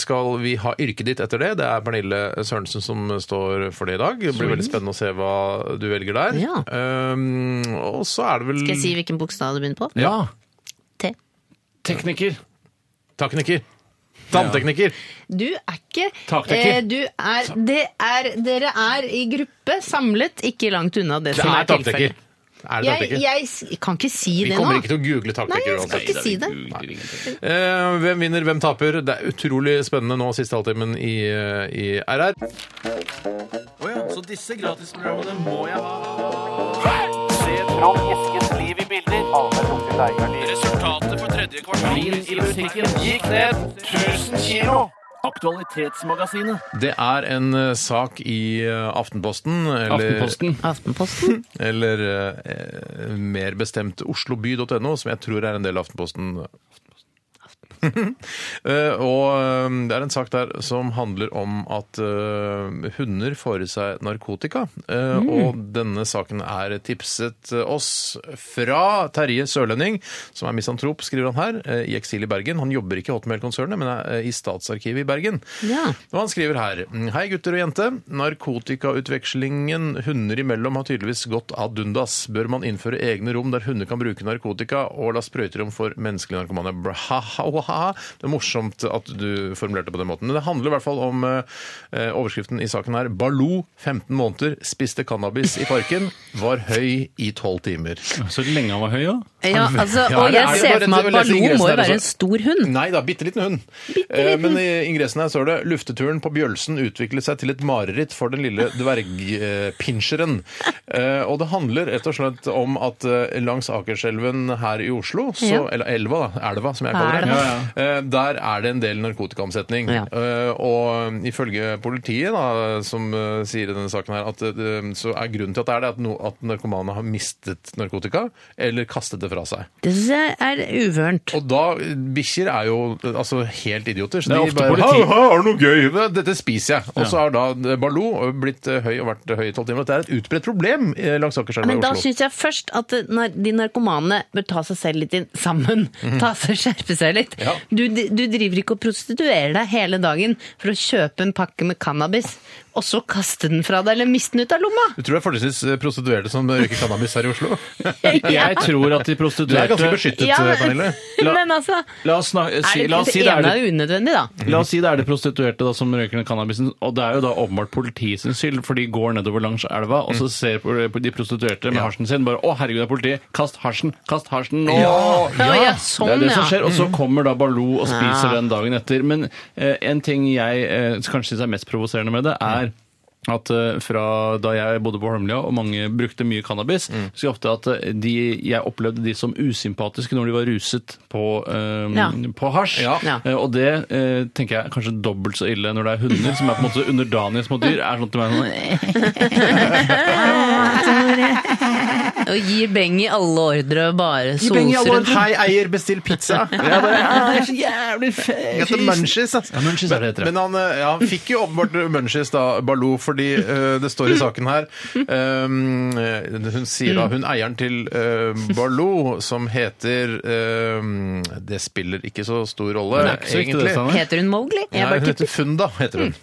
Speaker 7: skal vi ha yrket ditt etter det. Det er Pernille Sørensen som står for det i dag. Det blir veldig spennende å se hva du velger der.
Speaker 9: Ja.
Speaker 7: Um, og så er det vel
Speaker 9: Skal jeg si hvilken bokstav du begynner på?
Speaker 7: Mm. Ja.
Speaker 9: T.
Speaker 8: Tekniker.
Speaker 7: Tekniker. Tanntekniker.
Speaker 9: Du er ikke eh,
Speaker 8: Taktekker.
Speaker 9: du er, det er, Dere er i gruppe, samlet, ikke langt unna det,
Speaker 7: Det
Speaker 9: som
Speaker 7: er
Speaker 9: er
Speaker 7: taktekker.
Speaker 9: tilfellet.
Speaker 7: Er det
Speaker 9: Jeg,
Speaker 7: taktekker?
Speaker 9: jeg s- kan ikke si
Speaker 7: Vi
Speaker 9: det
Speaker 7: kommer
Speaker 9: nå.
Speaker 7: ikke til å google
Speaker 9: Nei,
Speaker 7: taktekker
Speaker 9: jeg skal
Speaker 7: uansett.
Speaker 9: ikke si det.
Speaker 7: Eh, hvem vinner, hvem taper? Det er utrolig spennende nå, siste halvtimen i, eh, i RR.
Speaker 8: Så disse gratisprogrammene må jeg ha. Resultatet på tredje kvartal i musikken gikk ned 1000 kilo. Aktualitetsmagasinet.
Speaker 7: Det er en eh, sak i eh, Aftenposten, eller,
Speaker 8: Aftenposten.
Speaker 9: Aftenposten.
Speaker 7: eller eh, mer bestemt osloby.no, som jeg tror er en del av Aftenposten. Eh, og eh, det er en sak der som handler om at eh, hunder får i seg narkotika. Eh, Og denne saken er tipset oss fra Terje Sørlending, som er misantrop, skriver han her, eh, i eksil i Bergen. Han jobber ikke i Hotmail-konsernet, men er eh, i Statsarkivet i Bergen.
Speaker 9: Ja.
Speaker 7: Og han skriver her Hei gutter og jente. Narkotikautvekslingen hunder imellom har tydeligvis gått ad undas. Bør man innføre egne rom der hunder kan bruke narkotika, og la sprøyterom for menneskelige narkomane? Bra, ha, ha, ha, ha. Det er morsomt at du formulerte det på den måten. Men det handler i hvert fall om eh, eh, overskriften i saken her. Baloo, 15 måneder, spiste cannabis i parken, var høy i 12 timer.
Speaker 8: Så lenge han var høy, da?
Speaker 9: Ja, altså,
Speaker 7: Ja,
Speaker 9: og
Speaker 7: det er
Speaker 9: jeg
Speaker 7: det
Speaker 9: ser
Speaker 7: bare-
Speaker 9: for meg at
Speaker 7: det var lett
Speaker 9: Baloo
Speaker 7: ingressen altså.
Speaker 9: må
Speaker 7: der
Speaker 9: jo være
Speaker 7: også.
Speaker 9: en stor hund.
Speaker 7: Nei da, bitte liten hund. Eh, Men i ingressen her står det lufteturen på Bjølsen utviklet seg til et mareritt for den lille dvergpinsjeren. Eh, Og det handler rett og slett om at eh, langs Akerselven her i Oslo, så,
Speaker 9: Ja.
Speaker 7: eller elva, da, elva som jeg kaller det, eh, der er det en del narkotikaomsetning.
Speaker 9: Ja.
Speaker 7: Eh, Og ifølge politiet, da, som eh, sier i denne saken her, at eh, så er grunnen til at det er det at, no, at narkomane har mistet narkotika eller kastet det fra seg.
Speaker 9: Det syns jeg er uvørent.
Speaker 7: Og da, Bikkjer er jo altså, helt idioter. Så
Speaker 8: Det er
Speaker 7: de
Speaker 8: ofte
Speaker 7: bare,
Speaker 8: politi.
Speaker 7: «Ha, ha, 'Har du noe gøy?' Dette spiser jeg. Og så har da Baloo blitt eh, høy og vært høy i tolv timer. Det er et utbredt problem eh, langs Akerselva i
Speaker 9: Men da
Speaker 7: Oslo.
Speaker 9: syns jeg først at eh, nar- de narkomane bør ta seg selv litt inn sammen.
Speaker 8: Mhm.
Speaker 9: Ta seg, Skjerpe seg litt.
Speaker 7: Ja.
Speaker 9: Du, du driver ikke og prostituerer deg hele dagen for å kjøpe en pakke med cannabis, og så kaste den fra deg eller miste den ut av lomma!
Speaker 7: Du tror det er forholdsvis eh, prostituerte som røyker cannabis her i Oslo?
Speaker 8: Jeg tror at de
Speaker 7: Du er ganske
Speaker 8: prostituerte
Speaker 7: beskyttet,
Speaker 9: Ja,
Speaker 7: eh, Pernille.
Speaker 8: La-
Speaker 9: Men altså
Speaker 8: La oss, snak- si,
Speaker 9: er
Speaker 8: la
Speaker 9: det,
Speaker 8: oss si
Speaker 9: det
Speaker 8: det er
Speaker 9: ene
Speaker 8: det
Speaker 9: er unødvendig, da.
Speaker 8: La oss si det er det prostituerte da, som røyker den cannabisen, og det er jo da åpenbart politiet sin skyld, for de går nedover langs elva,
Speaker 9: Mm.
Speaker 8: og så ser på- på de prostituerte med hasjen sin bare 'Å, herregud, det er politiet! Kast hasjen! Kast hasjen nå!'
Speaker 9: Ja, ja,
Speaker 8: Det er
Speaker 9: sånn,
Speaker 8: det som
Speaker 9: ja.
Speaker 8: skjer, og så kommer da Baloo og spiser
Speaker 9: Ja.
Speaker 8: den dagen etter. Men eh, en ting jeg eh, kanskje syns er mest provoserende med det, er at eh, fra da jeg bodde på Holmlia og mange brukte mye cannabis,
Speaker 9: Mm.
Speaker 8: så ofte at eh, de, jeg opplevde de som usympatiske når de var ruset på, eh,
Speaker 9: Ja.
Speaker 8: på hasj.
Speaker 7: Ja.
Speaker 9: Ja.
Speaker 8: Eh, og det eh, tenker jeg er kanskje dobbelt så ille når det er hunder, som er på en måte underdanige små dyr. er sånn at de er sånn,
Speaker 9: Og gir beng i alle ordre og bare soser rundt.
Speaker 7: Hei, eier, bestill pizza!
Speaker 8: ja, bare, «Ah, det er så jævlig fe-
Speaker 7: Etter munchies, altså.
Speaker 8: Ja, munchies er det heter det.
Speaker 7: Men han, eh, ja, han fikk jo åpenbart munchies, da, Baloo, fordi eh, det står i saken her ehm, eh, Hun sier da hun eieren til eh, Baloo, som heter ehm, Det spiller ikke så stor rolle,
Speaker 8: Det er ikke så viktig, det,
Speaker 7: egentlig.
Speaker 8: Steinar.
Speaker 9: Heter hun Mowgli?
Speaker 7: Nei,
Speaker 9: Jeg bare
Speaker 7: hun
Speaker 9: tipper. Mm.
Speaker 7: heter Funda, heter hun.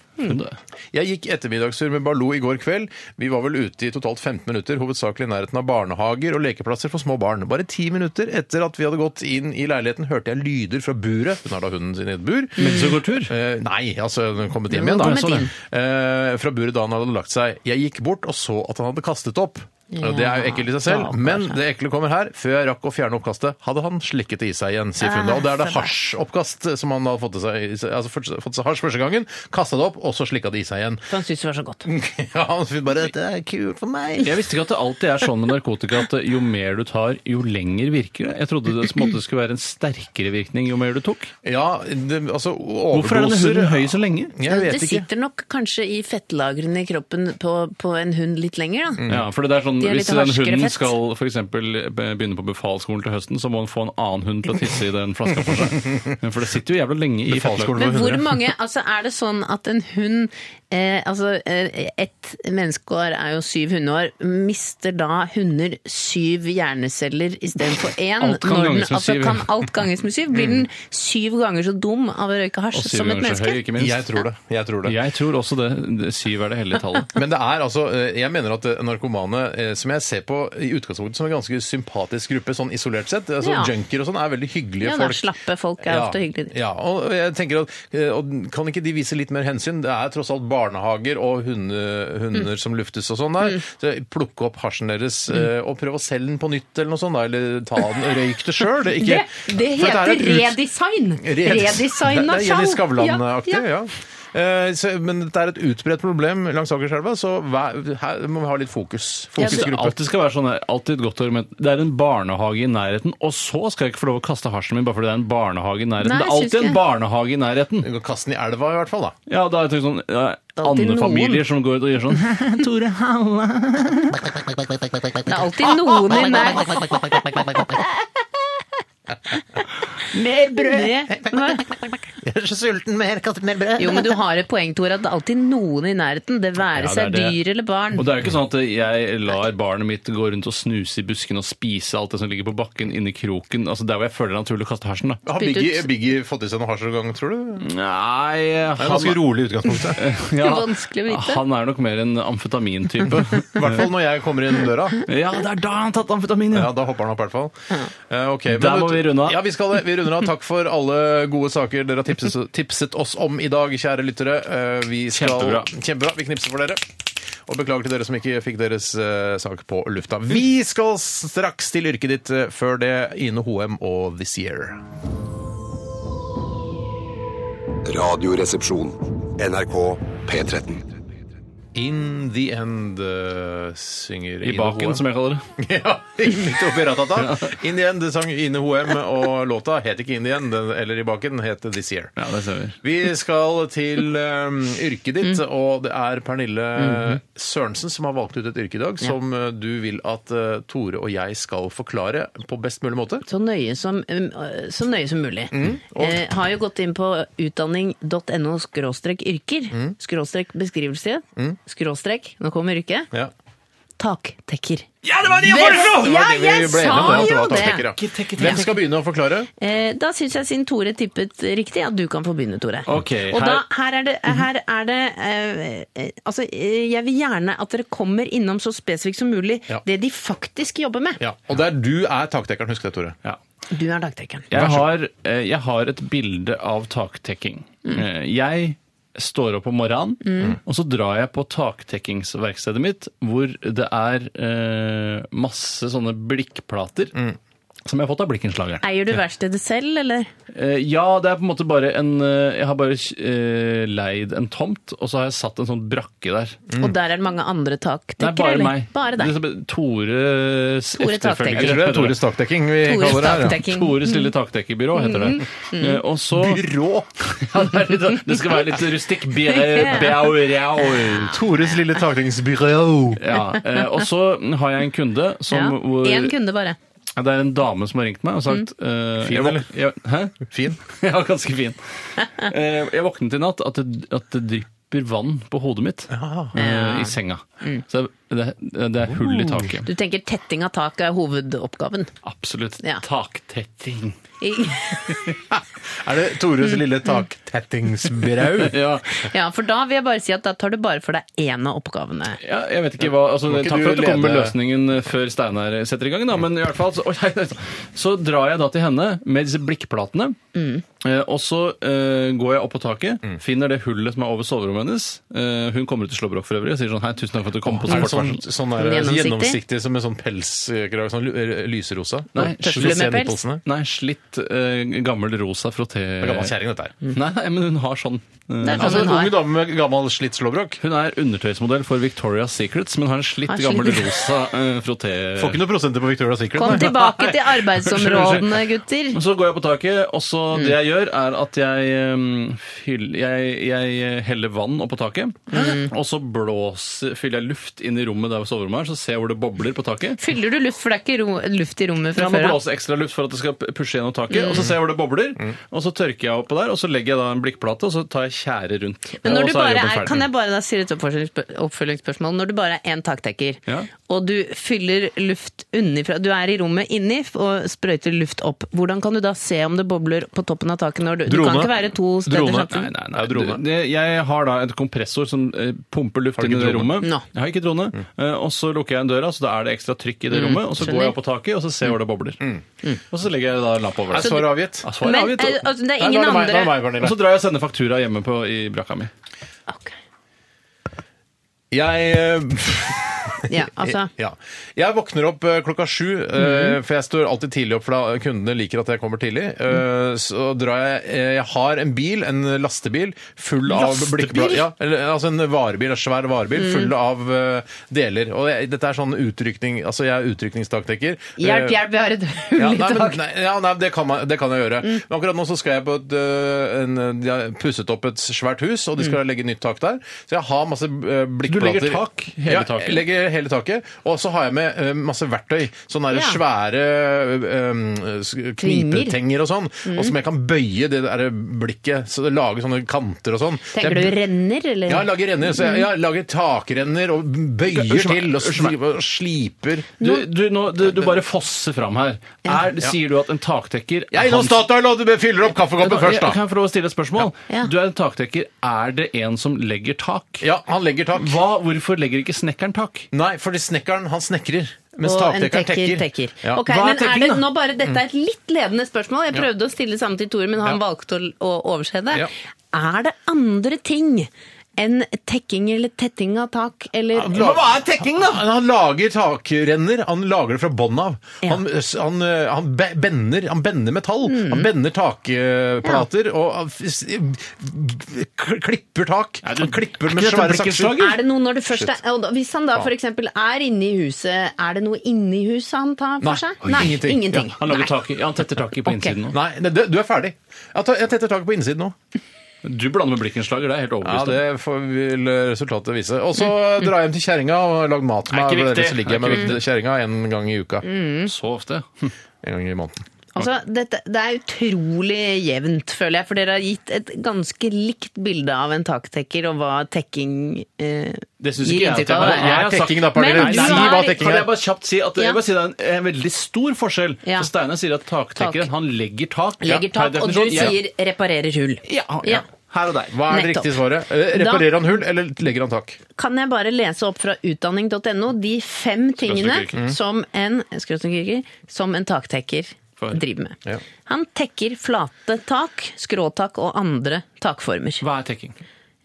Speaker 7: Jeg gikk ettermiddagstur med Baloo i går kveld. Vi var vel ute i totalt 15 minutter, hovedsakelig i nærheten av barnehager og lekeplasser for små barn. Bare ti minutter etter at vi hadde gått inn i leiligheten, hørte jeg lyder fra buret. Hun har da hunden sin i et bur.
Speaker 8: Mens du går tur?
Speaker 7: Eh, nei, altså hun kommet hjem
Speaker 9: Hun
Speaker 7: igjen, da.
Speaker 9: kommet
Speaker 7: Sånn, eh, fra buret da han hadde lagt seg. Jeg gikk bort og så at han hadde kastet opp.
Speaker 9: Ja,
Speaker 7: det er jo ekkelt i seg selv,
Speaker 9: stakkars,
Speaker 7: men
Speaker 9: ja.
Speaker 7: det ekle kommer her. Før jeg rakk å fjerne oppkastet, hadde han slikket det i seg igjen, sier Funda. Og det er det hasjoppkast som han hadde fått i seg, altså fått fått seg hasj første gangen, kasta det opp, og så slikka det i seg igjen.
Speaker 9: For Han syntes det var så godt.
Speaker 7: Ja, han syntes bare Dette er kult for meg.
Speaker 8: Jeg visste ikke at det alltid er sånn med narkotika at jo mer du tar, jo lenger virker det. Jeg trodde det på en måte skulle være en sterkere virkning jo mer du tok.
Speaker 7: Ja, det, altså
Speaker 8: Hvorfor er denne
Speaker 7: overdoser-
Speaker 8: hunden høy så lenge?
Speaker 7: Jeg
Speaker 9: det
Speaker 7: vet ikke.
Speaker 9: sitter nok kanskje i fettlagrene i kroppen på, på en hund litt lenger,
Speaker 7: Mm.
Speaker 9: da.
Speaker 8: Ja, for det er sånn,
Speaker 9: De er
Speaker 8: Hvis
Speaker 9: litt
Speaker 8: den
Speaker 9: harskere
Speaker 8: hunden
Speaker 9: fett.
Speaker 8: skal for eksempel eh, begynne på befalsskolen til høsten, så må han få en annen hund til å tisse i den flaska for seg. Men For det sitter jo jævla lenge i fettlaget.
Speaker 7: Befalsskolen.
Speaker 9: Men
Speaker 7: Over
Speaker 9: hvor
Speaker 7: 100.
Speaker 9: mange Altså, er det sånn at en hund eh, Altså, eh, ett menneskeår er jo syv hundeår. Mister da hunder syv hjerneceller istedenfor én?
Speaker 8: Alt kan
Speaker 9: Når den-
Speaker 8: ganges med
Speaker 9: altså,
Speaker 8: syv.
Speaker 9: Kan alt ganges med syv? Blir den
Speaker 7: Mm.
Speaker 9: syv ganger så dum av å røyke
Speaker 8: Og
Speaker 9: hasj
Speaker 8: syv
Speaker 9: som et
Speaker 8: ganger så
Speaker 9: menneske?
Speaker 8: høy, ikke minst.
Speaker 7: Jeg tror det. Jeg tror det.
Speaker 8: Jeg tror også det. Det- Syv er det hellige tallet.
Speaker 7: Men det er altså, eh, jeg mener at eh, narkomane, eh, som jeg ser på i utgangspunktet som en ganske sympatisk gruppe, sånn isolert sett, altså
Speaker 9: Ja.
Speaker 7: junkier og sånn, er veldig hyggelige
Speaker 9: Ja, da,
Speaker 7: folk.
Speaker 9: slappe folk er ofte hyggelige.
Speaker 7: Ja, og jeg tenker at, eh, og kan ikke de vise litt mer hensyn? Det er tross alt barnehager og hunde, hunder
Speaker 9: Mm.
Speaker 7: som luftes og sånn der. Så plukke opp hasjen deres eh,
Speaker 9: Mm.
Speaker 7: og prøve å selge den på nytt eller noe sånt, da, eller ta den og røyk det sjøl. Det,
Speaker 9: Det,
Speaker 7: ikke-
Speaker 9: det
Speaker 7: for
Speaker 9: heter
Speaker 7: dette er et ut-
Speaker 9: redesign!
Speaker 7: Red-
Speaker 9: Redesign av
Speaker 7: Det er Jenny
Speaker 9: sjal.
Speaker 7: Skavlan-aktig,
Speaker 9: Ja,
Speaker 7: ja.
Speaker 9: ja.
Speaker 7: Eh, så, men dette er et utbredt problem langs Akerselva, så vær, her må vi ha litt fokus.
Speaker 8: Jeg synes
Speaker 7: Fokusgruppe.
Speaker 8: alltid skal være sånn her, alltid et godt argument. Det er en barnehage i nærheten, og så skal jeg ikke få lov å kaste hasjen min bare fordi det er en barnehage i nærheten.
Speaker 9: Nei,
Speaker 8: det er
Speaker 9: jeg synes
Speaker 8: alltid en
Speaker 9: ikke.
Speaker 8: barnehage i nærheten.
Speaker 7: Du kan kaste den i elva, i hvert fall. da.
Speaker 8: Ja, da er det sånn ja,
Speaker 9: er alltid
Speaker 8: andefamilier som går ut og gjør sånn.
Speaker 9: Tore Halla. Det er alltid noen i nærheten.
Speaker 7: eh.
Speaker 11: Mer
Speaker 9: eh, brød!
Speaker 11: Jeg er så sulten. Mer, katt- mer brød.
Speaker 9: Jo, men du har et poeng, Tor, at det er alltid noen i nærheten. Det
Speaker 8: Ja,
Speaker 9: være
Speaker 8: det er
Speaker 9: seg
Speaker 8: det.
Speaker 9: dyr eller barn.
Speaker 8: Og det er jo ikke sånn at jeg lar barnet mitt gå rundt og snuse i busken og spise alt det som ligger på bakken inni kroken. Altså der hvor jeg føler det er naturlig å kaste hasjen, da.
Speaker 7: Har Biggie, Biggie fått i seg noe hasj noen gang, tror du?
Speaker 8: Nei
Speaker 7: Det er ganske rolig i utgangspunktet.
Speaker 8: ja,
Speaker 9: Vanskelig å vite.
Speaker 8: Han er nok mer en amfetamintype.
Speaker 7: I hvert fall når jeg kommer inn døra.
Speaker 8: ja, det er da han har tatt amfetamin, ja.
Speaker 7: Ja, Da hopper han opp, i hvert fall. Eh, ok, men
Speaker 8: Der
Speaker 7: vet
Speaker 8: må
Speaker 7: du-
Speaker 8: vi runde av.
Speaker 7: Ja, vi skal det. Vi runder av. Takk for alle gode saker dere har tipset, tipset oss om i dag, kjære lyttere. Eh, vi skal,
Speaker 8: Kjempebra.
Speaker 7: Kjempebra. Vi knipser for dere. Og beklager til dere som ikke fikk deres eh, sak på lufta. Vi skal straks til yrket ditt. eh, Før det, Ine Hoem og This Year.
Speaker 6: Radioresepsjon. NRK P13.
Speaker 7: In the end eh, synger
Speaker 8: I
Speaker 7: Ine
Speaker 8: baken,
Speaker 7: Hoem.
Speaker 8: som jeg kaller det.
Speaker 7: Ja, midt oppi ratata. In the end sang Ine Hoem, og låta het ikke In the end, den- eller I baken, het This Year.
Speaker 8: Ja, det ser vi.
Speaker 7: Vi skal til um, yrket ditt, og det er Pernille Sørensen som har valgt ut et yrke i dag som uh, du vil at uh, Tore og jeg skal forklare på best mulig måte.
Speaker 9: Så nøye som, um, øh, så nøye som mulig.
Speaker 8: Mm.
Speaker 7: og-
Speaker 9: eh, har jo gått inn på utdanning.no skråstrek yrker.
Speaker 8: Mm.
Speaker 9: Skråstrek beskrivelse. Skråstrek, nå kommer yrket.
Speaker 7: Ja,
Speaker 9: Taktekker.
Speaker 3: Ja, det var det jeg foreslo!
Speaker 9: Ja,
Speaker 7: Det var det vi
Speaker 9: jeg
Speaker 7: ble enige
Speaker 9: sa
Speaker 7: om, det, at det
Speaker 9: jo
Speaker 7: var
Speaker 9: det!
Speaker 7: taktikker, ja. Hvem skal begynne å forklare?
Speaker 9: Eh, Da syns jeg, siden Tore tippet riktig, at du kan få begynne, Tore.
Speaker 8: Ok, her-
Speaker 9: Og
Speaker 8: Mhm.
Speaker 9: da, her er det, her er det eh, eh, Altså, eh, jeg vil gjerne at dere kommer innom så spesifikt som mulig
Speaker 7: Ja.
Speaker 9: det de faktisk jobber med.
Speaker 7: Ja, Og der du er taktekkeren, husk det, Tore.
Speaker 8: Ja.
Speaker 9: Du er dagtrekkeren.
Speaker 8: Jeg har, eh, jeg har et bilde av taktekking. Eh, Jeg står opp om morgenen, og så drar jeg på taktekkingsverkstedet mitt, hvor det er eh, masse sånne blikkplater. Som jeg har fått av blikkenslageren.
Speaker 9: Eier du verkstedet selv, eller?
Speaker 8: Eh, ja, det er på en måte bare en eh, Jeg har bare eh, leid en tomt, og så har jeg satt en sånn brakke der.
Speaker 9: Og der er det mange andre taktekkere?
Speaker 8: Nei, bare
Speaker 9: eller?
Speaker 8: meg.
Speaker 9: Bare deg.
Speaker 8: Det er Tores
Speaker 9: Tore taktekker.
Speaker 7: Jeg tror det er Tores taktekking vi
Speaker 9: Tores
Speaker 7: kaller det her. ja.
Speaker 9: taktekking.
Speaker 8: Tores lille taktekkerbyrå heter det.
Speaker 9: Mm.
Speaker 8: Eh, Og så
Speaker 7: Byrå!
Speaker 8: Ja, det, er litt, sånn- det skal være litt rustikk. eh, Bjau, bjau, bjau.
Speaker 7: Tores lille taktekkingsbyrå.
Speaker 8: Ja, eh, og så har jeg en kunde som
Speaker 9: Ja.
Speaker 8: hvor,
Speaker 9: Én kunde bare.
Speaker 8: Det er en dame som har ringt meg og sagt
Speaker 9: Mm.
Speaker 8: eh,
Speaker 7: Fin,
Speaker 8: jeg våk-
Speaker 7: eller?
Speaker 8: Jeg, hæ?
Speaker 7: Fin.
Speaker 8: Ja, ganske fin. Eh, jeg våknet i natt at det, at det drypper vann på hodet mitt eh, i senga.
Speaker 9: Mm.
Speaker 8: Så det, det er hull i taket.
Speaker 9: Du tenker tetting av tak er hovedoppgaven.
Speaker 8: Absolutt.
Speaker 9: Ja.
Speaker 8: Taktetting.
Speaker 7: Er det
Speaker 9: Mm.
Speaker 7: Tores lille taktettingsbrau?
Speaker 8: Ja,
Speaker 9: Ja, for da vil jeg bare si at da tar du bare for deg én av oppgavene.
Speaker 8: ja, jeg vet ikke hva altså,
Speaker 7: Må ikke
Speaker 8: Takk
Speaker 7: du
Speaker 8: for at du kommer med
Speaker 7: lede-
Speaker 8: løsningen eh, før Steinar setter i gang, da, men i hvert fall så, oi, nei, så drar jeg da til henne med disse blikkplatene,
Speaker 9: Mm.
Speaker 8: eh, og så eh, går jeg opp på taket,
Speaker 7: Mm.
Speaker 8: finner det hullet som er over soverommet hennes. Eh, hun kommer ut i slåbrok for øvrig og sier sånn hei, tusen takk for at du kom på så
Speaker 7: Er det
Speaker 8: kort
Speaker 7: sånn,
Speaker 8: varsel.
Speaker 7: sånn der,
Speaker 9: Gjennomsiktig?
Speaker 7: gjennomsiktig? som en sånn pelskrage? Sånn lu- lyserosa? Sånn
Speaker 8: Nei,
Speaker 9: Tøfler med
Speaker 7: Se
Speaker 9: pels?
Speaker 7: nippelsene.
Speaker 8: Nei, slitt eh, gammel rosa frotté...
Speaker 7: Det er gammel kjerring, dette her.
Speaker 8: Nei, nei, men hun har sånn eh,
Speaker 9: Det er
Speaker 7: Altså,
Speaker 9: sånn
Speaker 7: en
Speaker 9: hun
Speaker 7: ung
Speaker 9: Mm. har.
Speaker 7: dame med gammel slitt slåbrok.
Speaker 8: Hun er undertøysmodell for Victoria's Secrets, men har en slitt
Speaker 9: Har slitt.
Speaker 8: gammel rosa eh, frotté...
Speaker 7: Får ikke noen prosenter på Victoria's Secret.
Speaker 9: Kom
Speaker 7: nei.
Speaker 9: tilbake til arbeidsområdene, gutter.
Speaker 8: Og Så går jeg på taket, og så
Speaker 9: Mm.
Speaker 8: det jeg gjør er at jeg, um, fyll- jeg, jeg heller vann oppå taket,
Speaker 9: Mm.
Speaker 8: og så blåser, fyller jeg luft inn i rommet der soverommet er, så ser jeg hvor det bobler på taket.
Speaker 9: Fyller du luft, for det er ikke ro luft i rommet fra
Speaker 8: Jeg må
Speaker 9: før av?
Speaker 8: blåse ekstra luft for at det skal pushe gjennom taket,
Speaker 9: Mm.
Speaker 8: og så ser jeg hvor det bobler, og så tørker jeg oppå der, og så legger jeg da en blikkplate, og så tar jeg kjære rundt.
Speaker 9: Men
Speaker 8: og
Speaker 9: når du
Speaker 8: så
Speaker 9: bare
Speaker 8: jobben
Speaker 9: er,
Speaker 8: ferdig.
Speaker 9: kan jeg bare da stille et oppfølgingsspø- oppfølgingsspørsmål? Når du bare er én taktekker,
Speaker 8: Ja.
Speaker 9: og du fyller luft unnifra Du er i rommet inni og sprøyter luft opp. Hvordan kan du da se om det bobler på toppen av taket? Når du, du
Speaker 7: Drone.
Speaker 9: kan ikke være to steder
Speaker 7: Drone.
Speaker 9: samtidig.
Speaker 8: Nei, nei,
Speaker 7: Det
Speaker 8: nei.
Speaker 7: er drone.
Speaker 8: Du, det, jeg har da et kompressor som eh, pumper luft
Speaker 7: Har du
Speaker 8: inn i
Speaker 7: ikke
Speaker 8: det
Speaker 7: drone? Mm.
Speaker 8: rommet.
Speaker 9: Nå.
Speaker 8: Jeg har ikke drone. Eh, og så lukker jeg igjen døra, så da er det ekstra trykk
Speaker 9: Mm.
Speaker 8: i det rommet. Og så går jeg opp på taket, og så ser jeg hvor det bobler. Og så legger jeg da lampa over
Speaker 7: Mm. Er
Speaker 8: det.
Speaker 7: svaret avgitt?
Speaker 8: Ja, svaret er
Speaker 9: Men
Speaker 8: avgitt.
Speaker 9: eh, altså, det er
Speaker 7: Nei,
Speaker 9: ingen
Speaker 7: nå er det meg- nå er det
Speaker 9: andre
Speaker 7: meg, Pernille.
Speaker 8: og så drar jeg og sender faktura hjemme på, i brakka mi.
Speaker 9: Ok.
Speaker 7: Jeg eh,
Speaker 9: Ja, altså. Mhm.
Speaker 7: Ja. Jeg våkner opp eh, klokka sju, eh, for jeg står alltid tidlig opp, for da kundene liker at jeg kommer tidlig.
Speaker 9: Mhm.
Speaker 7: Eh, Så drar jeg eh, Jeg har en bil, en lastebil, full av
Speaker 8: Lastebil?
Speaker 7: blikkblad... Ja, eller, altså en varebil, en svær varebil,
Speaker 9: Mhm.
Speaker 7: full av eh, deler. Og jeg, dette er sånn utrykning Altså, jeg er utrykningstaktiker.
Speaker 9: Hjelp,
Speaker 7: Eh,
Speaker 9: hjelp, vi har et hull
Speaker 7: Ja,
Speaker 9: i
Speaker 7: nei, men,
Speaker 9: taket.
Speaker 7: nei, ja, nei, det kan, man, det kan jeg gjøre. Men akkurat nå så skal jeg på et øh, en, De har pusset opp et svært hus, og de skal legge nytt tak der. Så jeg har masse øh, blikkplater.
Speaker 8: Mm. legger tak? Hele
Speaker 7: ja,
Speaker 8: taket?
Speaker 7: Jeg legger hele taket. Og så har jeg med eh, masse verktøy. Sånne der
Speaker 9: Ja.
Speaker 7: svære eh, eh, s- knipetenger og sånn.
Speaker 8: Mm.
Speaker 7: Og som jeg kan bøye det der blikket, så det lager sånne kanter og sånn.
Speaker 9: Tenker du renner, eller?
Speaker 7: Ja, jeg lager renner. Så jeg, jeg lager takrenner og bøyer
Speaker 8: Mm. Unnskyld meg,
Speaker 7: til og
Speaker 8: unnskyld meg.
Speaker 7: sli- og sliper.
Speaker 8: Du, du, nå, du, du bare fosser fram her. Er, sier du at en takdekker
Speaker 7: Jeg er innom Statoil og du fyller opp kaffekoppen først, da.
Speaker 8: Kan jeg få lov å stille et spørsmål?
Speaker 9: Ja.
Speaker 8: Du er en takdekker. Er det en som legger tak?
Speaker 7: Ja, han legger tak.
Speaker 8: Hva, hvorfor legger ikke snekkeren tak?
Speaker 7: Nei, fordi snekkeren, han snekrer. Mens
Speaker 9: og en
Speaker 7: takdekkeren tekker.
Speaker 9: tekker.
Speaker 7: Ja.
Speaker 9: Ok,
Speaker 8: Hva er
Speaker 9: men er
Speaker 8: tekking,
Speaker 9: det,
Speaker 8: da?
Speaker 9: nå bare, dette er et litt ledende spørsmål. Jeg prøvde å stille samme til Tore, men han
Speaker 7: Mm. Ja.
Speaker 9: valgte å, å overse det.
Speaker 7: Ja.
Speaker 9: Er det andre ting enn tekking eller tetting av tak? Eller,
Speaker 7: er tekking, da? Han, han lager takrenner. Han lager det fra bånn av.
Speaker 9: Ja. Mm.
Speaker 7: Han, han, han be- bender, han bender metall. Han bender takplater og han f- k- klipper tak.
Speaker 8: du-
Speaker 7: han klipper
Speaker 8: er ikke
Speaker 7: med
Speaker 8: dette
Speaker 7: svære
Speaker 8: blikkenslager?
Speaker 7: sakser.
Speaker 9: er det noe når det først er, og da- Hvis han da f.eks. er inne i huset, er det noe inni huset han tar
Speaker 7: Nei.
Speaker 9: for seg?
Speaker 7: Oi, ingenting.
Speaker 9: ingenting.
Speaker 7: Ja,
Speaker 8: Han, lager
Speaker 9: Nei.
Speaker 8: tak, i- ja, han tetter taket på
Speaker 9: Ok.
Speaker 8: innsiden nå.
Speaker 7: Nei, det- du er ferdig. Jeg tar- jeg tetter taket på innsiden nå.
Speaker 8: Du blander med blikkenslager, det er jeg helt
Speaker 7: Ja,
Speaker 8: overbevist. om.
Speaker 7: det får vil resultatet vise. Og så drar jeg hjem til kjerringa og lager mat
Speaker 8: Er ikke
Speaker 7: med dere,
Speaker 8: viktig.
Speaker 7: så ligger jeg
Speaker 8: Er ikke
Speaker 7: med kjerringa en gang i uka.
Speaker 8: Så ofte.
Speaker 7: En gang i måneden.
Speaker 9: Altså, dette, det er utrolig jevnt, føler jeg, for dere har gitt et ganske likt bilde av en taktekker og hva tekking eh,
Speaker 8: Det syns
Speaker 9: gir
Speaker 8: ikke jeg at
Speaker 9: inntrykk
Speaker 8: jeg
Speaker 9: av.
Speaker 8: har.
Speaker 9: det.
Speaker 8: Jeg har
Speaker 7: er tekking, da,
Speaker 9: Men du
Speaker 7: Pernille. Si
Speaker 9: er-
Speaker 7: hva tekking
Speaker 8: Kan
Speaker 7: er.
Speaker 8: jeg bare kjapt si at
Speaker 9: Ja.
Speaker 8: jeg vil si det er en, en veldig stor forskjell.
Speaker 9: Ja.
Speaker 8: For Steinar sier at taktekkeren,
Speaker 9: Tak.
Speaker 8: han legger tak.
Speaker 9: Legger tak,
Speaker 8: per
Speaker 9: og du
Speaker 8: definisjon. Ja.
Speaker 9: sier reparerer hull.
Speaker 8: ja, ja.
Speaker 9: Ja.
Speaker 8: Her og der.
Speaker 7: Hva er det
Speaker 9: Nettopp.
Speaker 7: riktige svaret? Eh, Reparerer han hull, eller legger han tak?
Speaker 9: Kan jeg bare lese opp fra utdanning.no de fem tingene
Speaker 7: Mm.
Speaker 9: som en, skråstrek-kirker, som en taktekker
Speaker 8: For-
Speaker 9: driver med?
Speaker 7: Ja.
Speaker 9: Han tekker flate tak, skråtak og andre takformer.
Speaker 8: Hva er tekking?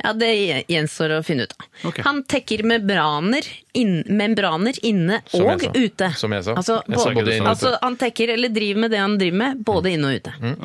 Speaker 9: Ja, Det gjenstår å finne ut av.
Speaker 8: Ok.
Speaker 9: Han tekker membraner, inn, membraner inne
Speaker 7: Som jeg
Speaker 9: og
Speaker 7: sa.
Speaker 9: ute.
Speaker 7: Som jeg sa.
Speaker 9: Altså,
Speaker 7: Jeg sa
Speaker 9: både-
Speaker 7: ikke det inne og ute. Mm.
Speaker 9: altså, han tekker eller driver med det han driver med, både inne og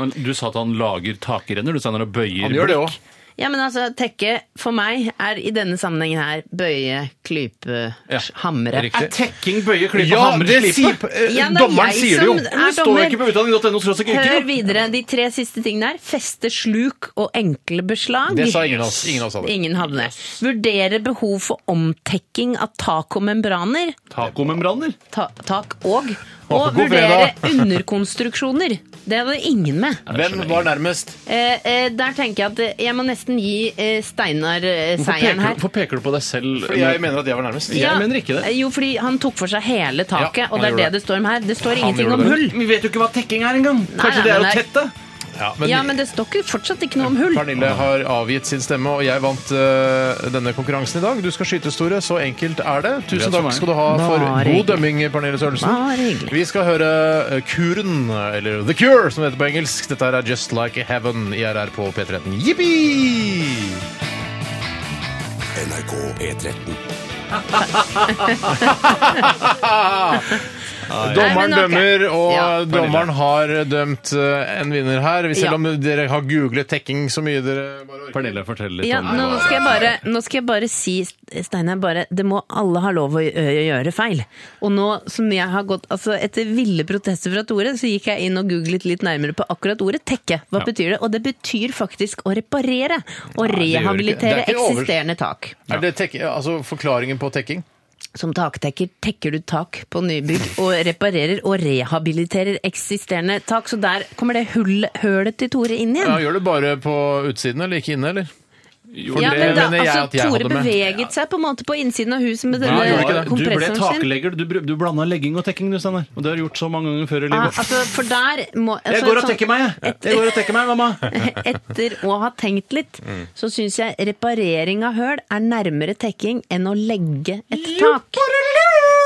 Speaker 9: ute.
Speaker 8: Du sa at han lager takrenner. Du sa når han bøyer
Speaker 7: Han gjør det òg.
Speaker 9: Ja, men altså, tekke for meg er i denne sammenhengen her bøye, klype,
Speaker 7: Ja,
Speaker 9: hamre.
Speaker 7: riktig.
Speaker 8: Er tekking, bøye, klype,
Speaker 7: Ja,
Speaker 8: hamre,
Speaker 7: det
Speaker 8: slipe?
Speaker 7: sier eh,
Speaker 9: Ja, det er
Speaker 7: Dommeren
Speaker 9: jeg
Speaker 7: sier det jo.
Speaker 9: som er
Speaker 8: Det står
Speaker 9: dommer.
Speaker 8: ikke på utdanning.no. skråstrek
Speaker 9: Hør
Speaker 8: yrke.
Speaker 9: videre. De tre siste tingene her. Feste sluk og enkle beslag.
Speaker 7: Det sa ingen av oss. Ingen av oss sa det.
Speaker 9: Ingen hadde det. Vurdere behov for omtekking av tak og membraner.
Speaker 8: Tacomembraner.
Speaker 9: ta tak og
Speaker 7: God
Speaker 9: og vurdere
Speaker 7: fredag.
Speaker 9: underkonstruksjoner. Det hadde ingen med.
Speaker 7: Hvem var nærmest?
Speaker 9: Eh, eh, der tenker jeg at eh, jeg må nesten gi eh, Steinar eh,
Speaker 8: Hvorfor
Speaker 9: seieren
Speaker 8: peker, du-
Speaker 9: her.
Speaker 8: hvorfor peker du på deg selv?
Speaker 7: Jeg mener at jeg var nærmest.
Speaker 8: Jeg mener ikke det.
Speaker 9: Eh, Jo, fordi han tok for seg hele taket,
Speaker 7: Ja, han
Speaker 9: og det er
Speaker 7: gjorde
Speaker 9: det
Speaker 7: det.
Speaker 9: det står om her. Det står
Speaker 7: Han
Speaker 9: ingenting
Speaker 7: gjorde
Speaker 9: om
Speaker 7: det.
Speaker 9: hull.
Speaker 8: Vi vet jo ikke hva tekking er engang.
Speaker 9: Kanskje nei, det er nei, å nei. tette?
Speaker 7: Ja,
Speaker 9: Ja, men det står ikke, fortsatt ikke noe om hull.
Speaker 7: Pernille har avgitt sin stemme, og jeg vant eh, denne konkurransen i dag. Du skal skytes, Tore. Så enkelt er det. Tusen
Speaker 8: Gratulerer.
Speaker 7: takk skal du ha for
Speaker 9: Bare hyggelig.
Speaker 7: god dømming, Pernille
Speaker 9: Bare
Speaker 7: Sørensen.
Speaker 9: hyggelig.
Speaker 7: Vi skal høre eh, Kuren, eller The Cure, som det heter på engelsk. Dette her er Just Like Heaven i RR på P13. Jippi!
Speaker 1: NRK P13.
Speaker 7: Dommeren
Speaker 9: Nei, men ok.
Speaker 7: dømmer, og
Speaker 9: Ja.
Speaker 7: dommeren har dømt eh, en vinner her. Selv
Speaker 9: Ja.
Speaker 7: om dere har googlet tekking så mye dere bare orker.
Speaker 8: Pernille, fortell litt
Speaker 9: Ja,
Speaker 8: om
Speaker 9: nå, skal jeg bare, nå skal jeg bare si, Steinar, bare, det må alle ha lov å gjø- gjøre feil. Og nå som jeg har gått, altså etter ville protester fra Tore, så gikk jeg inn og googlet litt nærmere på akkurat ordet tekke. Hva betyr det? Og det betyr faktisk å reparere og
Speaker 7: det gjør ikke- det er
Speaker 9: rehabilitere
Speaker 7: ikke over-
Speaker 9: eksisterende tak.
Speaker 7: Er det tek altså forklaringen på tekking?
Speaker 9: Som taktekker tekker du tak på nybygg og reparerer og rehabiliterer eksisterende tak. Så der kommer det hull, hølet til Tore inn
Speaker 7: Ja,
Speaker 9: igjen.
Speaker 7: gjør du bare på utsiden eller ikke inne, eller?
Speaker 8: Jo,
Speaker 9: Ja,
Speaker 7: det
Speaker 9: men da,
Speaker 7: mener jeg at
Speaker 9: altså,
Speaker 7: jeg
Speaker 9: Tore
Speaker 7: hadde med.
Speaker 9: beveget seg på en måte på innsiden av huset med
Speaker 7: Ja, gjorde ikke
Speaker 9: denne
Speaker 7: det.
Speaker 8: Du ble
Speaker 9: eh, kompressoren sin.
Speaker 8: taklegger. Du, br- du blanda legging og tekking, du, Steinar. Og det har du gjort så mange ganger før i
Speaker 9: Ah,
Speaker 8: livet.
Speaker 9: altså, for der må altså,
Speaker 8: jeg går og
Speaker 9: sånn-
Speaker 8: tekker meg, jeg. Jeg går og tekker meg, mamma.
Speaker 9: Etter å ha tenkt litt, så syns jeg reparering av høl er nærmere tekking enn å legge et tak.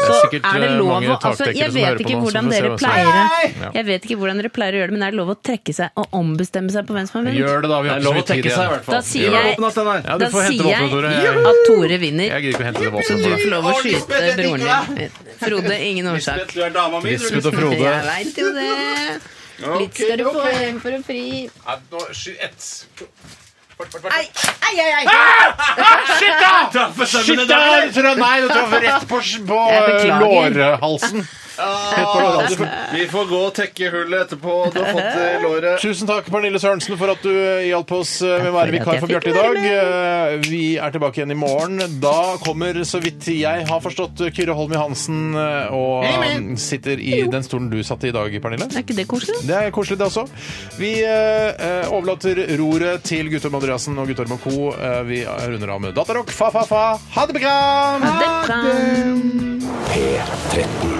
Speaker 9: Så
Speaker 7: Det er sikkert,
Speaker 9: er det
Speaker 7: eh,
Speaker 9: lov
Speaker 7: mange
Speaker 9: å altså,
Speaker 7: taktekkere
Speaker 9: Jeg
Speaker 7: som hører
Speaker 9: vet
Speaker 7: på
Speaker 9: ikke
Speaker 7: nå, så
Speaker 9: hvordan
Speaker 7: får vi se
Speaker 9: dere
Speaker 7: hva som-
Speaker 9: pleier
Speaker 7: Nei!
Speaker 9: Jeg vet ikke hvordan dere pleier å gjøre det, men er det lov å trekke seg og ombestemme seg på hvem som har vunnet?
Speaker 7: Gjør det, da. Vi
Speaker 8: Det
Speaker 7: har
Speaker 8: er
Speaker 7: ikke så
Speaker 8: lov å
Speaker 7: mye tid
Speaker 8: tekke seg, i
Speaker 7: igjen.
Speaker 8: hvert
Speaker 9: Da
Speaker 8: fall.
Speaker 9: sier jeg,
Speaker 8: Åpne oss, Steinar.
Speaker 7: Ja, du
Speaker 9: da
Speaker 7: får hente
Speaker 9: sier jeg
Speaker 7: våpenet, Tore. Jeg-
Speaker 9: at Tore vinner.
Speaker 7: Jeg gidder ikke å hente det
Speaker 9: Så
Speaker 7: våpenet
Speaker 9: du
Speaker 7: for
Speaker 9: får
Speaker 7: deg.
Speaker 9: lov å skyte broren din. Frode, ingen årsak.
Speaker 8: Du er dama mi.
Speaker 7: Lisbeth og Frode.
Speaker 9: Jeg veit jo det. Litt skal du få hjem for en fri. Ei, ei, ei, ei!
Speaker 7: Ah! Shit, da! Nei, du traff rett på, på
Speaker 9: Jeg beklager.
Speaker 7: lårhalsen. Vi får gå og tekke hullet etterpå. Du har fått det i låret. Tusen takk, Pernille Sørensen, for at du eh, hjalp oss med å være vikar for Bjarte i dag. Eh, Vi er tilbake igjen i morgen. Da kommer, så vidt jeg har forstått, Kyrre Holm Johansen eh, og eh, sitter i den stolen du satt i i dag, Pernille.
Speaker 9: Er ikke det koselig?
Speaker 7: Det er koselig, det også. Vi eh, eh, overlater roret til Guttorm Andreassen og Guttorm Co. Eh, vi runder av med Datarock. Fa-fa-fa. Ha det bra!
Speaker 1: P13.